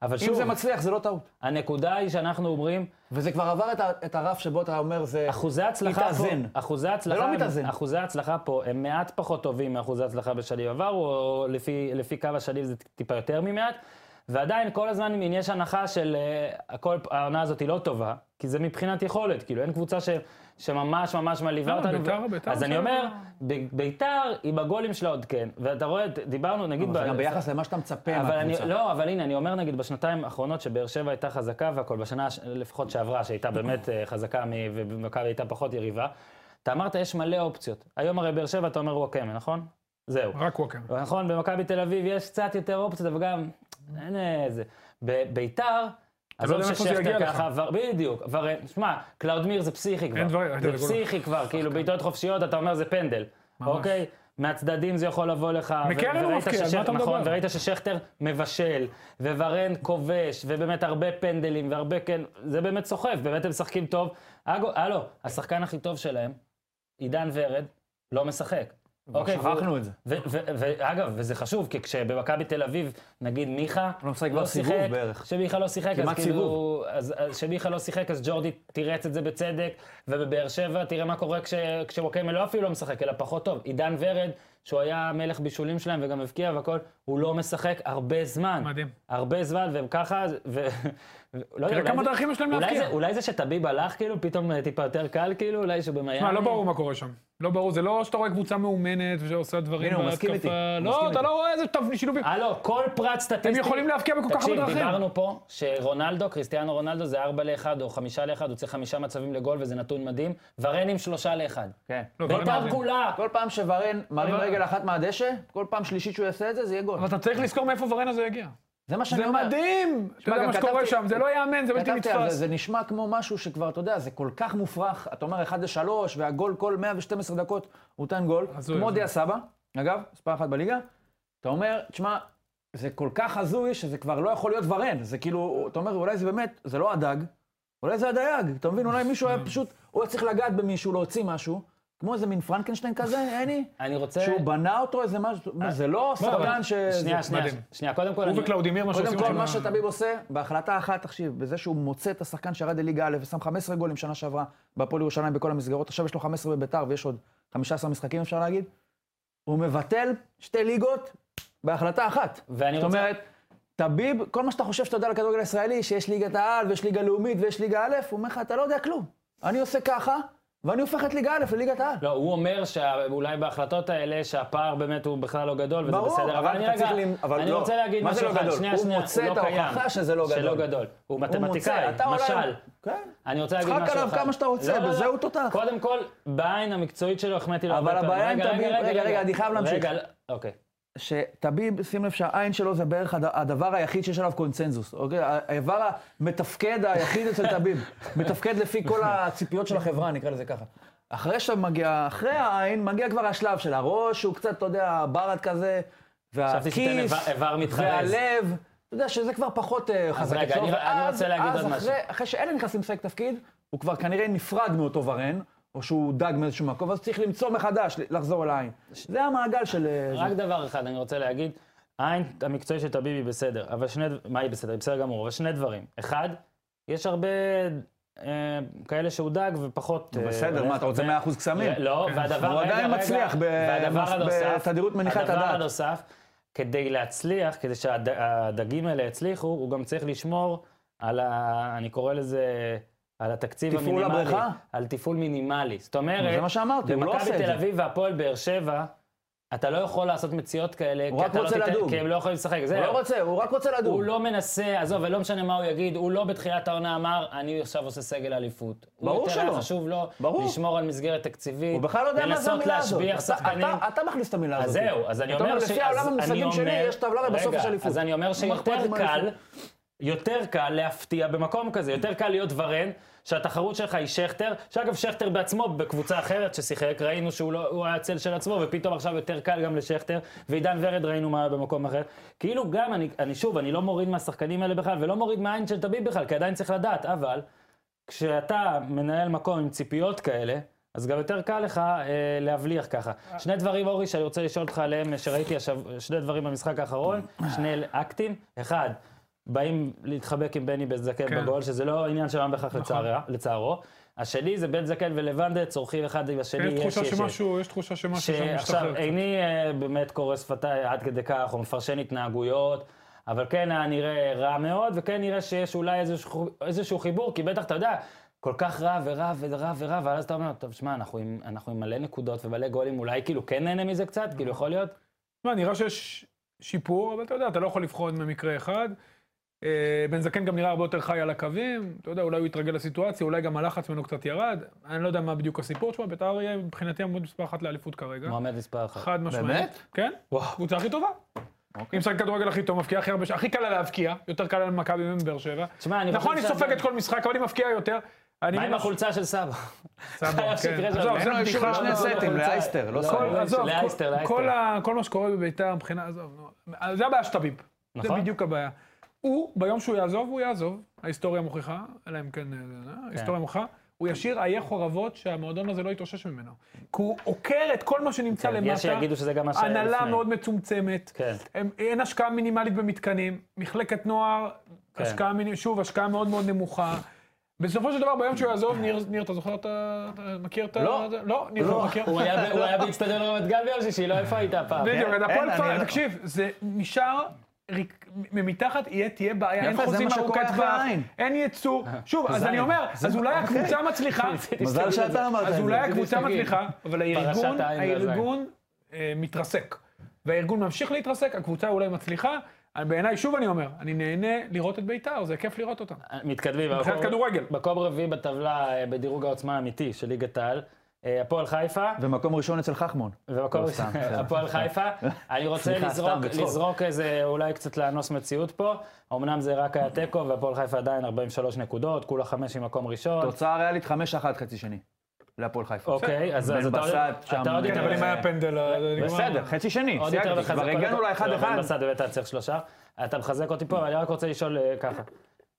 Speaker 1: אבל
Speaker 2: אם
Speaker 1: שוב,
Speaker 2: זה מצליח, זה לא טעות.
Speaker 1: הנקודה היא שאנחנו אומרים,
Speaker 2: וזה כבר עבר את ה- את הרף שבו אתה אומר, זה...
Speaker 1: אחוזי הצלחה
Speaker 2: מתאזן.
Speaker 1: פה, אחוזי הצלחה,
Speaker 2: זה לא מתאזן.
Speaker 1: אחוזי הצלחה פה הם מעט פחות טובים מאחוזי הצלחה בשנים עברו, או לפי, לפי קו השנים זה טיפה יותר ממעט, ועדיין כל הזמן אם יש הנחה של אה, הכל, העונה הזאת היא לא טובה, כי זה מבחינת יכולת, כאילו אין קבוצה ש, שממש ממש מלאיבה
Speaker 3: לא,
Speaker 1: אותנו.
Speaker 3: בית"ר-
Speaker 1: ו-
Speaker 3: בית"ר
Speaker 1: אז אני
Speaker 2: לא
Speaker 3: עכשיו-
Speaker 1: אומר, ב- ביתר עם הגולים שלה עוד כן, ואתה רואה, דיברנו נגיד...
Speaker 2: אבל לא, זה
Speaker 1: ב-
Speaker 2: גם ביחס למה שאתה מצפה
Speaker 1: אבל אני,
Speaker 2: מהקבוצה.
Speaker 1: לא, אבל הנה, אני אומר נגיד בשנתיים האחרונות שבאר שבע הייתה חזקה והכל, בשנה הש- לפחות שעברה, שהייתה באמת אה, חזקה מ- ומכבי הייתה פחות יריבה, אתה אמרת יש מלא אופציות. היום הרי באר שבע אתה אומר וואקמה, נכון? זהו.
Speaker 3: רק ווקר.
Speaker 1: נכון, במכבי תל אביב יש קצת יותר אופציות, אבל גם אין אה, איזה. בביתר,
Speaker 3: לא
Speaker 1: עזוב
Speaker 3: יודע מאיפה זה
Speaker 1: ששכטר
Speaker 3: יגיע
Speaker 1: ככה עבר, בדיוק, כבר, שמע, קלאודמיר זה פסיכי כבר.
Speaker 3: אין דברים,
Speaker 1: זה
Speaker 3: אתה יודע,
Speaker 1: פסיכי כבר, כאילו בעיטות חופשיות אתה אומר זה פנדל. אוקיי? מהצדדים זה יכול לבוא לך. ו-
Speaker 3: מקרן הוא
Speaker 1: וראית
Speaker 3: מבקיע,
Speaker 1: שש-
Speaker 3: על מה אתה
Speaker 1: נכון,
Speaker 3: מדבר?
Speaker 1: וראית ששכטר מבשל, וורן כובש, ובאמת הרבה פנדלים, והרבה כן, זה באמת סוחף, באמת הם משחקים אה, טוב. אגו- הלו, השחקן הכי טוב שלהם, עידן ורד, לא משחק. אוקיי,
Speaker 2: כבר שכחנו
Speaker 1: והוא-
Speaker 2: את זה.
Speaker 1: ו- ו- ואגב, וזה חשוב, כי כשבמכבי תל אביב, נגיד מיכה
Speaker 2: לא משחק כבר סיבוב בערך.
Speaker 1: כשמיכה לא שיחק, אז
Speaker 2: כמעט
Speaker 1: כאילו,
Speaker 2: סיבוב.
Speaker 1: אז אז כשמיכה לא שיחק, אז ג'ורדי תירץ את זה בצדק, ובבאר שבע, תראה מה קורה כש- כשווקמה לא אפילו לא משחק, אלא פחות טוב. עידן ורד, שהוא היה מלך בישולים שלהם וגם הבקיע והכל, הוא לא משחק הרבה זמן.
Speaker 3: מדהים. הרבה
Speaker 1: הרבה זמן, והם ככה, ו... ו- לא יודע, אולי
Speaker 3: כמה
Speaker 1: זה-
Speaker 3: דרכים יש להם
Speaker 1: אולי
Speaker 3: להבקיע.
Speaker 1: זה- אולי זה שטביב הלך, כאילו, פתאום אה, טיפה יותר קל, כאילו, אולי שבמיאמי...
Speaker 3: תשמע, לא ברור מה קורה שם. לא ברור, זה לא שאתה רואה קבוצה מאומנת ושעושה דברים
Speaker 2: הנה, הוא מסכים איתי. הוא
Speaker 3: לא,
Speaker 2: מסכים
Speaker 3: אתה
Speaker 2: איתי. אה,
Speaker 3: לא רואה איזה תבנ- שילובים.
Speaker 1: הלו, כל פרט סטטיסטי...
Speaker 3: הם יכולים להבקיע בכל כך הרבה דרכים.
Speaker 1: תקשיב, דיברנו פה שרונלדו, קריסטיאנו רונלדו זה 4 ל-1 או 5 ל-1, הוא צריך חמישה מצבים לגול וזה נתון מדהים. ורן עם 3 ל-1.
Speaker 2: כן.
Speaker 3: לא, ורן
Speaker 1: ביתר
Speaker 3: מדהים.
Speaker 1: כולה!
Speaker 2: כל פעם שוורן מרים
Speaker 3: אבל-
Speaker 2: רגל אחת מהדשא, כל פעם שלישית שהוא יעשה את זה, זה יהיה גול.
Speaker 3: אבל אתה צריך לזכור מאיפה ורן הזה הגיע.
Speaker 2: זה מה שאני
Speaker 3: זה
Speaker 2: אומר.
Speaker 3: מדהים! אתה יודע
Speaker 2: גם
Speaker 3: מה שקורה
Speaker 2: כתבתי-
Speaker 3: שם, זה לא ייאמן, זה בלתי
Speaker 2: כתבתי על זה,
Speaker 3: נתפס.
Speaker 2: זה נשמע כמו משהו שכבר, אתה יודע, זה כל כך מופרך. אתה אומר 1 ל-3, והגול כל 112 דקות הוא נותן גול.
Speaker 3: הזוי,
Speaker 2: כמו
Speaker 3: הזוי.
Speaker 2: דיה סבא, אגב, מספר אחת בליגה. אתה אומר, תשמע, זה כל כך הזוי שזה כבר לא יכול להיות ורן. זה כאילו, אתה אומר, אולי זה באמת, זה לא הדג, אולי זה הדייג. אתה מבין, אולי מישהו היה פשוט, הוא היה צריך לגעת במישהו, להוציא משהו. כמו איזה מין פרנקנשטיין כזה, הני?
Speaker 1: אני רוצה...
Speaker 2: שהוא בנה אותו איזה משהו, מה, זה לא
Speaker 3: אה, אבל-
Speaker 2: סרטן ש...
Speaker 1: שנייה, שנייה,
Speaker 3: מדהים.
Speaker 1: שנייה, קודם כל...
Speaker 3: הוא
Speaker 1: אני-
Speaker 3: וקלאודימיר, מה
Speaker 2: קודם
Speaker 3: שעושים
Speaker 2: כל,
Speaker 3: שם.
Speaker 2: מה שטביב עושה, בהחלטה אחת, תקשיב, בזה שהוא מוצא את השחקן שירד לליגה א' ושם 15 גולים שנה שעברה בהפועל ירושלים בכל המסגרות, עכשיו יש לו 15 בביתר ויש עוד 15 משחקים, אפשר להגיד, הוא מבטל שתי ליגות בהחלטה אחת.
Speaker 1: ואני
Speaker 2: זאת
Speaker 1: רוצה-
Speaker 2: אומרת, טביב, כל מה שאתה חושב שאתה יודע על הכדורגל הישראלי, שיש ליגת העל ויש ליגה לאומית ויש ליגה א', הוא אומר לך, אתה לא יודע כלום. אני עושה ככה, ואני הופך את ליגה א' לליגת העל.
Speaker 1: לא, הוא אומר שאולי בהחלטות האלה, שהפער באמת הוא בכלל לא גדול, וזה
Speaker 2: ברור,
Speaker 1: בסדר.
Speaker 2: אבל
Speaker 1: אני
Speaker 2: אתה
Speaker 1: רגע-
Speaker 2: צריך למ- אבל
Speaker 1: אני
Speaker 2: לא.
Speaker 1: רוצה להגיד
Speaker 2: מה זה
Speaker 1: משהו
Speaker 2: לא
Speaker 1: אחד,
Speaker 2: גדול?
Speaker 1: שנייה,
Speaker 2: הוא
Speaker 1: שנייה,
Speaker 2: מוצא
Speaker 1: לא
Speaker 2: את ההוכחה
Speaker 1: קיים.
Speaker 2: שזה לא
Speaker 1: שלא
Speaker 2: גדול.
Speaker 1: גדול. הוא
Speaker 2: הוא
Speaker 1: מתמטיקאי,
Speaker 2: מוצא, אתה אולי-
Speaker 1: משל.
Speaker 2: כן.
Speaker 1: אני רוצה להגיד משהו
Speaker 2: צחק
Speaker 1: אחד. לא,
Speaker 2: עליו כמה שאתה רוצה, בזה הוא תותח.
Speaker 1: קודם כל, בעין המקצועית שלו החמאתי לו הרבה
Speaker 2: אבל
Speaker 1: פעמים.
Speaker 2: הבעיה עם
Speaker 1: רגע,
Speaker 2: תביב- רגע, רגע, אני חייב להמשיך.
Speaker 1: רגע, לא- אוקיי.
Speaker 2: שטביב, שים לב שהעין שלו זה בערך הד- הדבר היחיד שיש עליו קונצנזוס, אוקיי? ה- האיבר המתפקד היחיד אצל טביב. מתפקד לפי כל הציפיות של החברה, נקרא לזה ככה. אחרי שאתה מגיע, אחרי העין, מגיע כבר השלב של הראש, שהוא קצת, אתה יודע, ברד כזה,
Speaker 1: חשבתי שתיתן
Speaker 2: והכיס,
Speaker 1: איבר- איבר מתחרז.
Speaker 2: והלב. אתה יודע שזה כבר פחות אה, חזק
Speaker 1: רגע, אני- אני רוצה להגיד עוד
Speaker 2: אז
Speaker 1: משהו.
Speaker 2: אחרי, אחרי שאלה נכנסים לשחק תפקיד, הוא כבר כנראה נפרד מאותו ורן, או שהוא דג מאיזשהו מקום, אז צריך למצוא מחדש, לחזור אל העין. זה המעגל של... אה, זה.
Speaker 1: רק דבר אחד אני רוצה להגיד, העין המקצועי של טביב היא בסדר, אבל שני, דב- מה היא בסדר? היא בסדר גמור, אבל שני דברים. אחד, יש הרבה אה, כאלה שהוא דג ופחות... אה,
Speaker 2: בסדר, מה, אתה רוצה
Speaker 1: ו-
Speaker 2: 100% קסמים?
Speaker 1: לא, והדבר...
Speaker 2: הוא
Speaker 1: רגע,
Speaker 2: עדיין
Speaker 1: רגע,
Speaker 2: מצליח ב-
Speaker 1: והדבר
Speaker 2: מס-
Speaker 1: הנוסף-
Speaker 2: בתדירות מניחת
Speaker 1: הדבר
Speaker 2: הדעת.
Speaker 1: הנוסף, כדי להצליח, כדי שהדגים האלה יצליחו, הוא גם צריך לשמור על ה... אני קורא לזה... על התקציב
Speaker 2: תפעול
Speaker 1: המינימלי.
Speaker 2: הבריכה?
Speaker 1: על תפעול מינימלי. זאת אומרת,
Speaker 2: זה מה שאמרתי, הוא לא עושה את
Speaker 1: במכבי תל
Speaker 2: זה.
Speaker 1: אביב והפועל באר שבע, אתה לא יכול לעשות מציאות כאלה,
Speaker 2: הוא
Speaker 1: כי
Speaker 2: רק
Speaker 1: אתה
Speaker 2: רוצה
Speaker 1: לא תיתן-
Speaker 2: לדוג.
Speaker 1: כי הם לא יכולים לשחק. זהו.
Speaker 2: הוא לא רוצה, הוא רק רוצה לדור.
Speaker 1: הוא לא מנסה, עזוב, ולא משנה מה הוא יגיד, הוא לא בתחילת העונה אמר, אני עכשיו עושה סגל אליפות.
Speaker 2: ברור
Speaker 1: הוא יותר
Speaker 2: שלא.
Speaker 1: היה חשוב לו
Speaker 2: ברור.
Speaker 1: לשמור על מסגרת תקציבית,
Speaker 2: הוא בכלל לא יודע מה זה המילה הזאת.
Speaker 1: לנסות להשביח
Speaker 2: אתה-
Speaker 1: שחקנים.
Speaker 2: אתה- אתה מכניס את המילה הזאת.
Speaker 1: אז זהו, אז אני
Speaker 2: אתה
Speaker 1: אומר
Speaker 2: לפי העולם המושגים שלי, יש טבלה ובסוף יש אליפות.
Speaker 1: אז אני אומר
Speaker 2: מה אכפת לי
Speaker 1: שיותר
Speaker 2: מה
Speaker 1: קל,
Speaker 2: אליפות?
Speaker 1: יותר קל להפתיע במקום כזה, יותר קל להיות ורן, שהתחרות שלך היא שכטר, שאגב, שכטר בעצמו בקבוצה אחרת ששיחק, ראינו שהוא לא, הוא היה צל של עצמו, ופתאום עכשיו יותר קל גם לשכטר, ועידן ורד ראינו מה היה במקום אחר. כאילו גם, אני, אני שוב, אני לא מוריד מהשחקנים האלה בכלל, ולא מוריד מהעין של טביב בכלל, כי עדיין צריך לדעת, אבל... כשאתה מנהל מקום עם ציפיות כאלה, אז גם יותר קל לך אה, להבליח ככה. שני דברים, אורי, שאני רוצה לשאול אותך עליהם, שראיתי השב... שני דברים במשחק האחרון, שני אקטים. אחד, באים להתחבק עם בני בן זקן
Speaker 3: כן. נכון.
Speaker 1: בגול, שזה לא עניין של מה בכך לצערה- לצערו. השני זה בן זקן ולבנדה צורכים אחד עם השני.
Speaker 3: יש כן, תחושה
Speaker 1: יש, יש.
Speaker 3: שמשהו, יש תחושה שמשהו שם משתחרר.
Speaker 1: שעכשיו, איני אה, באמת קורא שפתיי עד כדי כך, או מפרשן התנהגויות, אבל כן היה נראה רע מאוד, וכן נראה שיש אולי איזשהו, איזשהו חיבור, כי בטח, אתה יודע, כל כך רע ורע ורע ורע, ואז אתה אומר, טוב, שמע, אנחנו, עם- אנחנו עם מלא נקודות ומלא גולים, אולי כאילו כן נהנה מזה קצת, כאילו יכול להיות?
Speaker 3: מה, נראה שיש שיפור, אבל אתה יודע, אתה לא יכול לבחון ממקרה אחד. אה, בן זקן גם נראה הרבה יותר חי על הקווים, אתה יודע, אולי הוא התרגל לסיטואציה, אולי גם הלחץ ממנו קצת ירד, אני לא יודע מה בדיוק הסיפור, תשמע, בית"ר יהיה מבחינתי עמוד מספר אחת לאליפות כרגע.
Speaker 1: מועמד מספר אחת.
Speaker 3: חד משמעית.
Speaker 2: באמת?
Speaker 3: כן.
Speaker 1: וואו.
Speaker 3: קבוצה הכי טובה.
Speaker 1: אוקיי.
Speaker 3: היא משחק כדורגל הכי טוב, מבקיעה הכי הרבה, ש- הכי קל לה להבקיע, יותר קל לה למכבי מבאר שבע.
Speaker 1: תשמע, אני
Speaker 3: נכון,
Speaker 1: חושב
Speaker 3: היא
Speaker 1: שזה-
Speaker 3: סופגת כל משחק, אבל היא מבקיעה יותר. אני
Speaker 1: מה עם
Speaker 3: אגיד לך-
Speaker 1: החולצה של סבא?
Speaker 3: סבא, כן. עזוב, זה
Speaker 2: אין לו אישור
Speaker 3: בדיחה.
Speaker 2: לשני סטים, לאייסטר, לא
Speaker 3: כל-
Speaker 2: סבבה.
Speaker 1: לא,
Speaker 3: עזוב,
Speaker 1: לאייסטר,
Speaker 3: כל-
Speaker 1: לאייסטר.
Speaker 3: כל ה- כל מה שקורה בביתר מבחינה, עזוב, נו, זה הבעיה של טביב. זה
Speaker 1: נכון.
Speaker 3: בדיוק הבעיה. הוא, ביום שהוא יעזוב, הוא יעזוב. אה, ההיסטוריה מוכיחה, אלא אם כן, אה, ההיסטוריה מוכיחה. הוא ישאיר עיי חורבות שהמועדון הזה לא יתאושש ממנו. כי הוא עוקר את כל מה שנמצא
Speaker 1: כן,
Speaker 3: למטה.
Speaker 1: יש שיגידו שזה גם מה שהיה
Speaker 3: הנהלה
Speaker 1: לפני.
Speaker 3: מאוד מצומצמת.
Speaker 1: כן.
Speaker 3: הם- אין השקעה מינימלית במתקנים. מחלקת נוער,
Speaker 1: כן.
Speaker 3: השקעה מינימלית, שוב, השקעה מאוד מאוד נמוכה. בסופו של דבר, ביום שהוא יעזוב, ניר, ניר, אתה זוכר את ה... אתה מכיר את ה...
Speaker 2: לא.
Speaker 3: זה? לא, ניר, לא מכיר.
Speaker 1: הוא היה ב- הוא היה באצטדיון רמת גן ביום שישי, לא איפה היית הפעם?
Speaker 3: בדיוק,
Speaker 2: אין,
Speaker 3: אז הפועל
Speaker 2: אני
Speaker 3: כפר,
Speaker 2: לא-
Speaker 3: תקשיב, זה נשאר... ריק- מ- מתחת יהיה, תהיה בעיה, אין
Speaker 2: יפה, זה
Speaker 3: חוזים
Speaker 2: מה
Speaker 3: ארוכי
Speaker 2: שקורה אחרי
Speaker 3: טווח,
Speaker 2: העין. אה,
Speaker 3: אין ייצור. שוב, אז
Speaker 1: זין.
Speaker 3: אני אומר, אז אולי
Speaker 2: אוקיי.
Speaker 3: הקבוצה מצליחה,
Speaker 2: מזל שאתה אמרת את
Speaker 3: אז
Speaker 2: זה.
Speaker 3: אולי
Speaker 1: רציתי
Speaker 3: הקבוצה
Speaker 1: שתגיד.
Speaker 3: מצליחה, אבל הארגון,
Speaker 1: פרשת העין
Speaker 2: לא
Speaker 1: והזין.
Speaker 3: הארגון אה, מתרסק. והארגון ממשיך להתרסק, הקבוצה אולי מצליחה. אני- בעיניי, שוב אני אומר, אני נהנה לראות את בית"ר, זה כיף לראות אותה.
Speaker 1: מתקדמים.
Speaker 3: מבחינת
Speaker 1: מקום-
Speaker 3: כדורגל.
Speaker 1: כן, מקום רביעי בטבלה אה, בדירוג העוצמה האמיתי של ליגת העל. אה, הפועל חיפה,
Speaker 2: ומקום ראשון אצל חכמון.
Speaker 1: ומקום
Speaker 2: לא, סתם, בסדר.
Speaker 1: הפועל חיפה. אני רוצה
Speaker 2: סליחה,
Speaker 1: לזרוק-
Speaker 2: סתם, בצחוק.
Speaker 1: לזרוק איזה, אולי קצת לאנוס מציאות פה. אמנם זה רק היה תיקו, והפועל חיפה עדיין 43 נקודות, כולה חמש ממקום ראשון.
Speaker 2: תוצאה ריאלית 5-1 חצי שני. להפועל חיפה.
Speaker 1: אוקיי, אז אז
Speaker 2: בן
Speaker 1: אתה עוד-
Speaker 2: בסט שם.
Speaker 1: אתה עוד
Speaker 2: כן,
Speaker 1: יותר-
Speaker 2: אבל אם היה
Speaker 3: פנדל, אה,
Speaker 1: בסדר.
Speaker 2: חצי שני,
Speaker 1: עוד יותר
Speaker 2: סייגתי,
Speaker 1: מחזק
Speaker 2: כבר
Speaker 1: אותי.
Speaker 2: הגענו
Speaker 1: לא, בן
Speaker 2: ל-1-1.
Speaker 1: בסט באמת היה צריך שלושה. אתה מחזק אותי פה, אבל אני רק רוצה לשאול אה, ככה.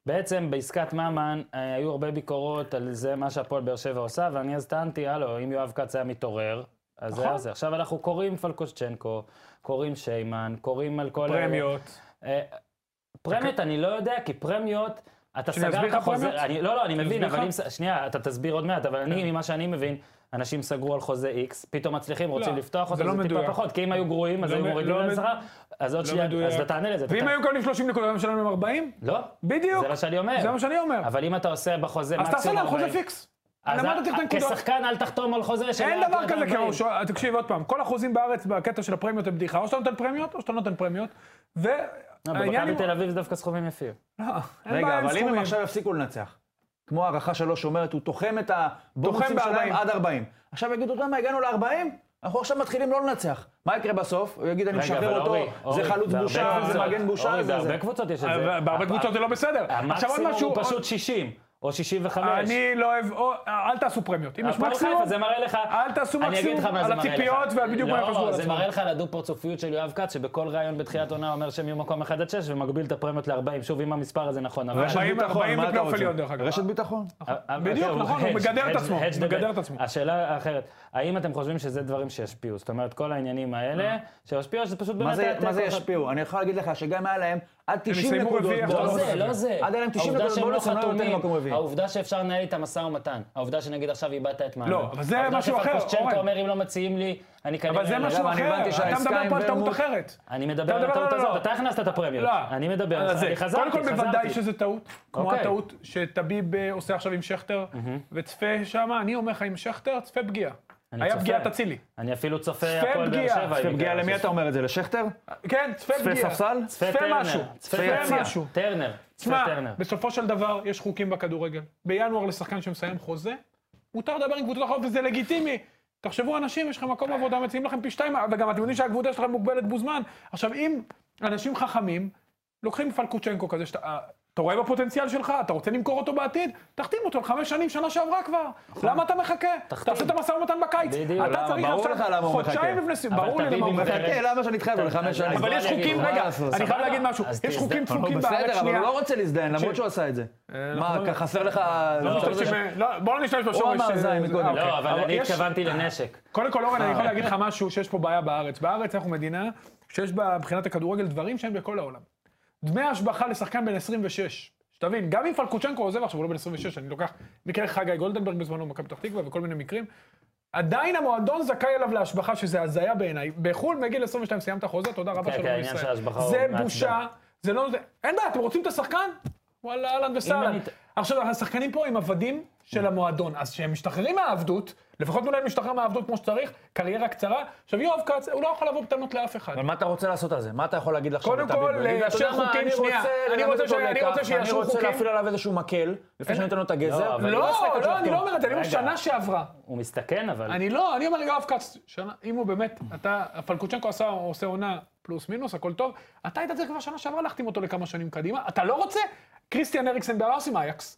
Speaker 1: בעצם בעסקת ממן אה, היו הרבה ביקורות על זה, מה שהפועל באר שבע עושה, ואני אז טענתי, הלו, אם יואב כץ היה מתעורר, אז זה
Speaker 3: נכון.
Speaker 1: היה זה. עכשיו אנחנו קוראים פלקושצ'נקו, קוראים שיימן, קוראים על כל... אלה.
Speaker 3: פרמיות.
Speaker 1: אה, פרמיות אני לא יודע, כי פרמיות, אתה
Speaker 3: שאני אסביר
Speaker 1: סגרת
Speaker 3: לך פרמיות?
Speaker 1: חוזה... אני- לא, לא, אני מבין,
Speaker 3: אסביר
Speaker 1: אבל
Speaker 3: לך? כן.
Speaker 1: אם... ס- שנייה, אתה תסביר עוד מעט, אבל אני, ממה שאני מבין, אנשים סגרו על חוזה X, פתאום מצליחים, רוצים
Speaker 3: לא,
Speaker 1: לפתוח
Speaker 3: זה
Speaker 1: אותו,
Speaker 3: לא
Speaker 1: זה טיפה
Speaker 3: מדויק.
Speaker 1: פחות, כי אם היו גרועים, אז
Speaker 3: לא
Speaker 1: היו
Speaker 3: מ-
Speaker 1: מורידים
Speaker 3: לא
Speaker 1: להם
Speaker 3: מ-
Speaker 1: שכר, אז עוד
Speaker 3: לא
Speaker 1: שנייה,
Speaker 3: מדויק.
Speaker 1: אז אתה תענה לזה. אתה
Speaker 3: ואם
Speaker 1: תענה.
Speaker 3: היו מקבלים 30 נקודות, היום משלמים 40?
Speaker 1: לא,
Speaker 3: בדיוק.
Speaker 1: זה מה שאני אומר.
Speaker 3: זה מה שאני אומר.
Speaker 1: אבל אם אתה עושה בחוזה
Speaker 3: אז
Speaker 1: מקסימום...
Speaker 3: תעשה להם חוזה
Speaker 1: 40,
Speaker 3: פיקס.
Speaker 1: אוקיי. אז
Speaker 3: למדת את
Speaker 1: אה,
Speaker 3: הנקודות.
Speaker 1: כשחקן אל תחתום על חוזה של...
Speaker 3: אין
Speaker 1: עד
Speaker 3: דבר
Speaker 1: עד
Speaker 3: כזה
Speaker 1: 40.
Speaker 3: כמו ש... תקשיב עוד פעם, כל החוזים בארץ בקטע של הפרמיות הם בדיחה, או שאתה נותן פרמיות, או שאתה נותן פרמיות.
Speaker 1: לא,
Speaker 3: והעניין
Speaker 1: במכבי
Speaker 3: עם...
Speaker 1: תל אביב זה דווקא סכומים יפים.
Speaker 3: לא, אין בעיה
Speaker 2: רגע, אבל
Speaker 3: עם
Speaker 2: אם הם
Speaker 3: סכומים.
Speaker 2: עכשיו יפסיקו לנצח, כמו הערכה שלוש אומרת, הוא תוחם את הבונוסים
Speaker 3: תוחם
Speaker 2: שלהם
Speaker 3: ב-40.
Speaker 2: עד 40. עכשיו יגידו, אתה יודע מה, הגענו ל-40, אנחנו עכשיו מתחילים לא לנצח. מה יקרה בסוף? הוא יגיד, אני
Speaker 1: רגע,
Speaker 2: משחרר
Speaker 1: אבל
Speaker 2: אותו,
Speaker 1: אורי,
Speaker 2: זה
Speaker 1: אורי,
Speaker 2: חלוץ
Speaker 1: בהרבה
Speaker 2: בושה, זה
Speaker 1: קבוצות-
Speaker 2: מגן בושה,
Speaker 1: אורי,
Speaker 2: זה זה.
Speaker 1: בהרבה קבוצות יש את זה. אה,
Speaker 3: אבל בהרבה קבוצות זה לא בסדר. עכשיו עוד
Speaker 1: המקסימום
Speaker 3: משהו...
Speaker 1: הוא פשוט 60, או 65.
Speaker 3: אני לא אוהב... או- אל תעשו פרמיות. אם יש
Speaker 1: הפועל
Speaker 3: מקסימום...
Speaker 1: חיפה, זה מראה לך...
Speaker 3: אל תעשו
Speaker 1: אני אגיד לך
Speaker 3: מקסימום
Speaker 1: מה זה
Speaker 3: על
Speaker 1: מראה לך.
Speaker 3: הציפיות ועל בדיוק מה הם חשבו
Speaker 1: לא,
Speaker 3: על
Speaker 1: זה
Speaker 3: עצמם.
Speaker 1: מראה לך על הדו-פרצופיות של יואב כץ, שבכל ראיון בתחילת עונה אומר שהם יהיו מקום 1 עד 6, ומגביל את הפרמיות ל-40. שוב, אם המספר הזה נכון, אבל...
Speaker 2: רשת
Speaker 3: 40
Speaker 2: ביטחון,
Speaker 3: זה
Speaker 2: מה אתה
Speaker 3: פלייאוף
Speaker 2: רוצה?
Speaker 3: עליון, דרך אגב.
Speaker 2: רשת ביטחון.
Speaker 3: בדיוק, נכון, הוא מגדר את עצמו, הוא מגדר את עצמו.
Speaker 1: השאלה האחרת, האם אתם חושבים שזה דברים שישפיעו? זאת אומרת, כל העניינים
Speaker 3: אה.
Speaker 1: האלה, שישפיעו, שזה פשוט
Speaker 2: מה
Speaker 1: באמת...
Speaker 2: זה-
Speaker 1: היה
Speaker 2: מה זה
Speaker 1: תיקו אחד.
Speaker 2: ישפיעו? אני יכול להגיד לך שגם היה להם עד 90
Speaker 3: יסיימו
Speaker 2: נקודות.
Speaker 3: רביעי,
Speaker 1: לא
Speaker 3: אבל
Speaker 2: בונוס.
Speaker 1: זה, לא זה.
Speaker 2: עד היה להם 90
Speaker 1: העובדה
Speaker 2: נקודות
Speaker 1: שהם לא
Speaker 2: בונוס, הם לא היו יותר
Speaker 1: חתומים,
Speaker 2: ממקום רביעי.
Speaker 1: העובדה שאפשר לנהל איתם משא ומתן. העובדה שנגיד עכשיו איבדת את מעמד.
Speaker 3: לא, אבל זה
Speaker 1: העובדה
Speaker 3: משהו אחר,
Speaker 1: שפלקושצ'נקו
Speaker 3: אורן.
Speaker 1: אומר, אם לא מציעים לי, אני כנראה...
Speaker 3: אבל זה
Speaker 1: לא."
Speaker 3: משהו
Speaker 2: אגב, אני
Speaker 3: אחר,
Speaker 2: הבנתי
Speaker 3: אתה
Speaker 2: שהעסקה
Speaker 3: מדבר
Speaker 2: עם
Speaker 3: פה על טעות
Speaker 2: ורמוט-
Speaker 3: אחרת.
Speaker 1: אני מדבר
Speaker 3: אתה
Speaker 1: על
Speaker 3: מדבר-
Speaker 1: הטעות
Speaker 3: לא, לא,
Speaker 1: הזאת,
Speaker 3: לא.
Speaker 1: אתה הכנסת את הפרמיות.
Speaker 3: לא.
Speaker 1: אה, אני מדבר,
Speaker 3: אז זה.
Speaker 1: אני חזרתי,
Speaker 3: קודם כל
Speaker 1: חזרתי.
Speaker 3: בוודאי שזה טעות, כמו
Speaker 1: אוקיי.
Speaker 3: הטעות שטביב אה, עושה עכשיו עם שכטר, וצפה שם, אני אומר לך, עם שכטר, צפה פגיעה.
Speaker 1: אני
Speaker 3: היה
Speaker 1: צופה.
Speaker 3: פגיעת אצילי.
Speaker 1: אני אפילו צופה
Speaker 3: צפה
Speaker 1: הפועל באר
Speaker 3: פגיעה,
Speaker 1: שבע.
Speaker 3: צפה
Speaker 1: אני
Speaker 2: פגיעה
Speaker 1: יודע,
Speaker 2: למי אתה אומר את זה? לשכטר?
Speaker 3: כן, צפה
Speaker 2: צפה
Speaker 3: פגיעה.
Speaker 2: ספסל?
Speaker 1: צפה
Speaker 3: צפה
Speaker 1: טרנר,
Speaker 3: משהו,
Speaker 1: צפה
Speaker 3: צפה
Speaker 1: יציע,
Speaker 3: משהו.
Speaker 1: טרנר, צפה
Speaker 3: תשמע,
Speaker 1: טרנר.
Speaker 3: בסופו של דבר יש חוקים בכדורגל. בינואר לשחקן שמסיים חוזה, מותר לדבר עם קבוצות אחרות וזה לגיטימי. תחשבו, אנשים, יש לכם מקום עבודה, מציעים לכם פי שתיים, וגם אתם יודעים שהקבוצה שלכם מוגבלת בוזמן. עכשיו, אם אנשים חכמים, לוקחים פלקוצ'נקו כזה, שאתה אה, אתה רואה בפוטנציאל שלך, אתה רוצה למכור אותו בעתיד, תחתים אותו לחמש שנים, שנה שעברה כבר. למה אתה מחכה? תעשה את המשא ומתן בקיץ.
Speaker 1: נכון. בדיוק.
Speaker 3: אתה
Speaker 2: למה? ברור
Speaker 3: צריך עכשיו
Speaker 2: לך למה הוא מחכה.
Speaker 3: חודשיים לפני סיום,
Speaker 1: אבל
Speaker 3: ברור לי
Speaker 1: תביא
Speaker 3: למה הוא
Speaker 1: במקרה-
Speaker 3: מחכה.
Speaker 2: חכה, למה שאני אתחייב לו לחמש שנים?
Speaker 1: אז
Speaker 3: אבל
Speaker 1: בוא
Speaker 3: יש
Speaker 1: אני אגיד,
Speaker 3: חוקים,
Speaker 1: מה
Speaker 3: רגע,
Speaker 2: לעשות,
Speaker 3: אני חייב
Speaker 1: סבבה?
Speaker 3: להגיד משהו,
Speaker 1: אז
Speaker 3: יש חוקים
Speaker 1: תזדהה.
Speaker 3: חוקים בארץ,
Speaker 2: בסדר, אבל
Speaker 3: שנייה.
Speaker 2: הוא לא רוצה להזדהן, למרות שהוא עשה את זה. מה,
Speaker 3: אנחנו-
Speaker 2: חסר לך...
Speaker 3: לא,
Speaker 2: זה-
Speaker 3: תקשיב, לא, בואו לא נשתמש בשורש.
Speaker 2: אמר
Speaker 3: אה,
Speaker 2: זין
Speaker 3: זה-
Speaker 2: מקודם.
Speaker 3: אה, אוקיי.
Speaker 1: לא, אבל אני
Speaker 3: יש-
Speaker 1: התכוונתי לנשק.
Speaker 3: קודם כל, אורן, אני
Speaker 1: אה.
Speaker 3: יכול להגיד לך משהו שיש פה בעיה בארץ. בארץ אנחנו מדינה שיש בה, מבחינת הכדורגל, דברים שהם בכל העולם. דמי השבחה לשחקן בן 26. שתבין, גם אם פלקוצ'נקו עוזב עכשיו, הוא לא בן 26, אני לוקח מקרה חגי גולדנברג בזמנו במכבי פתח תקווה וכל מיני מקרים. עדיין המועדון זכאי אליו להשבחה, שזה הזיה בעיניי. בחו"ל, מגיל 22 סיימת חוזה, תודה רבה
Speaker 1: כן,
Speaker 3: שלום
Speaker 1: כן, העניין של
Speaker 3: לישראל.
Speaker 1: ההשבחה הוא
Speaker 3: זה
Speaker 1: מעצבן.
Speaker 3: בושה, זה לא... זה- אין בעיה, אתם רוצים את השחקן? וואלה, אהלן וסהלן.
Speaker 1: אני-
Speaker 3: עכשיו, השחקנים פה הם עבדים של המועדון, אז כשהם משתחררים מהעבדות, לפחות אולי הם משתחרר מהעבדות כמו שצריך, קריירה קצרה. עכשיו, יואב כץ, הוא לא יכול לבוא בטענות לאף אחד. לא,
Speaker 2: אבל מה אתה רוצה לעשות על זה? מה אתה יכול להגיד לך?
Speaker 3: קודם
Speaker 2: שתביב?
Speaker 3: כל,
Speaker 2: להגיד, אתה
Speaker 3: ליישר
Speaker 2: יודע מה,
Speaker 3: חוקים,
Speaker 2: אני
Speaker 3: שנייה.
Speaker 2: רוצה
Speaker 3: אני
Speaker 2: ללמד
Speaker 3: רוצה
Speaker 2: אותו
Speaker 3: ש- אני
Speaker 2: לקח,
Speaker 3: רוצה שיאשרו
Speaker 2: אני רוצה
Speaker 3: חוקים.
Speaker 2: להפעיל עליו איזשהו מקל, לפני שאני נותן לו את
Speaker 1: לא,
Speaker 2: הגזר.
Speaker 1: אבל
Speaker 3: לא,
Speaker 2: אעשה כזה
Speaker 3: לא, אני
Speaker 2: טוב.
Speaker 3: לא אומר את זה, אני אומר
Speaker 1: רגע.
Speaker 3: שנה שעברה.
Speaker 1: הוא מסתכן, אבל...
Speaker 3: אני לא, אני אומר יואב כץ, שנה- אם הוא באמת, אתה, פלקוצ'נקו עשה, עושה עונה פלוס מינוס, הכל טוב, אתה היית צריך כבר שנה שעברה להחתים אותו לכמה שנים קדימה, אתה לא רוצה? קריסטיאן הריקסן בהרס עם אייקס.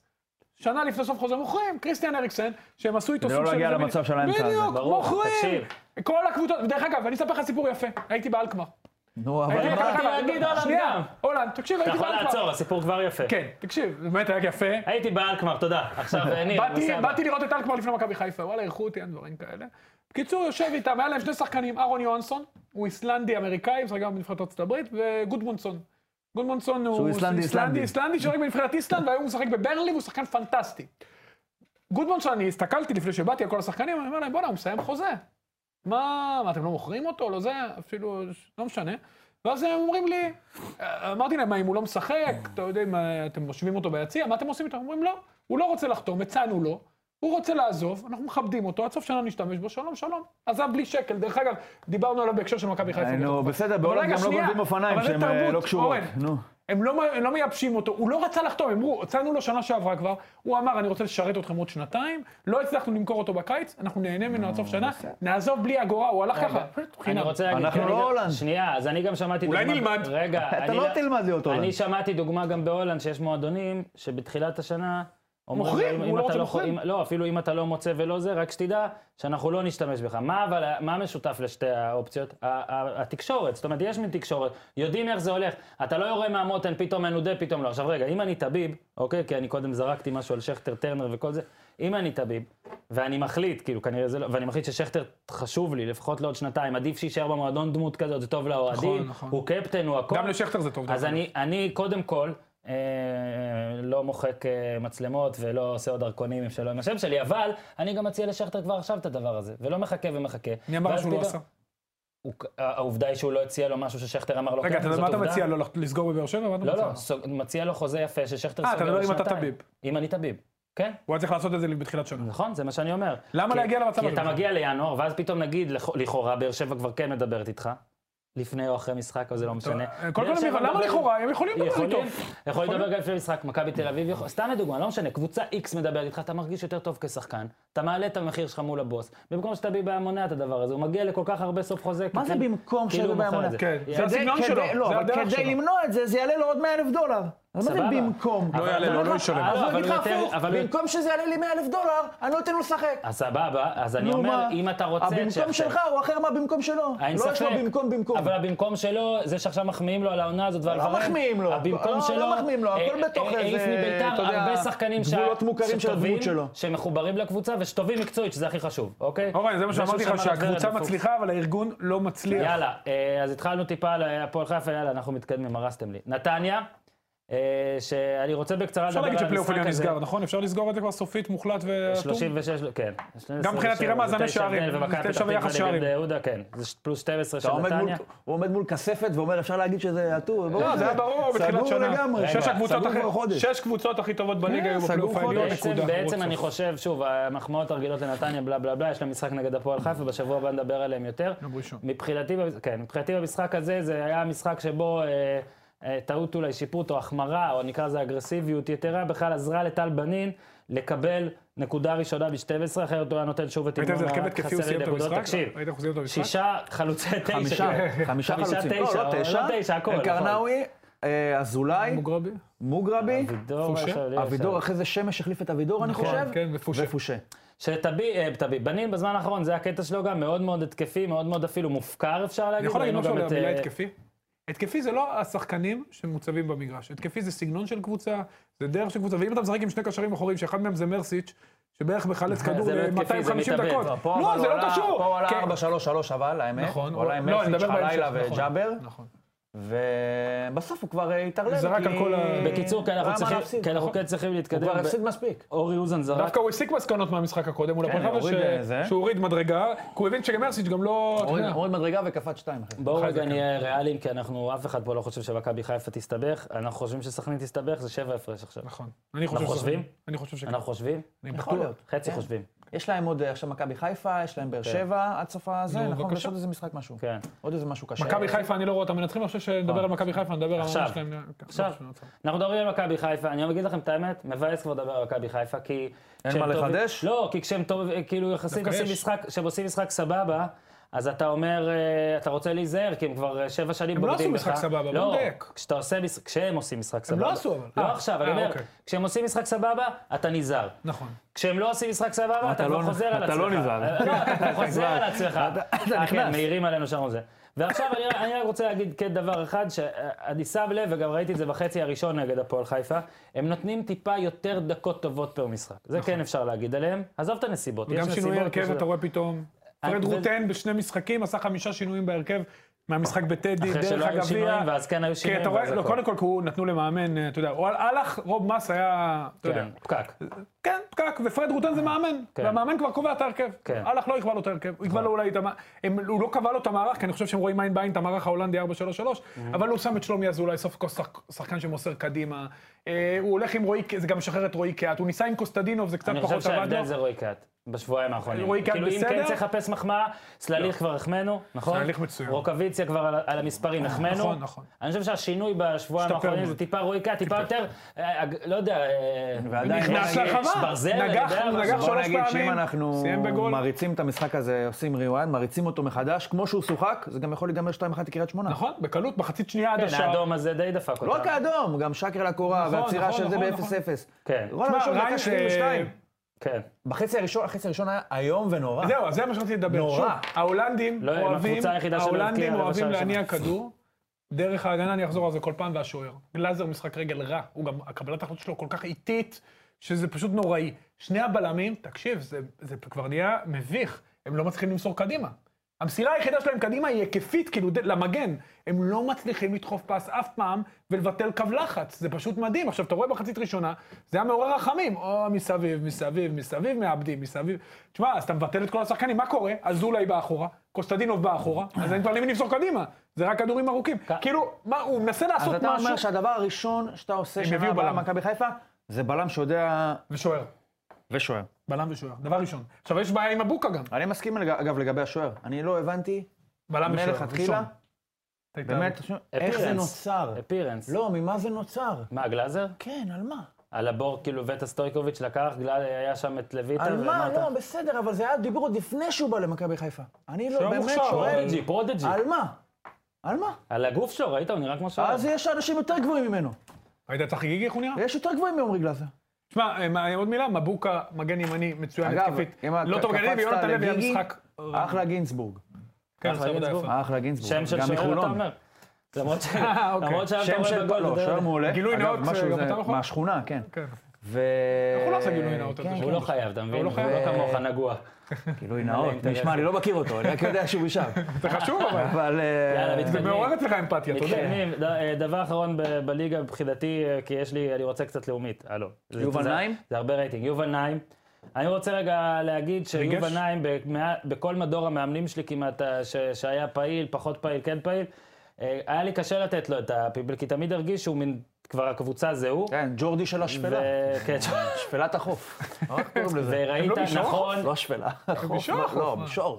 Speaker 3: שנה לפני סוף חוזה מוכרים, קריסטיאן הריקסן, שהם עשו איתו
Speaker 2: כדי
Speaker 3: סוג של...
Speaker 2: לא להגיע
Speaker 3: זה מין-
Speaker 2: למצב של האמצע הזה,
Speaker 3: בדיוק,
Speaker 1: ברור,
Speaker 3: מוכרים.
Speaker 1: תקשיב.
Speaker 3: כל הקבוצות, דרך אגב, אני אספר לך סיפור יפה, הייתי באלקמר.
Speaker 2: נו,
Speaker 3: הייתי
Speaker 1: אה,
Speaker 2: אבל מה...
Speaker 3: מכבי
Speaker 1: יכולתי
Speaker 3: חיפה-
Speaker 1: להגיד הולנד
Speaker 3: שנייה,
Speaker 1: גם.
Speaker 3: הולנד, תקשיב,
Speaker 1: אתה
Speaker 3: הייתי
Speaker 1: יכול
Speaker 3: באלקמר.
Speaker 1: לעצור, הסיפור כבר יפה.
Speaker 3: כן, תקשיב, באמת היה יפה.
Speaker 1: הייתי באלקמר, תודה. עכשיו, ניר,
Speaker 3: באתי-
Speaker 1: נוסע הבא.
Speaker 3: באתי לראות את אלקמר לפני מכבי חיפה, וואלה, אירחו אותי, אין דברים כאלה. בקיצור, יושב איתם, היה להם שני שחקנים, אהרון יוהנסון, הוא איסלנדי-אמריקאי, משחק גם בנבחרת ארצות הברית, וגודמונסון. גודמונסון הוא
Speaker 2: איסלנדי, איסלנדי.
Speaker 3: איסלנדי ששחק בנבחרת איסלנד, והיום הוא משחק בברלי, והוא שחקן פנטסטי. גודמונסון, אני הסתכלתי לפני שבאתי על כל השחקנים, אני אומר להם, בואנה, הוא מסיים חוזה. מה, מה, אתם לא מוכרים אותו? לא זה, אפילו, לא משנה. ואז הם אומרים לי, אמרתי להם, מה, אם הוא לא משחק, אתה יודע, מה, אתם משווים אותו ביציע, מה אתם עושים איתו? הם אומרים, לא, הוא לא רוצה לחתום, הצענו לו, הוא רוצה לעזוב, אנחנו מכבדים אותו, עד סוף שנה נשתמש בו, שלום, שלום. עזב בלי שקל. דרך אגב, דיברנו עליו בהקשר של מכבי חיפה.
Speaker 2: אה, נו,
Speaker 3: בתוך-
Speaker 2: בסדר,
Speaker 3: אבל
Speaker 2: בעולם
Speaker 3: רגע,
Speaker 2: גם לא
Speaker 3: שנייה,
Speaker 2: גונבים אופניים
Speaker 3: אבל זה
Speaker 2: שהן אה,
Speaker 3: תרבות,
Speaker 2: לא קשורות.
Speaker 3: אורן.
Speaker 2: נו.
Speaker 3: הם לא, הם לא מייבשים אותו, הוא לא רצה לחתום, הם אמרו, הצענו לו שנה שעברה כבר, הוא אמר, אני רוצה לשרת אתכם עוד שנתיים, לא הצלחנו למכור אותו בקיץ, אנחנו נהנה ממנו
Speaker 1: אה,
Speaker 3: עד סוף שנה, נעזוב בלי אגורה, הוא הלך ככה, פשוט
Speaker 1: אוקיי. אני
Speaker 3: חינם.
Speaker 1: רוצה להגיד...
Speaker 2: אנחנו
Speaker 1: כי אני
Speaker 2: לא
Speaker 1: גם-
Speaker 2: הולנד.
Speaker 1: שנייה, אז אני גם שמעתי
Speaker 3: אולי
Speaker 1: דוגמה-
Speaker 3: נלמד.
Speaker 1: רגע,
Speaker 2: אתה
Speaker 1: אני
Speaker 2: לא
Speaker 1: לא-
Speaker 2: תלמד להיות הולנד.
Speaker 1: אני שמעתי דוגמה גם בהולנד, שיש מועדונים שבתחילת השנה... אומרים,
Speaker 3: מוכרים,
Speaker 1: אם-
Speaker 3: הוא
Speaker 1: אם
Speaker 3: לא
Speaker 1: אתה
Speaker 3: רוצה
Speaker 1: חו-
Speaker 3: מוכרים.
Speaker 1: אם- לא, אפילו אם אתה לא מוצא ולא זה, רק שתדע שאנחנו לא נשתמש בך. מה אבל, מה משותף לשתי האופציות? ה- ה- התקשורת, זאת אומרת, יש מין תקשורת, יודעים איך זה הולך. אתה לא יורה מהמותן, פתאום מנודה, פתאום לא. עכשיו רגע, אם אני טביב, אוקיי? כי אני קודם זרקתי משהו על שכטר, טרנר וכל זה. אם אני טביב, ואני מחליט, כאילו, כנראה זה לא, ואני מחליט ששכטר חשוב לי, לפחות לעוד שנתיים, עדיף שיישאר במועדון דמות כזאת, זה טוב לאוהדים,
Speaker 3: נכון, נכון.
Speaker 1: הוא קפטן, הוא הכול.
Speaker 3: גם לשכטר זה טוב.
Speaker 1: אז
Speaker 3: דרך אגב.
Speaker 1: אני, אני קודם כל אה, לא מוחק אה, מצלמות ולא עושה עוד דרכונים עם שלא עם השם שלי, אבל אני גם מציע לשכטר כבר עכשיו את הדבר הזה, ולא מחכה ומחכה.
Speaker 3: מי אמר
Speaker 1: ואז
Speaker 3: שהוא לא
Speaker 1: פתאום-
Speaker 3: עשה?
Speaker 1: הוא, העובדה היא שהוא לא הציע לו משהו ששכטר אמר לו,
Speaker 3: רגע,
Speaker 1: כן,
Speaker 3: אתה-
Speaker 1: זאת
Speaker 3: מה אתה
Speaker 1: עובדה.
Speaker 3: מציע לו לח- לסגור בבאר שבע? מה אתה
Speaker 1: לא,
Speaker 3: מציע לו?
Speaker 1: לא, סוג, מציע לו חוזה יפה ששכטר
Speaker 3: אה,
Speaker 1: סוגר
Speaker 3: אתה מדבר אם אתה
Speaker 1: לשנתיים.
Speaker 3: טביב.
Speaker 1: אם אני טביב, כן.
Speaker 3: הוא היה צריך לעשות את זה בתחילת שנה.
Speaker 1: נכון, זה מה שאני אומר.
Speaker 3: למה
Speaker 1: כי-
Speaker 3: להגיע למצב
Speaker 1: כי
Speaker 3: הזה
Speaker 1: אתה
Speaker 3: בכלל?
Speaker 1: מגיע לינואר, ואז פתאום נגיד, לכ- לכאורה, באר שבע כבר כן מדברת איתך, לפני או אחרי משחק, או זה לא משנה.
Speaker 3: אה, כל
Speaker 1: באר
Speaker 3: פעם,
Speaker 1: שבע
Speaker 3: למה
Speaker 1: מדברת-
Speaker 3: לכאורה? הם יכולים לדבר איתו.
Speaker 1: יכולים, יכולים לדבר
Speaker 3: יכולים.
Speaker 1: גם לפני משחק, מכבי תל אביב, יכול- סתם לדוגמה, לא משנה, קבוצה X מדברת איתך, אתה מרגיש יותר טוב כשחקן, אתה מעלה את המחיר שלך מול הבוס, במקום שתביא בעיה מונע את הדבר הזה, הוא מגיע לכל כך הרבה סוף חוזה.
Speaker 2: מה זה
Speaker 1: כאילו-
Speaker 2: במקום
Speaker 1: כאילו
Speaker 2: שזה
Speaker 1: הוא מוכר את
Speaker 2: באמונה?
Speaker 1: זה.
Speaker 3: כן,
Speaker 1: יאללה.
Speaker 3: זה
Speaker 2: כדי-
Speaker 3: הסגנון
Speaker 2: כדי-
Speaker 3: שלו, זה
Speaker 2: לא, אבל
Speaker 3: הדרך
Speaker 2: כדי
Speaker 3: שלו.
Speaker 2: למנוע את זה, זה יעלה לו עוד 100 אלף דולר. אז מה זה
Speaker 1: סבבה.
Speaker 2: במקום?
Speaker 1: אבל-
Speaker 2: אז
Speaker 1: יעלה
Speaker 2: אני
Speaker 1: לו,
Speaker 2: אומר
Speaker 1: לא
Speaker 2: לך-
Speaker 1: ישלם.
Speaker 2: אז
Speaker 1: אבל
Speaker 2: אני אגיד לך
Speaker 1: הוא ייתן-
Speaker 2: הפוך,
Speaker 1: אבל הוא-
Speaker 2: במקום שזה יעלה לי 100 אלף דולר, אני לא אתן לו לשחק.
Speaker 1: אז סבבה, אז אני
Speaker 2: נו,
Speaker 1: אומר,
Speaker 2: מה?
Speaker 1: אם אתה רוצה... את
Speaker 2: הבמקום
Speaker 1: שכטר-
Speaker 2: שלך הוא אחר מהבמקום שלו.
Speaker 1: אין
Speaker 2: לא יש לו
Speaker 1: ספק.
Speaker 2: במקום במקום.
Speaker 1: אבל הבמקום שלו, זה שעכשיו מחמיאים לו על העונה הזאת ועל
Speaker 2: לא
Speaker 1: ורן,
Speaker 2: מחמיאים לו.
Speaker 1: הבמקום
Speaker 2: לא,
Speaker 1: שלו...
Speaker 2: לא מחמיאים לו,
Speaker 1: אה,
Speaker 2: הכל
Speaker 1: אה,
Speaker 2: בתוך איזה,
Speaker 1: העיף
Speaker 2: אתה
Speaker 1: מביתר
Speaker 2: יודע,
Speaker 1: הרבה שחקנים שה-
Speaker 2: גבולות מוכרים של
Speaker 1: שטובים,
Speaker 2: הדמות שלו.
Speaker 1: שמחוברים לקבוצה ושטובים מקצועית, שזה הכי חשוב, אוקיי?
Speaker 3: אורן, זה מה
Speaker 1: שהוא
Speaker 3: שאמרתי
Speaker 1: שמר
Speaker 3: לך,
Speaker 1: על ורד
Speaker 3: שהקבוצה
Speaker 1: ופוקס.
Speaker 3: מצליחה, אבל הארגון לא מצליח.
Speaker 1: יאללה, אה, אז התחלנו טיפה על הפועל חיפה, יאללה, אנחנו מתקדמים, הרסתם לי. נתניה, אה, שאני רוצה בקצרה לדבר
Speaker 3: אפשר
Speaker 1: על
Speaker 3: להגיד
Speaker 1: המשחק הזה.
Speaker 3: שפלייאוף עליון
Speaker 1: כן.
Speaker 3: נסגר, נכון? אפשר לסגור את זה כבר סופית, מוחלט ואטום?
Speaker 1: 36, כן.
Speaker 3: גם מבחינת תראה מאזני
Speaker 1: 29
Speaker 3: שערים,
Speaker 1: הבדל, כן, ומכבי פתח
Speaker 3: תשע
Speaker 1: תקווה
Speaker 3: ביחס שערים.
Speaker 1: נגד יהודה, כן. זה ש- פלוס 12 של
Speaker 2: אתה עומד מול-
Speaker 1: נתניה. אה,
Speaker 2: הוא עומד מול כספת ואומר, אפשר להגיד שזה עטוב.
Speaker 3: לא, זה היה ברור בתחילת
Speaker 2: סגור
Speaker 3: שנה.
Speaker 2: לגמרי.
Speaker 3: שש
Speaker 1: רגע,
Speaker 3: הקבוצות
Speaker 2: סגור
Speaker 3: הכי-
Speaker 2: כבר חודש.
Speaker 3: שש קבוצות הכי טובות בליגה
Speaker 2: כן,
Speaker 3: היו
Speaker 2: סגור
Speaker 3: בפלייאוף העליון,
Speaker 2: חודש.
Speaker 1: בעצם,
Speaker 3: לא, נקודה.
Speaker 1: בעצם
Speaker 3: רוצו.
Speaker 1: אני חושב, שוב, המחמאות הרגילות לנתניה, בלה בלה בלה, יש להם משחק נגד הפועל חיפה, בשבוע הבא נדבר עליהם יותר.
Speaker 3: יום ראשון.
Speaker 1: מבחינתי, במש- כן, מבחינתי במשחק הזה, זה היה משחק שבו אה, אה, טעות אולי שיפוט או החמרה, או נקרא לזה אגרסיביות יתרה, בכלל עזרה לטל בנין לקבל נקודה ראשונה ב-12, אחרת הוא היה נותן שוב את
Speaker 3: ראית איזה
Speaker 1: אימון
Speaker 3: הרכבת כפי הוא
Speaker 1: חסר לי
Speaker 3: סיים את
Speaker 1: נקודות.
Speaker 3: המשחק?
Speaker 1: תקשיב,
Speaker 3: ראית איך הוא סיים את המשחק?
Speaker 1: שישה חלוצי תשע.
Speaker 2: חמישה,
Speaker 1: כן.
Speaker 2: חמישה חלוצים.
Speaker 1: תשע,
Speaker 2: לא,
Speaker 1: או
Speaker 2: לא תשע.
Speaker 1: לא תשע, הכל. נכון.
Speaker 2: אלקרנאווי, אה, אזולאי,
Speaker 3: מוגרבי?
Speaker 2: מוגרבי,
Speaker 1: נכון. אבידור,
Speaker 3: פושה?
Speaker 1: עכשיו, לי
Speaker 2: אבידור,
Speaker 1: עכשיו.
Speaker 2: אחרי זה שמש החליף את אבידור, אני חושב.
Speaker 3: כן, ופושה.
Speaker 2: נכון, ופושה.
Speaker 1: שטבי, אה, טבי, בנין בזמן האחרון, זה הקטע שלו גם, מאוד מאוד התקפי, מאוד מאוד אפילו מופקר, אפשר להגיד.
Speaker 3: אני יכול להגיד
Speaker 1: ראינו
Speaker 3: משהו
Speaker 1: גם
Speaker 3: על
Speaker 1: את,
Speaker 3: המילה
Speaker 1: אה,
Speaker 3: התקפי? התקפי זה לא השחקנים שמוצבים במגרש. התקפי זה סגנון של קבוצה, זה דרך של קבוצה, ואם אתה משחק עם שני קשרים אחוריים, שאחד מהם זה מרסיץ', שבערך מחלץ כדור
Speaker 1: זה לא התקפי, זה
Speaker 3: ל-250
Speaker 1: מתאבד.
Speaker 3: דקות.
Speaker 1: לא,
Speaker 2: פה
Speaker 3: לא,
Speaker 2: אבל
Speaker 3: זה
Speaker 2: הוא
Speaker 3: לא
Speaker 2: עלה-
Speaker 3: קשור.
Speaker 2: פה הוא עלה
Speaker 3: כן,
Speaker 2: 4-3-3 אבל, האמת.
Speaker 3: נכון,
Speaker 2: הוא עלה עם
Speaker 3: לא, אני
Speaker 2: מרסיץ',
Speaker 3: מדבר
Speaker 2: חלילה
Speaker 3: בהמשך, נכון.
Speaker 2: וג'אבר,
Speaker 3: נכון.
Speaker 2: ובסוף הוא כבר אה, התערלל.
Speaker 3: זרק
Speaker 2: כי-
Speaker 3: על כל ה-
Speaker 1: בקיצור, כי
Speaker 2: לא היה מה
Speaker 1: אנחנו צריכים,
Speaker 2: להפסיד.
Speaker 1: כי אנחנו כן צריכים
Speaker 2: הוא
Speaker 1: להתקדם.
Speaker 2: כבר
Speaker 1: ב-
Speaker 2: הפסיד מספיק.
Speaker 1: אורי אוזן זרק.
Speaker 3: דווקא הוא הסיק מסקנות מהמשחק הקודם מול
Speaker 1: כן,
Speaker 3: הפועל
Speaker 2: הוריד, אה, זה.
Speaker 3: חיפה, ש- שהוא הוריד מדרגה, כי הוא הבין שמרסיץ' גם לא... אתה
Speaker 2: הוריד
Speaker 3: יודע,
Speaker 2: הוריד מדרגה וקפץ שתיים. אחרי זה.
Speaker 1: בואו
Speaker 3: אחרי
Speaker 1: רגע
Speaker 3: זה
Speaker 1: נהיה ריאליים, כי אנחנו, אף אחד פה לא חושב שמכבי חיפה תסתבך, אנחנו חושבים שסכנין תסתבך, זה שבע הפרש עכשיו.
Speaker 3: נכון. אני חושב
Speaker 1: אנחנו
Speaker 3: שזה-
Speaker 1: חושבים?
Speaker 3: אני חושב שכן.
Speaker 1: אנחנו חושבים?
Speaker 3: אני
Speaker 2: יכול
Speaker 3: בטוח.
Speaker 2: להיות.
Speaker 1: חצי
Speaker 2: כן.
Speaker 1: חושבים,
Speaker 2: יש להם עוד אה, עכשיו מכבי חיפה, יש להם באר שבע עד סוף הזה,
Speaker 3: נו,
Speaker 2: נכון?
Speaker 3: בבקשה.
Speaker 2: יש עוד איזה משחק משהו.
Speaker 1: כן.
Speaker 2: עוד איזה משהו קשה.
Speaker 3: מכבי חיפה, אני לא רואה אותם מנצחים, אני חושב שנדבר על מכבי חיפה, נדבר על... העונה
Speaker 1: אה, עכשיו.
Speaker 3: שלהם.
Speaker 1: עכשיו,
Speaker 3: לא, שנייה,
Speaker 1: אנחנו מדברים על מכבי חיפה, אני אגיד לכם את האמת, מבאס כבר לדבר על מכבי חיפה, כי... כשהם
Speaker 2: מה
Speaker 1: טובים-
Speaker 2: לחדש?
Speaker 1: לא, כי כשהם טוב, כאילו יחסית
Speaker 3: דווקא
Speaker 1: עושים
Speaker 3: יש.
Speaker 1: משחק, כשהם עושים משחק סבבה, אז אתה אומר, אה, אתה רוצה להיזהר, כי הם כבר אה, שבע שנים
Speaker 3: הם לא
Speaker 1: בוגדים
Speaker 3: עשו
Speaker 1: בך.
Speaker 3: משחק סבבה, בוא
Speaker 1: לא,
Speaker 3: נדייק.
Speaker 1: כשאתה עושה מש- כשהם עושים משחק סבבה.
Speaker 3: לא עשו, אבל.
Speaker 1: לא
Speaker 3: אה,
Speaker 1: עכשיו, אני
Speaker 3: אה,
Speaker 1: אומר,
Speaker 3: אוקיי.
Speaker 1: כשהם עושים משחק סבבה, אתה נזהר.
Speaker 3: נכון.
Speaker 1: כשהם לא עושים משחק סבבה, אתה
Speaker 2: אתה
Speaker 1: כבר
Speaker 2: לא-
Speaker 1: חוזר על עצמך.
Speaker 2: אתה לא נזהר.
Speaker 1: לא, אתה כבר חוזר
Speaker 2: כבר-
Speaker 1: על עצמך.
Speaker 2: אתה- אתה
Speaker 1: אה, כן,
Speaker 2: נכנס.
Speaker 1: מעירים עלינו שם על זה. ועכשיו אני, רק- אני רק רוצה להגיד כן דבר אחד, שאני שם לב, וגם ראיתי את זה בחצי הראשון נגד הפועל חיפה, הם נותנים טיפה יותר דקות טובות פר משחק. זה כן אפשר להגיד עליהם. עזוב את הנסיבות, יש
Speaker 3: וגם
Speaker 1: נסיבות.
Speaker 3: שינוי
Speaker 1: יש-
Speaker 3: הרכב, אתה רואה פתאום.
Speaker 1: אני-
Speaker 3: פרד
Speaker 1: ו-
Speaker 3: רוטן בשני משחקים עשה חמישה שינויים בהרכב מהמשחק בטדי,
Speaker 1: אחרי שלא
Speaker 3: דרך
Speaker 1: היו שינויים,
Speaker 3: הגביע.
Speaker 1: ואז כן היו
Speaker 3: כן,
Speaker 1: שינויים.
Speaker 3: אתה רואה,
Speaker 1: ואז
Speaker 3: לא,
Speaker 1: הכל.
Speaker 3: קודם כל, כי הוא נתנו למאמן, אה, אתה יודע, הוא הלך, רוב מס היה, אתה יודע.
Speaker 1: כן, פקק.
Speaker 3: כן, פקק, ופרד רוטן זה מאמן.
Speaker 1: כן.
Speaker 3: והמאמן כבר קובע את ההרכב.
Speaker 1: כן.
Speaker 3: הלך לא יקבע לו את ההרכב, הוא יקבע לו אולי את המ... הם- הוא לא קבע לו את המערך, כי אני חושב שהם רואים עין בעין את המערך ההולנדי 433,
Speaker 1: Mhm.
Speaker 3: אבל הוא שם את שלומי אזולאי, סוף כל שחק- שחקן שמוסר קדימה. אה, הוא הולך עם רועי, ק- זה גם משחרר את רועי קהת, הוא ניסה עם קוסטדינוב, זה קצת
Speaker 1: אני חושב
Speaker 3: פחות עבד
Speaker 1: שההבדל
Speaker 3: לו.
Speaker 1: זה רועי קאט, בשבועיים האחרונים.
Speaker 3: רועי קאט
Speaker 1: כאילו אם
Speaker 3: בסדר?
Speaker 1: כן צריך לחפש מחמאה, סלליך כבר החמאנו, נכון?
Speaker 3: סלליך מצוין.
Speaker 1: רוקוויציה כבר על- על המספרים החמאנו.
Speaker 3: נכון, נכון.
Speaker 1: אני חושב שהשינוי בשבועיים
Speaker 3: השתפר
Speaker 1: האחרונים זה
Speaker 3: מאוד.
Speaker 1: טיפה רועי קאט, טיפה יותר, אה, הג- לא יודע, אה,
Speaker 2: ועדיין
Speaker 3: נכנס
Speaker 1: בוא נגיד,
Speaker 3: לרחבה,
Speaker 1: ברזל, אני
Speaker 3: נגח,
Speaker 1: יודע,
Speaker 3: הוא
Speaker 1: משהו.
Speaker 3: נגח
Speaker 2: בוא
Speaker 3: שלוש
Speaker 2: נגיד
Speaker 3: פעמים,
Speaker 2: שאם אנחנו
Speaker 3: סיים בגול.
Speaker 2: מריצים את המשחק הזה, עושים ריוואן, מריצים אותו מחדש, כמו שהוא שוחק, זה גם יכול להיגמר 2-1 לקריית שמונה.
Speaker 3: נכון, בקלות, מחצית שנייה עד
Speaker 1: כן,
Speaker 3: השער.
Speaker 1: האדום הזה די דפק אותנו.
Speaker 2: לא רק האדום, גם שקר לקורה,
Speaker 3: נכון,
Speaker 2: והעצירה
Speaker 3: נכון,
Speaker 2: של זה
Speaker 3: נכון, נכון.
Speaker 2: ב-0-0.
Speaker 1: כן,
Speaker 2: גול
Speaker 3: תשמע,
Speaker 2: הראשון
Speaker 3: ריין,
Speaker 2: דקה 72.
Speaker 3: אה,
Speaker 1: כן.
Speaker 2: בחצי הראשון, החצי הראשון היה איום ונורא.
Speaker 3: זהו, אז זה מה שרציתי לדבר.
Speaker 2: נורא.
Speaker 3: שוב, ההולנדים
Speaker 1: לא, הם
Speaker 3: אוהבים,
Speaker 1: הקבוצה היחידה שלא
Speaker 3: ההולנדים
Speaker 1: הבקיעה רבע
Speaker 3: אוהבים
Speaker 1: שעה
Speaker 3: להניע כדור. דרך ההגנה, אני אחזור על זה כל פעם, והשוער. גלאזר משחק רגל רע. הוא גם, הקבלת ההחלטות שלו כל כך איטית, שזה פשוט נוראי. שני הבלמים, תקשיב, זה, זה כבר נהיה מביך. הם לא מצליחים למסור קדימה. המסירה היחידה שלהם קדימה היא היקפית, כאילו, ד- למגן. הם לא מצליחים לדחוף פס אף פעם ולבטל קו לחץ. זה פשוט מדהים. עכשיו, אתה רואה מחצית ראשונה, זה היה מעורר רחמים. או, מסביב, מסביב, מסביב מאבדים, מסביב. תשמע, אז אתה מבטל את כל השחקנים, מה קורה? אזולאי בא אחורה, קוסטדינוב בא אחורה, אז אין כבר למי למסור קדימה. זה רק כדורים ארוכים. כאילו, מה, הוא מנסה
Speaker 2: אז
Speaker 3: לעשות
Speaker 2: אתה אומר
Speaker 3: משהו.
Speaker 2: שהדבר הראשון שאתה עושה
Speaker 3: הם
Speaker 2: שנה
Speaker 3: הביאו
Speaker 2: הבאה
Speaker 3: בלם.
Speaker 2: במכבי חיפה, זה בלם שיודע...
Speaker 3: ושוער.
Speaker 2: ושוער.
Speaker 3: בלם ושוער, דבר ראשון. עכשיו, יש בעיה עם אבוקה גם.
Speaker 2: אני מסכים, לג- אגב, לגבי השוער. אני לא הבנתי,
Speaker 3: בלם ושוער, ראשון.
Speaker 2: מלכתחילה, באמת, איך זה
Speaker 1: appearance.
Speaker 2: נוצר?
Speaker 1: אפירנס.
Speaker 2: לא, ממה זה נוצר?
Speaker 1: מה, גלאזר?
Speaker 2: כן, על מה?
Speaker 1: על הבור כאילו וטה סטויקוביץ' לקח, גלאזר היה שם את לויטה.
Speaker 2: על מה?
Speaker 1: ואמרת,
Speaker 2: לא, בסדר, אבל זה היה דיבור עוד לפני שהוא בא למכבי חיפה. אני לא
Speaker 3: שוער
Speaker 2: באמת
Speaker 3: מוכשר,
Speaker 2: שואל,
Speaker 1: פרודג'י, פרודג'י.
Speaker 2: על מה? על מה?
Speaker 1: על הגוף שלו, ראית? הוא נראה כמו שוער.
Speaker 2: אז יש אנשים יותר גבוהים ממנו.
Speaker 3: ראית את צחי גיגי, חוניה?
Speaker 2: יש יותר גבוהים מעומרי גלאזר.
Speaker 3: תשמע, אה, מה, עוד מילה, מבוקה, מגן ימני, מצוין
Speaker 2: אגב,
Speaker 3: התקפית.
Speaker 2: אם
Speaker 3: לא
Speaker 2: ק-
Speaker 3: טוב גני,
Speaker 2: קפצת
Speaker 3: ויונתן לוי היה
Speaker 2: לגיגי,
Speaker 3: משחק...
Speaker 2: אחלה גינצבורג.
Speaker 3: כן, עשה עבודה
Speaker 1: גינזבורג.
Speaker 3: יפה.
Speaker 2: אחלה גינצבורג.
Speaker 1: שם של
Speaker 2: גם
Speaker 1: שוער, אתה
Speaker 2: מחולון.
Speaker 1: אומר. למרות ש-
Speaker 3: אה, אוקיי.
Speaker 1: למרות שהיה
Speaker 2: שם
Speaker 1: אתה רואה
Speaker 2: של...
Speaker 1: בגול,
Speaker 2: לא,
Speaker 1: אתה יודע.
Speaker 2: שוער מעולה.
Speaker 3: גילוי
Speaker 2: אגב,
Speaker 3: נאות,
Speaker 2: משהו
Speaker 3: גם
Speaker 2: זה-
Speaker 3: אתה, נכון?
Speaker 2: מהשכונה, כן.
Speaker 3: כן.
Speaker 2: ו...
Speaker 3: יכול לעשות גילוי נאות על זה,
Speaker 2: כן,
Speaker 3: שהוא
Speaker 1: הוא
Speaker 2: כן.
Speaker 1: לא חייב, אתה מבין?
Speaker 3: הוא לא חייב.
Speaker 1: הוא לא כמוך נגוע.
Speaker 2: גילוי נאות. נשמע, אני לא מכיר אותו, אני רק יודע שהוא משם.
Speaker 3: זה חשוב, אבל.
Speaker 2: אבל... אה,
Speaker 1: יאללה, מתקדמים.
Speaker 3: זה מעורר אצלך אמפתיה, אתה יודע.
Speaker 1: מתקדמים, ד- אה, דבר אחרון ב- בליגה מבחינתי, אה, כי יש לי, אני רוצה קצת לאומית. אה, לא. זה-
Speaker 2: יובל
Speaker 1: זה-
Speaker 2: נעים?
Speaker 1: זה הרבה רייטינג. יובל נעים. אני רוצה רגע להגיד שיובל
Speaker 3: ריגש?
Speaker 1: נעים, במאה- בכל מדור המאמנים שלי כמעט, אה, ש- שהיה פעיל, פחות פעיל, כן פעיל, אה, היה לי קשה לתת לו את הפיבל, כי תמיד הרגיש שהוא מין, כבר הקבוצה זה הוא.
Speaker 2: כן, ג'ורדי של השפלה.
Speaker 1: ו- כן,
Speaker 2: שפלת החוף. איך קוראים לזה?
Speaker 1: וראית,
Speaker 3: הם לא מישור?
Speaker 1: נכון,
Speaker 2: לא השפלה. החוף,
Speaker 3: מישור,
Speaker 2: לא-
Speaker 3: החוף,
Speaker 2: לא,
Speaker 3: מה?
Speaker 2: מישור,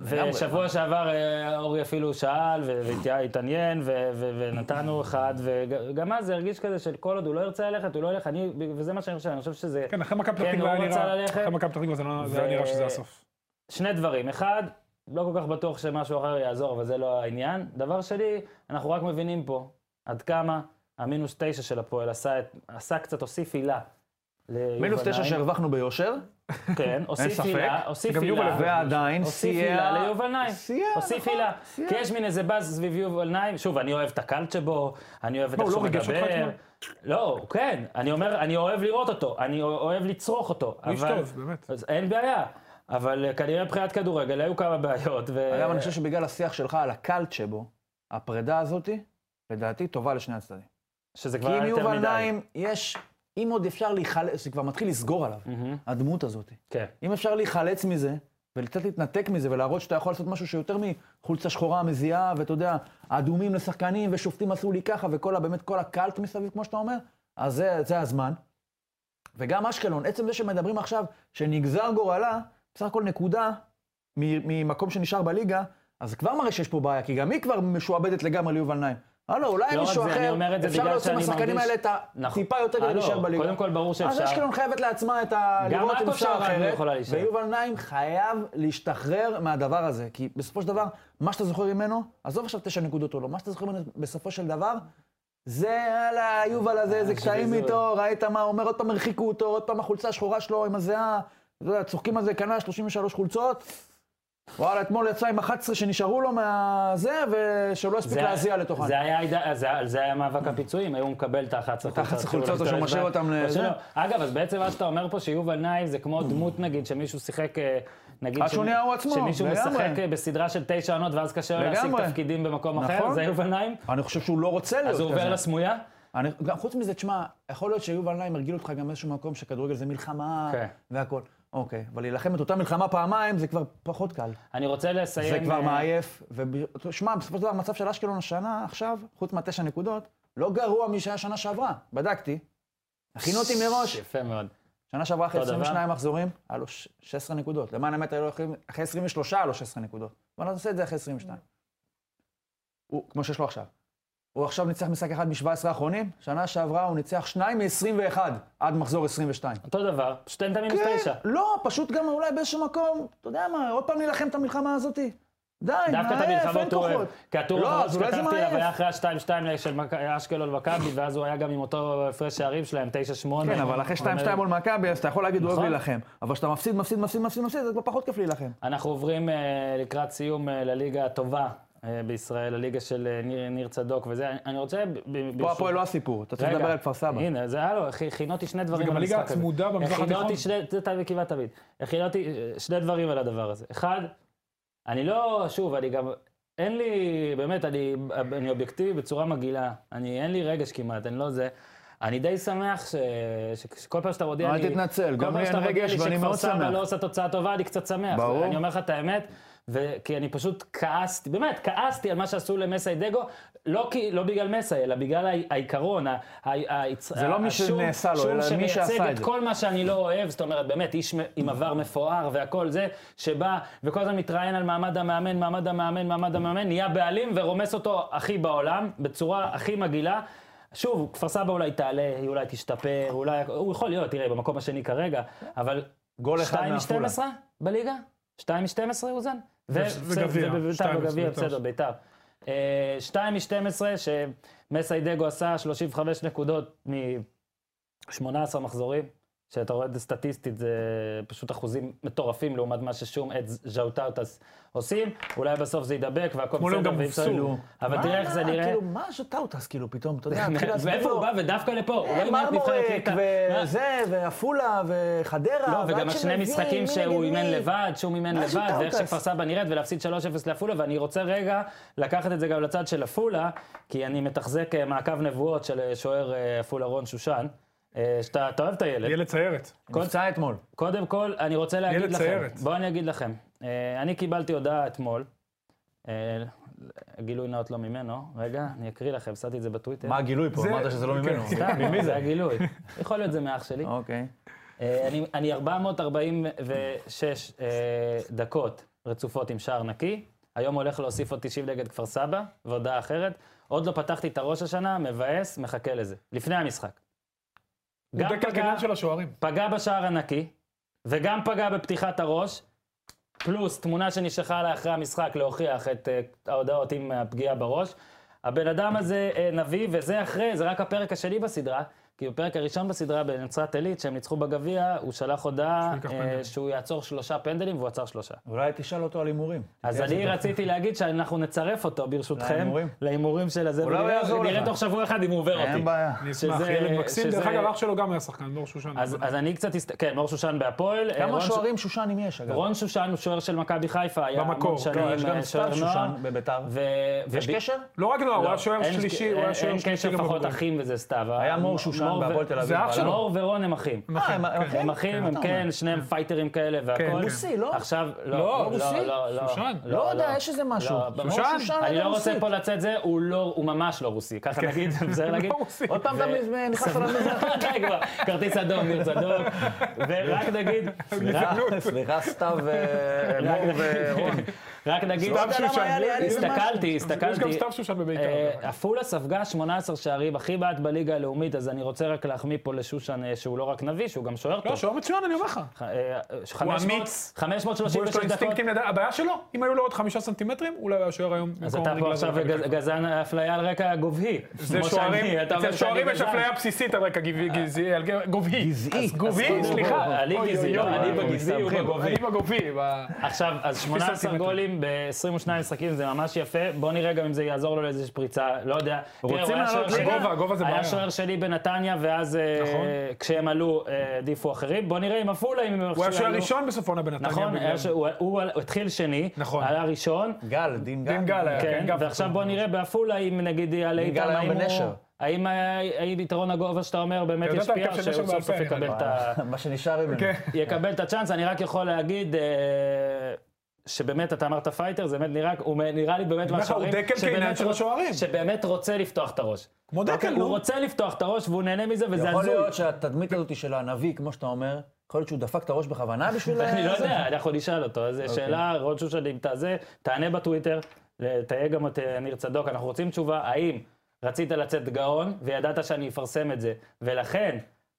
Speaker 2: זה... לגמרי.
Speaker 1: ושבוע שעבר אה, אורי אפילו שאל ו- והתעניין ו- ו- ונתנו אחד, וגם אז זה הרגיש כזה של כל עוד הוא לא ירצה ללכת, הוא לא ילך, אני, וזה מה שאני חושב, אני חושב שזה...
Speaker 3: כן, אחרי מכבי פתח
Speaker 1: כן,
Speaker 3: תקווה
Speaker 1: הוא
Speaker 3: היה
Speaker 1: רצה
Speaker 3: נראה-
Speaker 1: ללכת.
Speaker 3: אחרי מכבי פתח תקווה זה לא- זה היה נראה שזה הסוף.
Speaker 1: שני דברים. אחד, לא כל כך בטוח שמשהו אחר יעזור, אבל זה לא העניין. דבר שני, אנחנו רק מבינים פה עד כמה המינוס תשע של הפועל עשה, את, עשה קצת, הוסיף עילה. ליובל
Speaker 2: מינוס תשע
Speaker 1: נעים.
Speaker 2: שהרווחנו ביושר,
Speaker 1: כן, הוסיף
Speaker 2: ספק.
Speaker 1: עילה, הוסיף
Speaker 3: גם יובל
Speaker 1: עילה.
Speaker 2: ועדיין
Speaker 1: הוסיף הילה
Speaker 2: סייע...
Speaker 1: ליובל נעים.
Speaker 2: סייע,
Speaker 1: הוסיף
Speaker 2: נכון,
Speaker 1: הילה.
Speaker 2: סייע.
Speaker 1: כי יש מין איזה באז סביב יובל נעים. שוב, אני אוהב את הקלט שבו, אני אוהב את
Speaker 3: מה,
Speaker 1: איך
Speaker 3: הוא לא
Speaker 1: שהוא
Speaker 3: ריגש אותך
Speaker 1: מדבר.
Speaker 3: אתמול?
Speaker 1: לא, הוא כן. אני אומר, אני אוהב לראות אותו, אני אוה- אוהב לצרוך אותו.
Speaker 3: הוא איש
Speaker 1: אבל-
Speaker 3: טוב, באמת.
Speaker 1: אז אין בעיה. אבל אה, כנראה מבחינת כדורגל היו כמה בעיות. ו-
Speaker 2: אגב, אני חושב שבגלל השיח שלך על הקלט שבו, הפרידה הזאתי, לדעתי, טובה לשני הצדדים.
Speaker 1: שזה כבר
Speaker 2: כי עם
Speaker 1: היה יותר
Speaker 2: יובל
Speaker 1: מדי.
Speaker 2: נעים יש... אם עוד אפשר להיחלץ, זה כבר מתחיל לסגור עליו,
Speaker 1: מהמם.
Speaker 2: הדמות הזאת.
Speaker 1: כן.
Speaker 2: אם אפשר להיחלץ מזה, וקצת להתנתק מזה, ולהראות שאתה יכול לעשות משהו שיותר מחולצה שחורה מזיעה, ואתה יודע, אדומים לשחקנים, ושופטים עשו לי ככה, וכל ה... באמת כל הקלט מסביב, כמו שאתה אומר, אז זה, זה הזמן. וגם אשקלון, עצם זה שמדברים עכשיו, שנגזר גורלה, בסך הכל נקודה מ- ממקום שנשאר בליגה, אז זה כבר מראה שיש פה בעיה, כי גם היא כבר משועבדת לגמרי ליובל נעים. הלו, אולי
Speaker 1: לא רק
Speaker 2: מישהו
Speaker 1: זה, אני
Speaker 2: אחר,
Speaker 1: אומר את זה
Speaker 2: אפשר
Speaker 1: בגלל
Speaker 2: להוציא
Speaker 1: שאני
Speaker 2: מהשחקנים
Speaker 1: מרגיש-
Speaker 2: האלה את
Speaker 1: נכון.
Speaker 2: הטיפה יותר
Speaker 1: אה,
Speaker 2: כדי
Speaker 1: לא,
Speaker 2: להישאר בליגה.
Speaker 1: קודם כל ברור
Speaker 2: אז
Speaker 1: שאפשר.
Speaker 2: אשקלון חייבת לעצמה את ה...
Speaker 1: גם
Speaker 2: לראות אם
Speaker 1: עכו
Speaker 2: אפשר
Speaker 1: שעברה לא
Speaker 2: אחרת,
Speaker 1: יכולה להישאר.
Speaker 2: ויובל נעים חייב להשתחרר מהדבר הזה, כי בסופו של דבר, מה שאתה זוכר ממנו, עזוב עכשיו תשע נקודות או לא, מה שאתה זוכר ממנו בסופו של דבר, זה יאללה, יובל הזה,
Speaker 1: אה,
Speaker 2: איזה קטעים
Speaker 1: שביזוי.
Speaker 2: איתו, ראית מה הוא אומר, עוד פעם הרחיקו אה, אותו, עוד פעם החולצה השחורה שלו עם הזיעה, אתה יודע, צוחקים על זה, קנה 33 חולצות, וואלה, אתמול יצא עם 11 שנשארו לו מהזה, ושהוא לא הספיק
Speaker 1: זה-
Speaker 2: להזיע לתוך
Speaker 1: זה היה עידה- אז זה- על זה היה מאבק הפיצויים, היום הוא מקבל את ה-11
Speaker 2: ה- 11 חולצות, או שהוא משאיר אותם לזה.
Speaker 1: אגב, אז בעצם מה שאתה אומר פה שיובל נעים זה כמו דמות נגיד שמישהו שיחק, אה, נגיד,
Speaker 2: אז שהוא
Speaker 1: שמי-
Speaker 2: נהיה הוא עצמו,
Speaker 1: שמישהו
Speaker 2: לגמרי.
Speaker 1: משחק אה, בסדרה של תשע עונות ואז קשה לו להשיג
Speaker 2: לגמרי.
Speaker 1: תפקידים במקום אחר,
Speaker 2: נכון.
Speaker 1: זה יובל נעים?
Speaker 2: אני חושב שהוא לא רוצה להיות
Speaker 1: אז
Speaker 2: כזה.
Speaker 1: הוא עובר לסמויה?
Speaker 2: אני, גם חוץ מזה, תשמע, יכול להיות שיובל נעים הרגיל אותך גם באיזשהו מקום שכדורגל זה מלחמה
Speaker 1: כן.
Speaker 2: והכול. אוקיי, אבל להילחם את אותה מלחמה פעמיים זה כבר פחות קל.
Speaker 1: אני רוצה לסיים...
Speaker 2: זה כבר
Speaker 1: אה,
Speaker 2: מעייף. ושמע, בסופו של דבר המצב של אשקלון השנה, עכשיו, חוץ מהתשע נקודות, לא גרוע משהיה שנה שעברה. בדקתי, הכינו אותי מראש.
Speaker 1: יפה מאוד.
Speaker 2: שנה שעברה אחרי
Speaker 1: אותו דבר.
Speaker 2: 22 מחזורים, היה לו ש- 16 נקודות. למען האמת, היה לו אחרי- אחרי 23 היה לו 16 נקודות. אבל נעשה את זה אחרי 22. הוא, כמו שיש לו עכשיו. הוא עכשיו ניצח משחק אחד מ-17 האחרונים, שנה שעברה הוא ניצח שניים מ-21 עד מחזור 22.
Speaker 1: אותו דבר, פשוט אין את המינוס תשע.
Speaker 2: לא, פשוט גם אולי באיזשהו מקום, אתה יודע מה, עוד פעם נילחם את המלחמה הזאת. די,
Speaker 1: דווקא את
Speaker 2: מעייף, אין
Speaker 1: המלחמות הוא אוהב.
Speaker 2: אה, כוחות.
Speaker 1: כי הטור
Speaker 2: לא,
Speaker 1: האחרון
Speaker 2: אז אולי זה
Speaker 1: שכתבתי עליו
Speaker 2: מעייף.
Speaker 1: היה אחרי ה-2-2 של מכ- אשקלון ומכבי, ואז הוא היה גם עם אותו הפרש שערים שלהם, 9-8.
Speaker 2: כן, אבל אחרי 2-2 מול מכבי, אז אתה יכול להגיד, הוא אוהב
Speaker 1: נכון.
Speaker 2: להילחם. אבל כשאתה מפסיד, מפסיד, מפסיד, מפסיד, מפסיד, זה כבר פחות כיף להילחם.
Speaker 1: אנחנו עוברים אה, לקראת סיום אה, לליגה הטובה אה, בישראל, הליגה של אה, ניר- ניר צדוק וזה. אני- אני רוצה... ב- ב- ברשות-
Speaker 2: פה הפועל לא הסיפור, אתה צריך
Speaker 1: רגע,
Speaker 2: לדבר על כפר סבא.
Speaker 1: הנה, זה היה לו, הכי- הכינותי שני דברים
Speaker 3: גם
Speaker 1: על
Speaker 3: הליגה
Speaker 1: המשחק הזה.
Speaker 3: הצמודה במזרח התיכון.
Speaker 1: הכינותי שני, זה תמיד כמעט תמיד. הכינותי אה, שני דברים על הדבר הזה. אחד, אני לא, שוב, אני גם, אין לי, באמת, אני, אני אובייקטיבי בצורה מגעילה. אני, אין לי רגש כמעט, אני לא זה. אני די שמח ש, ש, שכל פעם שאתה מודיע
Speaker 2: אל
Speaker 1: לי...
Speaker 2: תתנצל,
Speaker 1: כל
Speaker 2: גם
Speaker 1: פעם
Speaker 2: לי
Speaker 1: שאתה
Speaker 2: אין
Speaker 1: מודיע
Speaker 2: רגש
Speaker 1: לי
Speaker 2: ואני
Speaker 1: שכפר
Speaker 2: מאוד
Speaker 1: סבא
Speaker 2: שמח.
Speaker 1: לא עושה תוצאה טובה, אני קצת שמח.
Speaker 2: ברור.
Speaker 1: אני אומר לך את האמת, ו- כי אני פשוט כעסתי, באמת, כעסתי על מה שעשו למסאי דגו, לא, כי, לא בגלל מסאי, אלא בגלל העי- העיקרון, ה- ה- ה-
Speaker 2: זה לא מי שנעשה לו, אלא מי שעשה
Speaker 1: שמייצג
Speaker 2: את
Speaker 1: את
Speaker 2: זה.
Speaker 1: כל מה שאני לא אוהב, זאת אומרת, באמת, איש מ- עם עבר מפואר והכל זה, שבא וכל הזמן מתראיין על מעמד המאמן, מעמד המאמן, מעמד המאמן, נהיה בעלים ורומס אותו הכי בעולם, בצורה הכי מגעילה. שוב, כפר סבא אולי תעלה, היא אולי תשתפר, אולי... הוא יכול להיות, תראה, במקום השני כרגע, אבל...
Speaker 2: גול אחד
Speaker 1: 2
Speaker 2: מעפולה.
Speaker 1: מ-12 בליגה? 2 מ-12, אוזן? ו-
Speaker 3: וגביע,
Speaker 1: ובביתר
Speaker 3: שתיים
Speaker 1: בגביע,
Speaker 3: מ-
Speaker 1: בסדר, ביתר. אה, 2 מ-12, שמסיידגו עשה 35 נקודות מ-18 מחזורים, שאתה רואה את זה סטטיסטית, זה פשוט אחוזים מטורפים לעומת מה ששום עד ז'אוטאוטס עושים. אולי בסוף זה ידבק והכל
Speaker 3: אתמול הם
Speaker 1: בסדר,
Speaker 3: גם
Speaker 1: ואם צריך-
Speaker 3: הפסו.
Speaker 1: אבל
Speaker 2: מה-
Speaker 1: תראה איך זה נראה.
Speaker 2: כאילו, מה ז'וטאוטס, כאילו, פתאום, אתה יודע, התחיל להסביר
Speaker 1: ואיפה
Speaker 2: לו,
Speaker 1: הוא בא? ודווקא לפה.
Speaker 2: אה,
Speaker 1: הוא לא אימן את נבחרת
Speaker 2: מרמורק,
Speaker 1: ליטא. מה?
Speaker 2: וזה, ועפולה, וחדרה.
Speaker 1: לא,
Speaker 2: ועד
Speaker 1: וגם השני
Speaker 2: אה, שמבין
Speaker 1: משחקים
Speaker 2: מי
Speaker 1: שהוא
Speaker 2: נגד
Speaker 1: אימן
Speaker 2: מי.
Speaker 1: לבד, שהוא מימן
Speaker 2: מה
Speaker 1: לבד,
Speaker 2: שיטה
Speaker 1: ואיך
Speaker 2: אותה?
Speaker 1: שכפר סבא נראית, ולהפסיד 3-0 לעפולה, ואני רוצה רגע לקחת את זה גם לצד של עפולה, כי אני מתחזק אה, מעקב נבואות של אה, שוער אה, עפולה רון שושן, אה, שאתה אתה אוהב את הילד.
Speaker 3: ילד סיירת.
Speaker 2: נפצע אתמול.
Speaker 1: קודם כל, אני רוצה להגיד
Speaker 3: ילד
Speaker 1: לכם,
Speaker 3: סיירת.
Speaker 1: בואו אני אגיד לכם, אה, אני קיבלתי הודעה אתמול, אה, גילוי נאות לא ממנו, רגע, אני אקריא לכם, שמתי את כן. זה בטוויטר.
Speaker 2: מה הגילוי פה?
Speaker 3: זה-
Speaker 2: אמרת שזה לא
Speaker 3: כן.
Speaker 2: ממנו.
Speaker 1: סתם, ממי זה? זה הגילוי. יכול להיות זה מאח שלי.
Speaker 2: אוקיי.
Speaker 1: אה, אני, אני 446 אה, דקות רצופות עם שער נקי. היום הולך להוסיף עוד 90 נגד כפר סבא, והודעה אחרת. עוד לא פתחתי את הראש השנה, מבאס, מחכה לזה. לפני המשחק.
Speaker 3: הוא
Speaker 1: גם פגע,
Speaker 3: דקלקלן של השוערים.
Speaker 1: פגע בשער הנקי, וגם פגע בפתיחת הראש, פלוס תמונה שנשלחה לה אחרי המשחק להוכיח את אה, ההודעות עם הפגיעה בראש. הבן אדם הזה אה, נביא, וזה אחרי, זה רק הפרק השני בסדרה, כי בפרק הראשון בסדרה בנצרת עילית, שהם ניצחו בגביע, הוא שלח הודעה
Speaker 3: שהוא ייקח
Speaker 1: אה,
Speaker 3: פנדלים.
Speaker 1: שהוא יעצור שלושה פנדלים, והוא עצר שלושה.
Speaker 2: אולי תשאל אותו על הימורים.
Speaker 1: אז
Speaker 2: תתייעץ
Speaker 1: אני
Speaker 2: איתו.
Speaker 1: רציתי להגיד שאנחנו נצרף אותו, ברשותכם,
Speaker 2: להימורים?
Speaker 1: להימורים של הזה,
Speaker 2: אולי הוא לא
Speaker 1: ונראה-
Speaker 2: יעזור
Speaker 1: נראה
Speaker 2: לך.
Speaker 1: תוך שבוע אחד אם הוא עובר אותי.
Speaker 2: אין בעיה.
Speaker 3: אני אשמח,
Speaker 1: שזה-
Speaker 3: ילד מקסים. דרך
Speaker 1: שזה-
Speaker 3: אגב, אח שלו גם היה שחקן, מור שושן.
Speaker 1: אז אז אני קצת... הסת- כן, מור שושן בהפועל. אה,
Speaker 2: כמה
Speaker 1: רון ש-
Speaker 2: שוערים שושנים יש, אגב?
Speaker 1: רון שושן הוא שוער של מכבי חיפה, היה
Speaker 3: כן. במקור,
Speaker 1: המון
Speaker 3: לא,
Speaker 1: שנים
Speaker 2: לא, יש גם
Speaker 1: אה, שוער
Speaker 2: סתיו
Speaker 1: נוער.
Speaker 2: שושן בביתר.
Speaker 1: ו...
Speaker 2: יש
Speaker 1: וב-
Speaker 2: קשר?
Speaker 3: לא רק נוער, הוא
Speaker 1: לא,
Speaker 3: היה שוער
Speaker 1: אין-
Speaker 3: שלישי, הוא
Speaker 1: אין-
Speaker 3: היה שוער
Speaker 1: אין
Speaker 3: שלישי
Speaker 1: קשר
Speaker 3: גם
Speaker 1: פחות
Speaker 3: בבוגרים.
Speaker 1: אחים וזה סתיו.
Speaker 2: היה
Speaker 1: ה-
Speaker 2: מור שושן
Speaker 1: מור ו-
Speaker 2: בהפועל תל אביב. לא.
Speaker 3: זה אח
Speaker 2: עלה.
Speaker 3: שלו.
Speaker 1: מור ורון הם אחים.
Speaker 3: הם
Speaker 2: אה,
Speaker 3: אחים,
Speaker 2: הם
Speaker 3: כן.
Speaker 1: הם
Speaker 2: אחים? לא,
Speaker 1: אחים, הם
Speaker 2: אתה
Speaker 1: כן,
Speaker 2: אומר.
Speaker 1: שניהם פייטרים כאלה
Speaker 3: כן.
Speaker 1: והכל.
Speaker 2: רוסי, לא?
Speaker 1: עכשיו, לא,
Speaker 3: לא,
Speaker 1: לא,
Speaker 2: רוסי?
Speaker 1: לא, לא.
Speaker 3: שושן?
Speaker 2: לא יודע, יש איזה משהו.
Speaker 1: לא,
Speaker 2: מור
Speaker 3: שושן?
Speaker 1: אני
Speaker 2: היה
Speaker 1: לא רוצה
Speaker 2: רוסי.
Speaker 1: פה לצאת זה, הוא לא, הוא ממש לא רוסי, ככה נגיד, בסדר להגיד?
Speaker 3: כן. לא רוסי.
Speaker 2: עוד פעם אתה מז- נכנס אליו לזה.
Speaker 1: די כבר, כרטיס אדום, ניר צדוק, ורק נגיד,
Speaker 2: סליחה, סליחה, סתיו, אה, מור ורון.
Speaker 1: רק נגיד,
Speaker 3: סתם
Speaker 2: יודע למה
Speaker 3: שושן.
Speaker 2: היה לי- היה לי משהו.
Speaker 1: הסתכלתי,
Speaker 3: יש גם
Speaker 1: הסתכלתי.
Speaker 3: סתם שושן בביתר.
Speaker 1: אה,
Speaker 3: דרך אגב.
Speaker 1: עפולה ספגה 18 שערים, הכי בעט בליגה הלאומית, אז אני רוצה רק להחמיא פה לשושן, אה, שהוא לא רק נביא, שהוא גם שוער
Speaker 3: לא,
Speaker 1: טוב.
Speaker 3: שוער מצוין, אני אומר לך.
Speaker 1: ח- אה, חמש מאות-
Speaker 3: אמיץ.
Speaker 1: 536
Speaker 3: יש לו
Speaker 1: דקות.
Speaker 3: אינסטינקטים, לדע- הבעיה שלו, אם היו לו עוד חמישה סנטימטרים, אולי הוא היה שוער היום.
Speaker 1: אז
Speaker 3: במקום
Speaker 1: אתה פה
Speaker 3: רגלזון
Speaker 1: עכשיו
Speaker 3: מכבי
Speaker 1: גז-
Speaker 3: חיפה.
Speaker 1: גזען אפליה על רקע גובהי.
Speaker 3: זה
Speaker 1: כמו
Speaker 3: שוערים,
Speaker 1: שאני, אתה אומר
Speaker 3: אצל
Speaker 1: שאני
Speaker 3: שוערים יש
Speaker 1: גזען.
Speaker 3: אפליה בסיסית על רקע גבעי- גזעי, על גב- גובהי.
Speaker 2: גזעי.
Speaker 3: אז גובהי,
Speaker 1: אז
Speaker 3: סליחה.
Speaker 1: אני
Speaker 3: אוי,
Speaker 1: גזעי,
Speaker 3: אוי,
Speaker 1: לא,
Speaker 3: אוי,
Speaker 1: אני
Speaker 3: אוי, אוי,
Speaker 1: בגזעי, הוא נכון,
Speaker 3: מסתבכים.
Speaker 1: בגובהי.
Speaker 3: אני בגופי.
Speaker 1: עכשיו, אז 18
Speaker 3: סנטימטרים.
Speaker 1: גולים ב-22 משחקים, זה ממש יפה. בוא נראה גם אם זה יעזור לו לאיזו פריצה, לא יודע. תראה, הוא היה
Speaker 2: לעלות
Speaker 1: שוער
Speaker 2: ליגה?
Speaker 1: שלי-
Speaker 3: הגובה, הגובה זה
Speaker 1: היה
Speaker 3: בעיה.
Speaker 1: שוער שלי בנתניה, ואז אה,
Speaker 3: נכון.
Speaker 1: כשהם עלו, אה, העדיפו אחרים. בוא נראה אם עפולה, אם הם עכשיו
Speaker 3: הוא היה שוער
Speaker 1: יעלו.
Speaker 3: ראשון בסוף העונה בנתניה.
Speaker 1: נכון,
Speaker 3: בגלל-
Speaker 1: היה ש- הוא- הוא הוא התחיל שני,
Speaker 3: נכון.
Speaker 1: היה ראשון,
Speaker 2: גל, דין גל.
Speaker 3: דין גל היה,
Speaker 1: כן,
Speaker 3: כן, גב.
Speaker 1: ועכשיו בוא נראה בעפולה אם נגיד יעלה
Speaker 2: בגלל
Speaker 1: איתם,
Speaker 2: היום
Speaker 1: האם הוא-
Speaker 2: בנשר.
Speaker 1: האם ה- האם יתרון הגובה שאתה אומר באמת
Speaker 3: אתה יודע את
Speaker 1: ישפיע,
Speaker 3: ההרכב של
Speaker 1: שהוא
Speaker 3: נשר
Speaker 1: סוף סוף
Speaker 3: בעל פה,
Speaker 1: יקבל
Speaker 3: אני
Speaker 1: את ה...
Speaker 2: מה שנשאר ממנו.
Speaker 1: אוקיי.
Speaker 3: כן.
Speaker 1: יקבל את הצ'אנס, אני רק יכול להגיד... אה, שבאמת, אתה אמרת פייטר, זה באמת נראה, הוא נראה לי באמת
Speaker 3: אומר לך, הוא
Speaker 1: מהשוערים,
Speaker 3: דקל
Speaker 1: שבאמת
Speaker 3: קיינן של
Speaker 1: רוצ-
Speaker 3: השוערים.
Speaker 1: שבאמת רוצה לפתוח את הראש. אוקיי?
Speaker 3: כמו דקל,
Speaker 1: הוא
Speaker 3: נו.
Speaker 1: רוצה לפתוח את הראש והוא נהנה מזה, וזה
Speaker 2: יכול
Speaker 1: הזוי.
Speaker 2: להיות שהתדמית הזאת של הנביא, כמו שאתה אומר, יכול להיות שהוא דפק את הראש בכוונה בשביל... אה,
Speaker 1: אני לא
Speaker 2: זה?
Speaker 1: יודע, אנחנו נשאל אותו. אז
Speaker 2: אוקיי.
Speaker 1: שאלה, רון שושן, אם תעשה, תענה בטוויטר, תהיה גם את אה, ניר צדוק. אנחנו רוצים תשובה, האם רצית לצאת גאון וידעת שאני אפרסם את זה, ולכן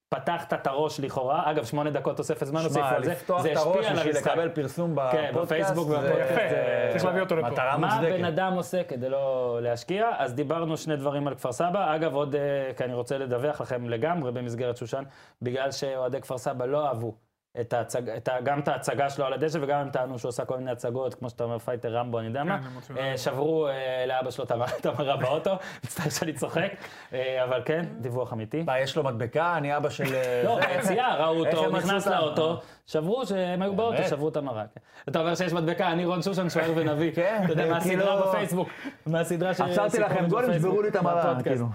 Speaker 1: פתחת את הראש לכאורה, אגב, שמונה דקות תוספת זמן הוסיפו
Speaker 2: שמע,
Speaker 1: על זה,
Speaker 2: לפתוח
Speaker 1: זה
Speaker 2: את
Speaker 1: השפיע
Speaker 2: הראש
Speaker 1: על
Speaker 2: בשביל
Speaker 1: המשחק.
Speaker 2: לקבל פרסום
Speaker 1: כן,
Speaker 2: בפודקאסט,
Speaker 1: בפייסבוק
Speaker 2: זה-
Speaker 1: והפודקאסט,
Speaker 3: יפה,
Speaker 1: אה,
Speaker 3: צריך להביא אותו לפה.
Speaker 2: מטרה
Speaker 1: מה
Speaker 2: מוצדקת.
Speaker 1: הבן אדם עושה כדי לא להשקיע? אז דיברנו שני דברים על כפר סבא. אגב, עוד, אה, כי אני רוצה לדווח לכם לגמרי במסגרת שושן, בגלל שאוהדי כפר סבא לא אהבו את ההצג, את ה, גם את ההצגה שלו על הדשא, וגם הם טענו שהוא עשה כל מיני הצגות, כמו שאתה אומר, פייטר רמבו, אני יודע מה.
Speaker 3: כן, הם רוצים
Speaker 1: אה,
Speaker 3: לדעת.
Speaker 1: שברו אה, לאבא שלו את המ- את המראה באוטו, מצטער שאני צוחק, אה, אבל כן, דיווח אמיתי.
Speaker 2: מה, יש לו מדבקה? אני אבא של... אה,
Speaker 1: לא,
Speaker 2: זה.
Speaker 1: ביציאה ראו
Speaker 2: איך
Speaker 1: אותו,
Speaker 2: הם
Speaker 1: הוא
Speaker 2: מצאו
Speaker 1: נכנס
Speaker 2: אותם?
Speaker 1: לאוטו, שברו, שהם היו באוטו,
Speaker 2: אה. באמת?
Speaker 1: שברו את המראה. כן. אתה אומר שיש מדבקה, אני רון שושן, שוער ונביא.
Speaker 2: כן,
Speaker 1: אתה יודע, מהסדרה
Speaker 2: כאילו-
Speaker 1: בפייסבוק. מהסדרה ש...
Speaker 2: אה, עצרתי לכם
Speaker 1: סיפורים
Speaker 2: גולים,
Speaker 1: בפייסבוק,
Speaker 2: שברו לי את המראה,
Speaker 1: בפודקאסט.
Speaker 2: כאילו.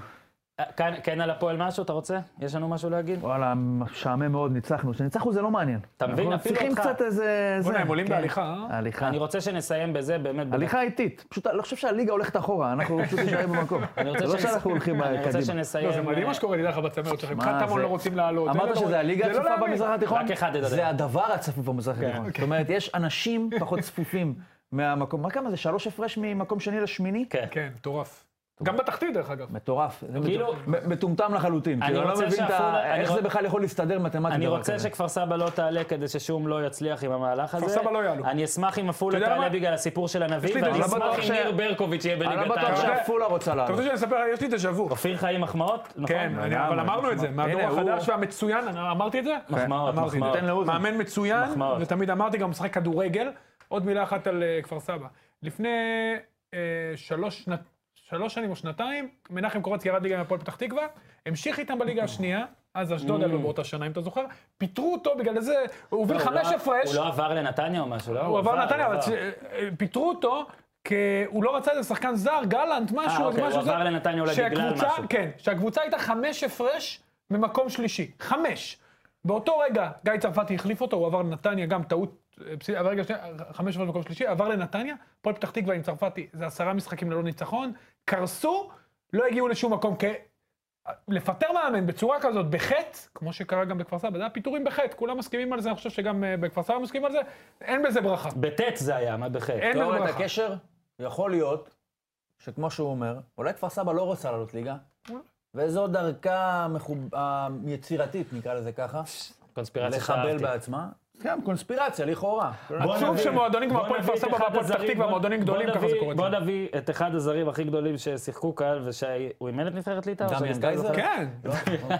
Speaker 1: אה, כאן- כן על הפועל משהו, אתה רוצה? יש לנו משהו להגיד?
Speaker 2: וואלה, משעמם מאוד, ניצחנו. כשניצחנו זה לא מעניין.
Speaker 1: אתה מבין?
Speaker 2: אנחנו
Speaker 1: אפילו
Speaker 2: צריכים
Speaker 1: אותך.
Speaker 2: קצת איזה... זה,
Speaker 3: בוא'נה, הם עולים
Speaker 2: כן.
Speaker 3: בהליכה, אה?
Speaker 2: הליכה.
Speaker 1: אני רוצה שנסיים בזה באמת.
Speaker 2: הליכה איטית. פשוט, אני לא חושב שהליגה הולכת אחורה, אנחנו פשוט נשארים במקום.
Speaker 1: אני רוצה
Speaker 2: זה לא
Speaker 1: שנס-
Speaker 2: שאנחנו הולכים
Speaker 1: אני
Speaker 2: קדימה.
Speaker 1: רוצה שנסיים... אה,
Speaker 3: לא, זה מדהים מה שקורה, נדע לך, בצמרת שלכם. חטמון
Speaker 2: זה-
Speaker 3: לא רוצים לעלות.
Speaker 2: אמרת
Speaker 3: אלה לא-
Speaker 2: שזה הליגה
Speaker 3: זה לא
Speaker 2: הצפופה
Speaker 3: להאמין.
Speaker 2: במזרח התיכון? כן, אוקיי.
Speaker 1: רק אחד ידבר.
Speaker 2: זה הדבר הצפוף במזרח התיכון. זאת אומרת, יש אנשים פחות צפופים מהמקום. מה כמה זה? שלוש הפרש ממקום שני לשמיני?
Speaker 1: כן.
Speaker 3: כן, מטורף. גם בתחתית, דרך אגב.
Speaker 2: מטורף. זה
Speaker 1: כאילו-
Speaker 2: מטו- מ- מטומטם לחלוטין.
Speaker 1: אני
Speaker 2: כאילו,
Speaker 1: רוצה
Speaker 2: לא מבין את
Speaker 1: שעפולה-
Speaker 2: ה...
Speaker 1: אני
Speaker 2: איך
Speaker 1: רוצ-
Speaker 2: זה בכלל יכול להסתדר מתמטית.
Speaker 1: אני
Speaker 2: דבר
Speaker 1: רוצה
Speaker 2: כזה.
Speaker 1: שכפר סבא לא תעלה כדי ששום לא יצליח עם המהלך הזה.
Speaker 3: אוקיי. סבא לא יעלו.
Speaker 1: אני אשמח אם עפולה
Speaker 3: אתה יודע
Speaker 1: תעלה
Speaker 3: למה?
Speaker 1: בגלל הסיפור של הנביא,
Speaker 3: יש לי
Speaker 1: ואני
Speaker 3: דעה.
Speaker 1: אשמח
Speaker 2: אני לא
Speaker 1: אם
Speaker 2: בטוח ש-
Speaker 1: ניר ברקוביץ' יהיה
Speaker 2: אני
Speaker 1: בליגת
Speaker 2: לא בטוח
Speaker 1: העל.
Speaker 3: יודע-
Speaker 2: שעפולה רוצה
Speaker 3: אתה
Speaker 2: לעלות.
Speaker 3: רוצה שאני אספר, יש לי דז'ה וו.
Speaker 1: אופיר חיים מחמאות? נכון?
Speaker 3: כן, אני-
Speaker 2: למה?
Speaker 3: אבל אמרנו את זה,
Speaker 2: מחמאות.
Speaker 3: מהדור
Speaker 2: הנה, הוא-
Speaker 3: החדש והמצוין, אני- אמרתי את זה?
Speaker 1: מחמאות,
Speaker 3: אמרתי את זה.
Speaker 1: מחמאות.
Speaker 2: תן לאוזן.
Speaker 3: מאמן מצוין,
Speaker 1: מחמאות.
Speaker 3: ותמיד אמרתי, גם משחק כדורגל. עוד מילה אחת על אה, כפר סבא. לפני אה, שלוש שנ- שלוש שנים או שנתיים, מנחם קורצקי ירד ליגה עם הפועל פתח תקווה, המשיך איתם בליגה השנייה, אז אשדוד עלו באותה שנה, אם אתה זוכר, פיטרו אותו בגלל זה, הוא הוביל
Speaker 1: הוא
Speaker 3: חמש
Speaker 1: Mm. לא-
Speaker 3: הפרש.
Speaker 1: הוא לא עבר לנתניה או משהו, לא?
Speaker 3: הוא עבר נתניה,
Speaker 1: הוא
Speaker 3: אבל
Speaker 1: עבר.
Speaker 3: אה, פיטרו אותו. כי הוא לא רצה איזה שחקן זר, גלנט, משהו,
Speaker 1: אוקיי,
Speaker 3: משהו
Speaker 1: הוא עבר לנתניה אולי בגלל
Speaker 3: שהקבוצה-
Speaker 1: משהו.
Speaker 3: כן, שהקבוצה הייתה חמש הפרש ממקום שלישי. חמש. באותו רגע, גיא צרפתי החליף אותו, הוא עבר לנתניה, גם טעות, אה, פסיד- אבל רגע, שנייה, חמש הפרש ממקום שלישי, עבר לנתניה, הפועל פתח תקווה עם צרפתי, זה עשרה משחקים ללא ניצחון, קרסו, לא הגיעו לשום מקום. כי לפטר מאמן בצורה כזאת, בחטא, כמו שקרה גם בכפר סבא, זה היה פיטורים בחטא, כולם מסכימים על זה, אני חושב שגם אה, בכפר סבא מסכימים על זה, אין בזה ברכה.
Speaker 1: בטט זה היה, מה בחטא?
Speaker 3: אין בזה
Speaker 2: תיאוריית
Speaker 3: ברכה.
Speaker 2: הקשר, יכול להיות שכמו שהוא אומר, אולי כפר סבא לא רוצה לעלות ליגה, וזו דרכה המחוב- היצירתית, נקרא לזה ככה,
Speaker 1: קונספירציה
Speaker 2: לחבל
Speaker 1: שאהבתי.
Speaker 2: בעצמה. גם קונספירציה, לכאורה.
Speaker 1: בוא
Speaker 3: עצוב
Speaker 1: נביא-
Speaker 3: שמועדונים כמו
Speaker 1: בוא
Speaker 3: הפועל
Speaker 1: נביא
Speaker 3: כפר
Speaker 1: את
Speaker 3: סבא
Speaker 1: אחד
Speaker 3: והפועל פתח
Speaker 1: הזרים,
Speaker 3: תקווה,
Speaker 1: בוא-
Speaker 3: מועדונים
Speaker 1: בוא
Speaker 3: גדולים, ככה זה
Speaker 1: נביא-
Speaker 3: קורה.
Speaker 1: בוא נביא את אחד הזרים הכי גדולים ששיחקו כאן, ושהוא אימן את נבחרת ליטא? או
Speaker 2: דמיאן
Speaker 1: שהסתכלנו
Speaker 2: גייזר?
Speaker 1: עליו?
Speaker 3: כן.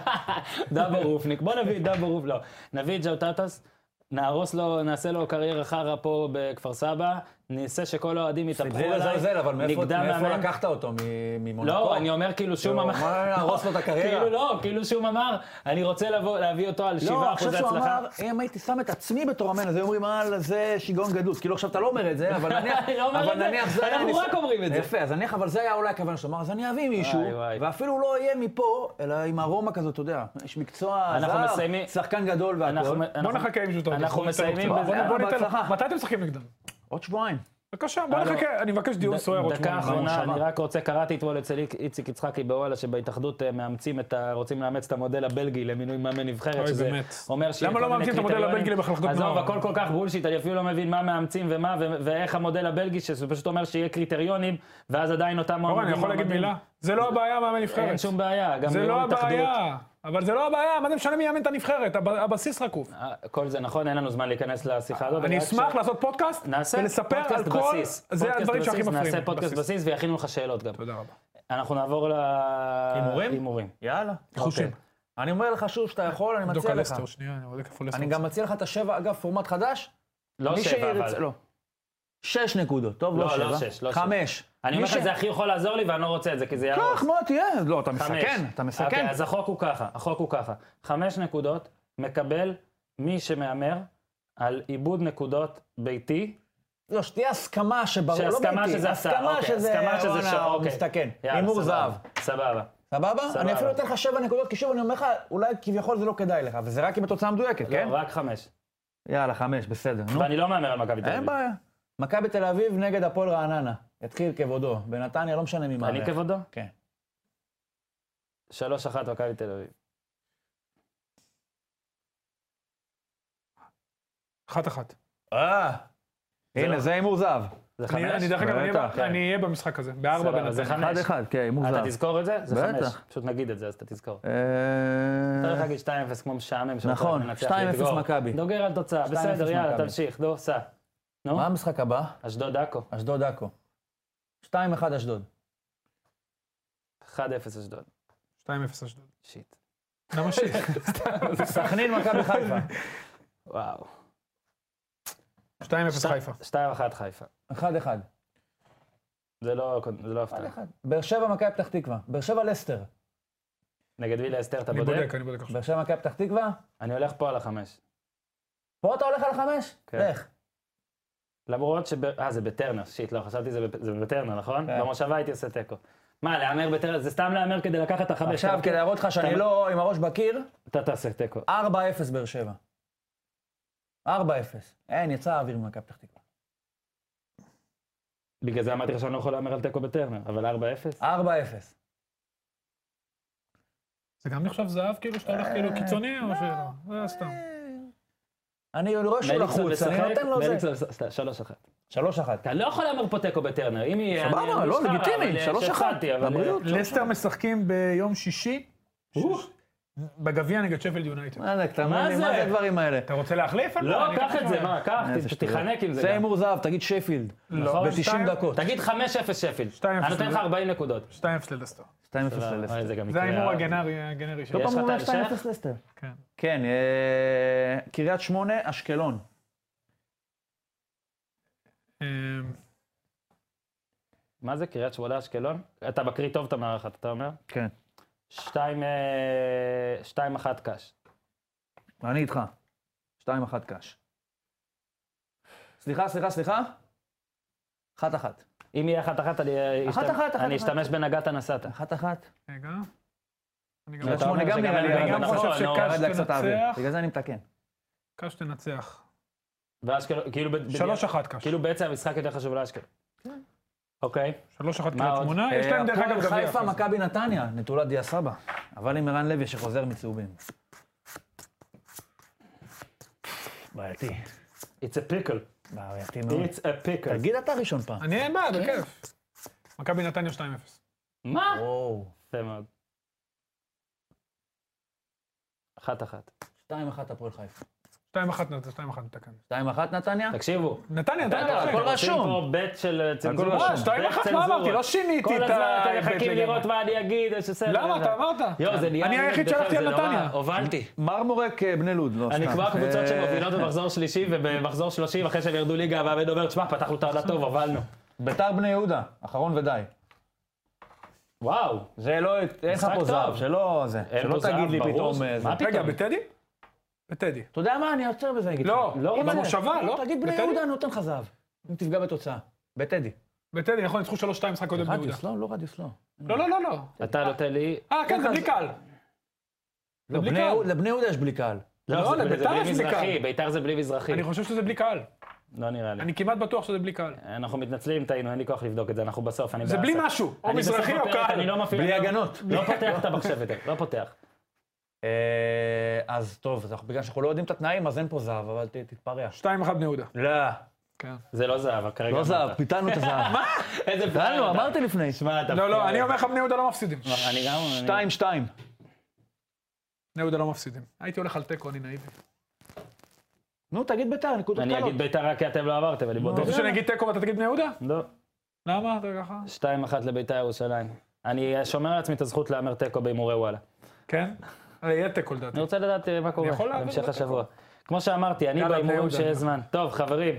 Speaker 1: דאבור רופניק, בוא נביא את דאבור רופ, לא. נביא את ג'אוטטס, נהרוס לו, נעשה לו קריירה חרא פה בכפר סבא, נעשה שכל האוהדים יתהפכו
Speaker 2: בלי
Speaker 1: עליי,
Speaker 2: לזלזל, לא אבל מאיפה
Speaker 1: נגדע
Speaker 2: מאיפה
Speaker 1: מאמן.
Speaker 2: לקחת אותו? מ- ממונקו?
Speaker 1: לא, אני אומר כאילו שום
Speaker 2: לא,
Speaker 1: אמר...
Speaker 2: מה, להרוס לו את הקריירה?
Speaker 1: כאילו לא, כאילו שום אמר, אני רוצה לבוא- להביא אותו על 7% הצלחה.
Speaker 2: לא, עכשיו שהוא אמר, אם הייתי שם את עצמי בתור המאמן, אז היו אומרים, וואלה, זה שיגעון גדלות. כאילו, עכשיו אתה לא אומר את זה, אבל נניח,
Speaker 1: אני לא אומר
Speaker 2: אבל
Speaker 1: את זה,
Speaker 2: נניח זה היה...
Speaker 1: אנחנו
Speaker 2: ניס-
Speaker 1: רק אומרים את זה.
Speaker 2: יפה, אז נניח, אבל זה היה אולי הכוונה שלו. אמר, אז אני אביא מישהו,
Speaker 1: וואי, וואי.
Speaker 2: ואפילו לא יהיה מפה, אלא עם ארומה כזאת, אתה יודע. איש מקצוע
Speaker 1: אנחנו מסיימים-
Speaker 2: זר, שחקן גדול
Speaker 1: אנחנו-
Speaker 2: והכול.
Speaker 1: אנחנו-
Speaker 3: בוא נחכה עם ז'וטות.
Speaker 1: אנחנו מסיימים
Speaker 2: בזה.
Speaker 3: בוא
Speaker 2: יאללה,
Speaker 3: ניתן לו.
Speaker 2: בהצלחה.
Speaker 3: מתי אתם משחקים נגדם?
Speaker 2: עוד שבועיים.
Speaker 3: בבקשה, בוא
Speaker 1: הלו.
Speaker 3: נחכה, אני מבקש דיון
Speaker 1: ד-
Speaker 3: סוער עוד
Speaker 1: דקה
Speaker 3: שבועיים.
Speaker 1: אחרונה,
Speaker 2: במושבה.
Speaker 1: אני רק רוצה, קראתי אתמול אצל איק- איציק יצחקי בוואלה שבהתאחדות אה, מאמצים את ה... רוצים לאמץ את המודל הבלגי למינוי מאמן נבחרת,
Speaker 3: אוי,
Speaker 1: שזה
Speaker 3: באמת.
Speaker 1: אומר שיהיה
Speaker 3: למה
Speaker 1: כל
Speaker 3: לא
Speaker 1: מיני
Speaker 3: מאמצים את המודל
Speaker 1: קריטריונים.
Speaker 3: הבלגי למחלקות
Speaker 1: עזוב,
Speaker 3: נוער?
Speaker 1: הכל כל כך בולשיט, אני אפילו לא מבין מה מאמצים ומה, ו- ואיך המודל הבלגי, שזה פשוט אומר שיהיה קריטריונים, ואז עדיין אותם
Speaker 3: אורן, אני יכול
Speaker 1: מועמדים-
Speaker 3: להגיד מילה? זה לא הבעיה, מאמן נבחרת.
Speaker 1: אין שום בעיה, גם
Speaker 3: זה לא
Speaker 1: יו"ר התאחדות-
Speaker 3: הבעיה, אבל זה לא הבעיה, מה זה משנה מי יאמן את הנבחרת? הב- הבסיס רקוב.
Speaker 1: אה, כל זה נכון, אין לנו זמן להיכנס לשיחה הזאת.
Speaker 3: אני
Speaker 1: רק
Speaker 3: אשמח
Speaker 1: ש-
Speaker 3: לעשות פודקאסט
Speaker 1: נעשה
Speaker 3: ולספר
Speaker 1: פודקאסט
Speaker 3: על כל...
Speaker 1: בסיס.
Speaker 3: זה
Speaker 1: פודקאסט
Speaker 3: הדברים שהכי
Speaker 1: בסיס,
Speaker 3: מפריעים.
Speaker 1: נעשה פודקאסט בסיס ויכינו לך שאלות גם.
Speaker 3: תודה רבה.
Speaker 1: אנחנו נעבור ל...
Speaker 2: אוקיי. הימורים?
Speaker 1: הימורים.
Speaker 2: יאללה.
Speaker 3: חושים.
Speaker 2: אוקיי. אני אומר לך שוב שאתה יכול, אני
Speaker 3: דוקה
Speaker 2: מציע לך.
Speaker 3: לסטר, שנייה, אני בודק איפה לסטר.
Speaker 2: אני גם מציע לך את השבע, אגב, פורמט חדש.
Speaker 1: לא
Speaker 2: מי
Speaker 1: שבע,
Speaker 2: שירצה-
Speaker 1: אבל.
Speaker 2: לא. שש נקודות, טוב? לא
Speaker 1: לא,
Speaker 2: שבע.
Speaker 1: לא שש, לא שש.
Speaker 2: חמש.
Speaker 1: אני
Speaker 2: מי
Speaker 1: אומר לך,
Speaker 2: ש-
Speaker 1: זה הכי יכול לעזור לי, ואני לא רוצה את זה, כי זה יהרוס.
Speaker 2: קח, מוטי, אה, לא, אתה
Speaker 1: חמש.
Speaker 2: מסכן, אתה מסכן.
Speaker 1: אוקיי, אז החוק הוא ככה, החוק הוא ככה. חמש נקודות מקבל מי שמהמר על עיבוד נקודות ביתי.
Speaker 2: לא, שתהיה הסכמה שברור, לא ביתי.
Speaker 1: שהסכמה שזה עשה,
Speaker 2: הסכמה
Speaker 1: אוקיי,
Speaker 2: שזה,
Speaker 1: הסכמה שזה
Speaker 2: וואלה,
Speaker 1: שעה,
Speaker 2: הוא
Speaker 1: אוקיי.
Speaker 2: מסתכן.
Speaker 1: יאללה,
Speaker 2: הימור
Speaker 1: סבבה,
Speaker 2: זהב.
Speaker 1: סבבה.
Speaker 2: סבבה?
Speaker 1: סבבה.
Speaker 2: אני אפילו נותן לך שבע נקודות, כי שוב אני אומר לך, אולי כביכול זה לא כדאי לך, וזה רק עם התוצאה המדויקת,
Speaker 1: לא,
Speaker 2: כן?
Speaker 1: רק חמש.
Speaker 2: יאללה, חמש, בסדר, נו.
Speaker 1: ואני לא מהמר על מכבי תל
Speaker 2: אין
Speaker 1: אביב.
Speaker 2: בעיה. מכבי תל אביב נגד הפועל רעננה. יתחיל כבודו. בנתניה, לא משנה ממה.
Speaker 1: אני כבודו?
Speaker 2: כן.
Speaker 1: שלוש אחת מכבי תל אביב.
Speaker 3: אחת-אחת.
Speaker 2: אה!
Speaker 1: לא-
Speaker 2: הנה, זה הימור זהב.
Speaker 1: זה חמש?
Speaker 3: אני, אני, דרך אגב, אני אהיה ב-
Speaker 2: בטח.
Speaker 3: אני אהיה במשחק הזה, בארבע
Speaker 1: סבבה,
Speaker 3: בנתניה.
Speaker 1: זה חמש.
Speaker 2: אחד אחד, כן, הימור
Speaker 1: אתה
Speaker 2: זהב.
Speaker 1: תזכור את זה? זה חמש.
Speaker 2: בטח.
Speaker 1: פשוט נגיד את זה, אז אתה תזכור.
Speaker 2: אה,
Speaker 1: צריך להגיד 2-0 כמו משעמם. שרוצה
Speaker 2: נכון,
Speaker 1: לנצח,
Speaker 2: 2-0
Speaker 1: להתגור.
Speaker 2: מכבי.
Speaker 1: דוגר על תוצאה,
Speaker 2: 2-0
Speaker 1: בסדר, יאללה,
Speaker 2: מכבי.
Speaker 1: תמשיך, נו, סע. נו,
Speaker 2: מה המשחק הבא?
Speaker 1: אשדוד עכו,
Speaker 2: אשדוד עכו. 2-1 אשדוד.
Speaker 1: 1-0 אשדוד.
Speaker 3: 2-0 אשדוד.
Speaker 1: שיט.
Speaker 3: למה ש...
Speaker 2: סכנין מכבי חיפה.
Speaker 1: וואו.
Speaker 3: 2-0 חיפה.
Speaker 1: 2-1 חיפה.
Speaker 2: 1-1.
Speaker 1: זה לא זה לא הפתעה.
Speaker 2: 1-1. באר שבע מכבי פתח תקווה. באר שבע לסטר.
Speaker 1: נגד וילה אסתר אתה
Speaker 3: אני
Speaker 1: בודק?
Speaker 3: בודק, אני בודק עכשיו.
Speaker 2: באר שבע מכבי פתח תקווה.
Speaker 1: אני הולך פה על החמש.
Speaker 2: פה אתה הולך על חמש?
Speaker 1: כן.
Speaker 2: לך.
Speaker 1: למרות שב... אה, זה בטרנר, שיט, לא, חשבתי זה בב- זה בטרנר, נכון?
Speaker 2: כן.
Speaker 1: במושבה הייתי עושה תיקו. מה, להמר בטרנר? זה סתם להמר כדי לקחת את החמש.
Speaker 2: עכשיו,
Speaker 1: אתה-
Speaker 2: כדי להראות לך שאני
Speaker 1: כן. אתה-
Speaker 2: לא עם הראש בקיר,
Speaker 1: אתה תעשה תיקו.
Speaker 2: 4-0 באר שבע. 4-0. אין, יצא האוויר ממכבי פתח תקווה.
Speaker 1: בגלל זה אמרתי לך שאני לא יכול להמר על תיקו בטרנר, אבל 4-0?
Speaker 2: 4-0.
Speaker 3: זה גם נחשב זהב, כאילו, שאתה הולך כאילו קיצוני,
Speaker 1: אה,
Speaker 3: או שלא?
Speaker 1: לא.
Speaker 3: זה אה, סתם.
Speaker 2: אה, אני רואה שהוא
Speaker 1: מליקסון
Speaker 2: לחוץ, אני
Speaker 1: משחק,
Speaker 2: נותן לו זה.
Speaker 1: מליקסון עשה- עשה- 3-1.
Speaker 2: 3-1.
Speaker 1: אתה לא יכול להמר פה תיקו בטרנר, אם יהיה...
Speaker 2: סבבה,
Speaker 1: אני- אני
Speaker 2: לא,
Speaker 1: מושחר,
Speaker 2: לגיטימי,
Speaker 1: אבל, אה,
Speaker 2: 3-1,
Speaker 1: שהפסדתי, אבל, אה,
Speaker 2: לבריאות.
Speaker 3: לסטר משחקים ביום שישי, בגביע נגד שפלד יונייטד.
Speaker 2: מה זה, אתה
Speaker 1: מה
Speaker 2: אומר לי,
Speaker 1: זה?
Speaker 2: מה זה הדברים האלה?
Speaker 3: אתה רוצה להחליף? אני
Speaker 1: לא,
Speaker 3: אני
Speaker 1: קח
Speaker 3: אקח
Speaker 1: את זה,
Speaker 3: לך.
Speaker 1: מה, קח,
Speaker 2: איזה שטויות.
Speaker 1: תתחנק עם זה
Speaker 2: זה
Speaker 1: גם.
Speaker 2: הימור זהב, תגיד שפילד.
Speaker 3: לא, שתיים-
Speaker 2: ב-90 דקות.
Speaker 1: תגיד 5-0 שפילד.
Speaker 3: 2-0
Speaker 1: אני נותן לך
Speaker 3: לזה.
Speaker 1: 40 נקודות.
Speaker 3: 2-0 ללסטר.
Speaker 2: 2-0 ללסטר.
Speaker 1: אוי, זה גם
Speaker 3: זה
Speaker 1: יקרה.
Speaker 3: ההימור הגנרי- הגנרי שלי.
Speaker 1: יש
Speaker 2: לא
Speaker 1: לך
Speaker 2: פעם
Speaker 1: את
Speaker 2: הוא אומר
Speaker 1: ההמשך?
Speaker 2: 2-0 לסטר.
Speaker 3: כן.
Speaker 2: כן, אה, קריית שמונה, אשקלון.
Speaker 3: אמ,
Speaker 1: מה זה, קריית שמונה אשקלון? אתה מקריא טוב את המערכת, אתה אומר?
Speaker 2: כן.
Speaker 1: 2-1 קאש.
Speaker 2: אני איתך. 2-1 קאש. סליחה, סליחה, סליחה. 1-1.
Speaker 1: אם יהיה אחת אחת, אני אה,
Speaker 2: אחת,
Speaker 1: אשתמש-
Speaker 2: אחת, אחת,
Speaker 1: אני
Speaker 2: אחת.
Speaker 1: אשתמש בנגעת נסעת.
Speaker 2: 1-1.
Speaker 3: רגע. אני גם-
Speaker 2: קריית
Speaker 1: אתה
Speaker 2: שמונה
Speaker 1: אומר
Speaker 2: גם
Speaker 1: שגם
Speaker 2: נראה לי,
Speaker 1: אני
Speaker 3: אני
Speaker 2: ירד
Speaker 3: גם
Speaker 2: לה
Speaker 1: נכון,
Speaker 3: חושב
Speaker 1: נו,
Speaker 3: שקאש
Speaker 2: ירד לה קצת האוויר.
Speaker 3: תנצח.
Speaker 2: בגלל זה אני מתקן.
Speaker 3: קאש תנצח.
Speaker 1: ואשקלון, כאילו... ב- ב-
Speaker 3: 3-1 קאש.
Speaker 2: כן.
Speaker 1: כאילו בעצם המשחק יותר חשוב לאשקלון. אוקיי.
Speaker 3: 3-1
Speaker 1: מה
Speaker 3: קריית
Speaker 1: עוד?
Speaker 3: שמונה, יש
Speaker 2: אה,
Speaker 3: להם דרך אגב
Speaker 2: הפועל
Speaker 3: גביע.
Speaker 2: חיפה,
Speaker 3: אחרי זה.
Speaker 2: מכבי נתניה, נטולת דיה סבא. אבל עם ערן לוי שחוזר מצהובים. בעייתי.
Speaker 1: It's a pickle.
Speaker 2: בעייתי אה, מאוד.
Speaker 1: It's a pickle.
Speaker 2: תגיד אתה ראשון פעם.
Speaker 3: אני אין בעיה,
Speaker 1: כן.
Speaker 3: בכיף. מכבי נתניה 2-0.
Speaker 1: מה?
Speaker 2: וואו.
Speaker 1: יפה מאוד. אחת אחת.
Speaker 2: 2-1 הפועל חיפה.
Speaker 3: 2-1 נתניה, 2-1 נתקן.
Speaker 2: 2-1 נתניה?
Speaker 1: תקשיבו.
Speaker 3: נתניה, נתניה.
Speaker 1: אתם
Speaker 2: הכל
Speaker 1: עושים
Speaker 2: רשום.
Speaker 1: פה בית של צנזורה.
Speaker 2: רשום.
Speaker 3: אה, 2-1 מה אמרתי? לא שיניתי
Speaker 1: כל
Speaker 3: את
Speaker 1: הזמן אתם
Speaker 3: ה...
Speaker 1: מחכים לראות מה אני אגיד, אז בסדר.
Speaker 3: למה? אתה אמרת.
Speaker 1: יואו, זה נהיה...
Speaker 3: אני
Speaker 1: ילד
Speaker 3: היחיד
Speaker 1: בכלל,
Speaker 3: שהלכתי
Speaker 1: זה
Speaker 3: על
Speaker 1: נורא.
Speaker 3: נתניה.
Speaker 1: הובלתי.
Speaker 2: מרמורק אה, בני לוד, לא סתם.
Speaker 1: אני כבר קבוצות
Speaker 2: אה,
Speaker 1: שמובילות במחזור שלישי ובמחזור 30, אחרי שהם ירדו ליגה, והבן אומר, תשמע, פתחנו את העונה טוב, הובלנו.
Speaker 2: ביתר בני יהודה, אחרון ודי.
Speaker 1: וואו,
Speaker 2: זה לא, אין לך
Speaker 1: משחק
Speaker 2: פה
Speaker 1: טוב.
Speaker 2: זהב, שלא זה.
Speaker 1: אין
Speaker 2: שלא
Speaker 1: פה זהב,
Speaker 2: תגיד לי
Speaker 1: ברור
Speaker 2: פתאום
Speaker 1: שזה-
Speaker 2: אה, זה.
Speaker 1: מה
Speaker 3: רגע,
Speaker 1: פתאום?
Speaker 3: בטדי? בטדי.
Speaker 2: אתה יודע מה, אני עוצר בזה, אני אגיד
Speaker 3: לא,
Speaker 2: לך.
Speaker 1: לא,
Speaker 2: אם אני-
Speaker 3: במושבה, לא?
Speaker 2: תגיד בני
Speaker 3: בטדי?
Speaker 2: יהודה, אני נותן לך זהב. אם תפגע בתוצאה. בטדי.
Speaker 3: בטדי, נכון, ניצחו 3-2 משחק קודם ביהודה.
Speaker 2: רדיוס, לא, לא רדיוס, לא.
Speaker 3: לא, לא, לא, לא.
Speaker 1: אתה נותן לי...
Speaker 3: אה, כן, זה בלי קהל.
Speaker 1: אוקיי.
Speaker 2: לא,
Speaker 3: בלי
Speaker 2: בני
Speaker 3: קהל.
Speaker 2: יהודה- לבני יהודה יש בלי קהל.
Speaker 1: זה-
Speaker 3: לא,
Speaker 1: זה
Speaker 3: לביתר
Speaker 1: בלי
Speaker 3: יש בדיקה.
Speaker 1: מזרחי, ביתר זה בלי מזרחי.
Speaker 3: אני חושב שזה בלי קהל.
Speaker 1: לא נראה לי.
Speaker 3: אני כמעט בטוח שזה בלי קהל.
Speaker 1: אנחנו מתנצלים, טעינו, אין לי כוח לבדוק את זה, אנחנו בסוף. אני
Speaker 3: זה
Speaker 1: באסה.
Speaker 3: בלי משהו, או
Speaker 1: אני בסוף
Speaker 3: מזרחי או
Speaker 1: הפרק, אני
Speaker 3: קהל.
Speaker 1: לא מפעיל...
Speaker 2: בלי
Speaker 1: אני לא-
Speaker 2: הגנות.
Speaker 1: לא פותח את המחשב יותר, לא פותח.
Speaker 2: אה, אז טוב, אז אנחנו- בגלל שאנחנו לא יודעים את התנאים, אז אין פה זהב, אבל ת- תתפרע.
Speaker 3: 2-1 בני יהודה.
Speaker 2: לא,
Speaker 3: כן.
Speaker 1: זה לא זהב, כרגע.
Speaker 2: לא
Speaker 1: אמרת.
Speaker 2: זהב, פיתלנו את הזהב. מה?
Speaker 1: איזה
Speaker 2: פיתלנו, אמרתי לפני.
Speaker 1: שמע, אתה...
Speaker 3: לא, לא, אני אומר לך, בני יהודה לא מפסידים.
Speaker 1: אני גם... אני-
Speaker 2: שתיים, שתיים.
Speaker 3: בני יהודה לא מפסידים. הייתי הולך על תיקו, אני נאיבי.
Speaker 2: נו, תגיד ביתר, נקודות
Speaker 3: לא.
Speaker 1: אני
Speaker 2: קלות.
Speaker 1: אגיד ביתר רק כי אתם לא עברתם, אני
Speaker 3: אתה
Speaker 1: בודק.
Speaker 3: רוצה שאני אגיד תיקו ואתה תגיד בני יהודה?
Speaker 1: לא.
Speaker 3: למה? אתה ככה?
Speaker 1: 2-1 לביתר ירושלים. אני שומר לעצמי את הזכות להמר תיקו בהימורי וואלה.
Speaker 3: כן? אה, יהיה תיקו לדעתי.
Speaker 1: אני רוצה לדעת אה, מה קורה
Speaker 3: יכול לעבוד
Speaker 1: בהמשך
Speaker 3: בתיקו.
Speaker 1: השבוע. כמו שאמרתי, אני
Speaker 3: יאללה, בני
Speaker 1: בהימורים
Speaker 3: יהודה.
Speaker 1: שיש זמן. טוב, חברים,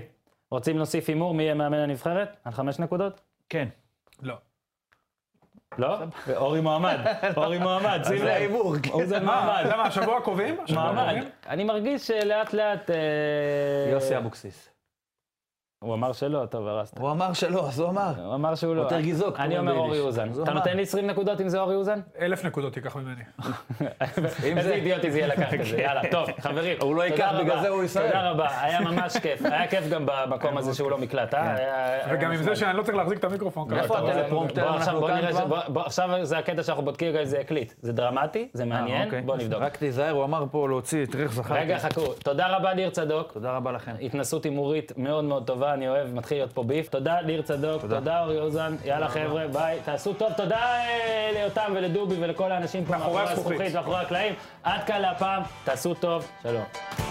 Speaker 1: רוצים להוסיף הימור מי יהיה מאמן הנבחרת? על חמש נקודות?
Speaker 2: כן.
Speaker 3: לא.
Speaker 1: לא? אורי מועמד, אורי מועמד, שים
Speaker 2: זה
Speaker 1: לב.
Speaker 2: ההימור. כן.
Speaker 1: אוזן
Speaker 3: מה?
Speaker 1: מעמד,
Speaker 3: למה, השבוע הקובעים? השבוע
Speaker 1: מעמד.
Speaker 3: הקובעים?
Speaker 1: אני מרגיש שלאט לאט... אה,
Speaker 2: יוסי אבוקסיס.
Speaker 1: הוא אמר שלא, טוב, הרסת.
Speaker 2: הוא אמר שלא, אז הוא אמר.
Speaker 1: הוא אמר שהוא לא.
Speaker 2: יותר גיזוק,
Speaker 1: אני
Speaker 2: טוב,
Speaker 1: אומר
Speaker 2: ביידיש.
Speaker 1: אורי אוזן.
Speaker 2: אז הוא
Speaker 1: אתה
Speaker 2: אמר.
Speaker 1: נותן לי 20 נקודות אם זה אורי אוזן?
Speaker 3: אלף נקודות תיקח ממני.
Speaker 1: איזה אידיוטי זה יהיה לקחת את זה, יאללה, טוב, חברים.
Speaker 2: הוא לא
Speaker 1: תודה
Speaker 2: ייקח,
Speaker 1: רבה.
Speaker 2: בגלל זה הוא יסרב.
Speaker 1: תודה רבה, היה ממש כיף. היה כיף גם במקום הזה שהוא לא מקלט,
Speaker 2: כן.
Speaker 1: אה? נכון. היה- היה
Speaker 3: וגם עם
Speaker 1: נחמד.
Speaker 3: זה שאני לא צריך להחזיק את המיקרופון ככה.
Speaker 2: איפה
Speaker 3: אתה רואה?
Speaker 2: הטלפרומפטר?
Speaker 1: בוא עכשיו,
Speaker 2: אנחנו
Speaker 1: בוא
Speaker 2: כאן
Speaker 1: נראה ש-
Speaker 2: כבר?
Speaker 1: בוא- בוא- עכשיו זה הקטע שאנחנו בודקים רגע אם זה הקליט. זה דרמטי, זה מעניין, בוא נבדוק.
Speaker 2: אה, אוקיי. רק תיזהר, הוא אמר פה להוציא את ריח זכרתי.
Speaker 1: רגע, חכו. תודה רבה ליר צדוק.
Speaker 2: תודה רבה לכם.
Speaker 1: כן. התנסות הימורית מאוד מאוד טובה, אני אוהב, מתחיל להיות פה ביף. תודה ליר צדוק, תודה אורי אוזן, יאללה חבר'ה, ביי, תעשו טוב. תודה אה, ליותם ולדובי ולכל האנשים פה מאחורי
Speaker 3: הזכוכית.
Speaker 1: הזכוכית, מאחורי הקלעים. עד כאן להפעם, תעשו טוב, שלום.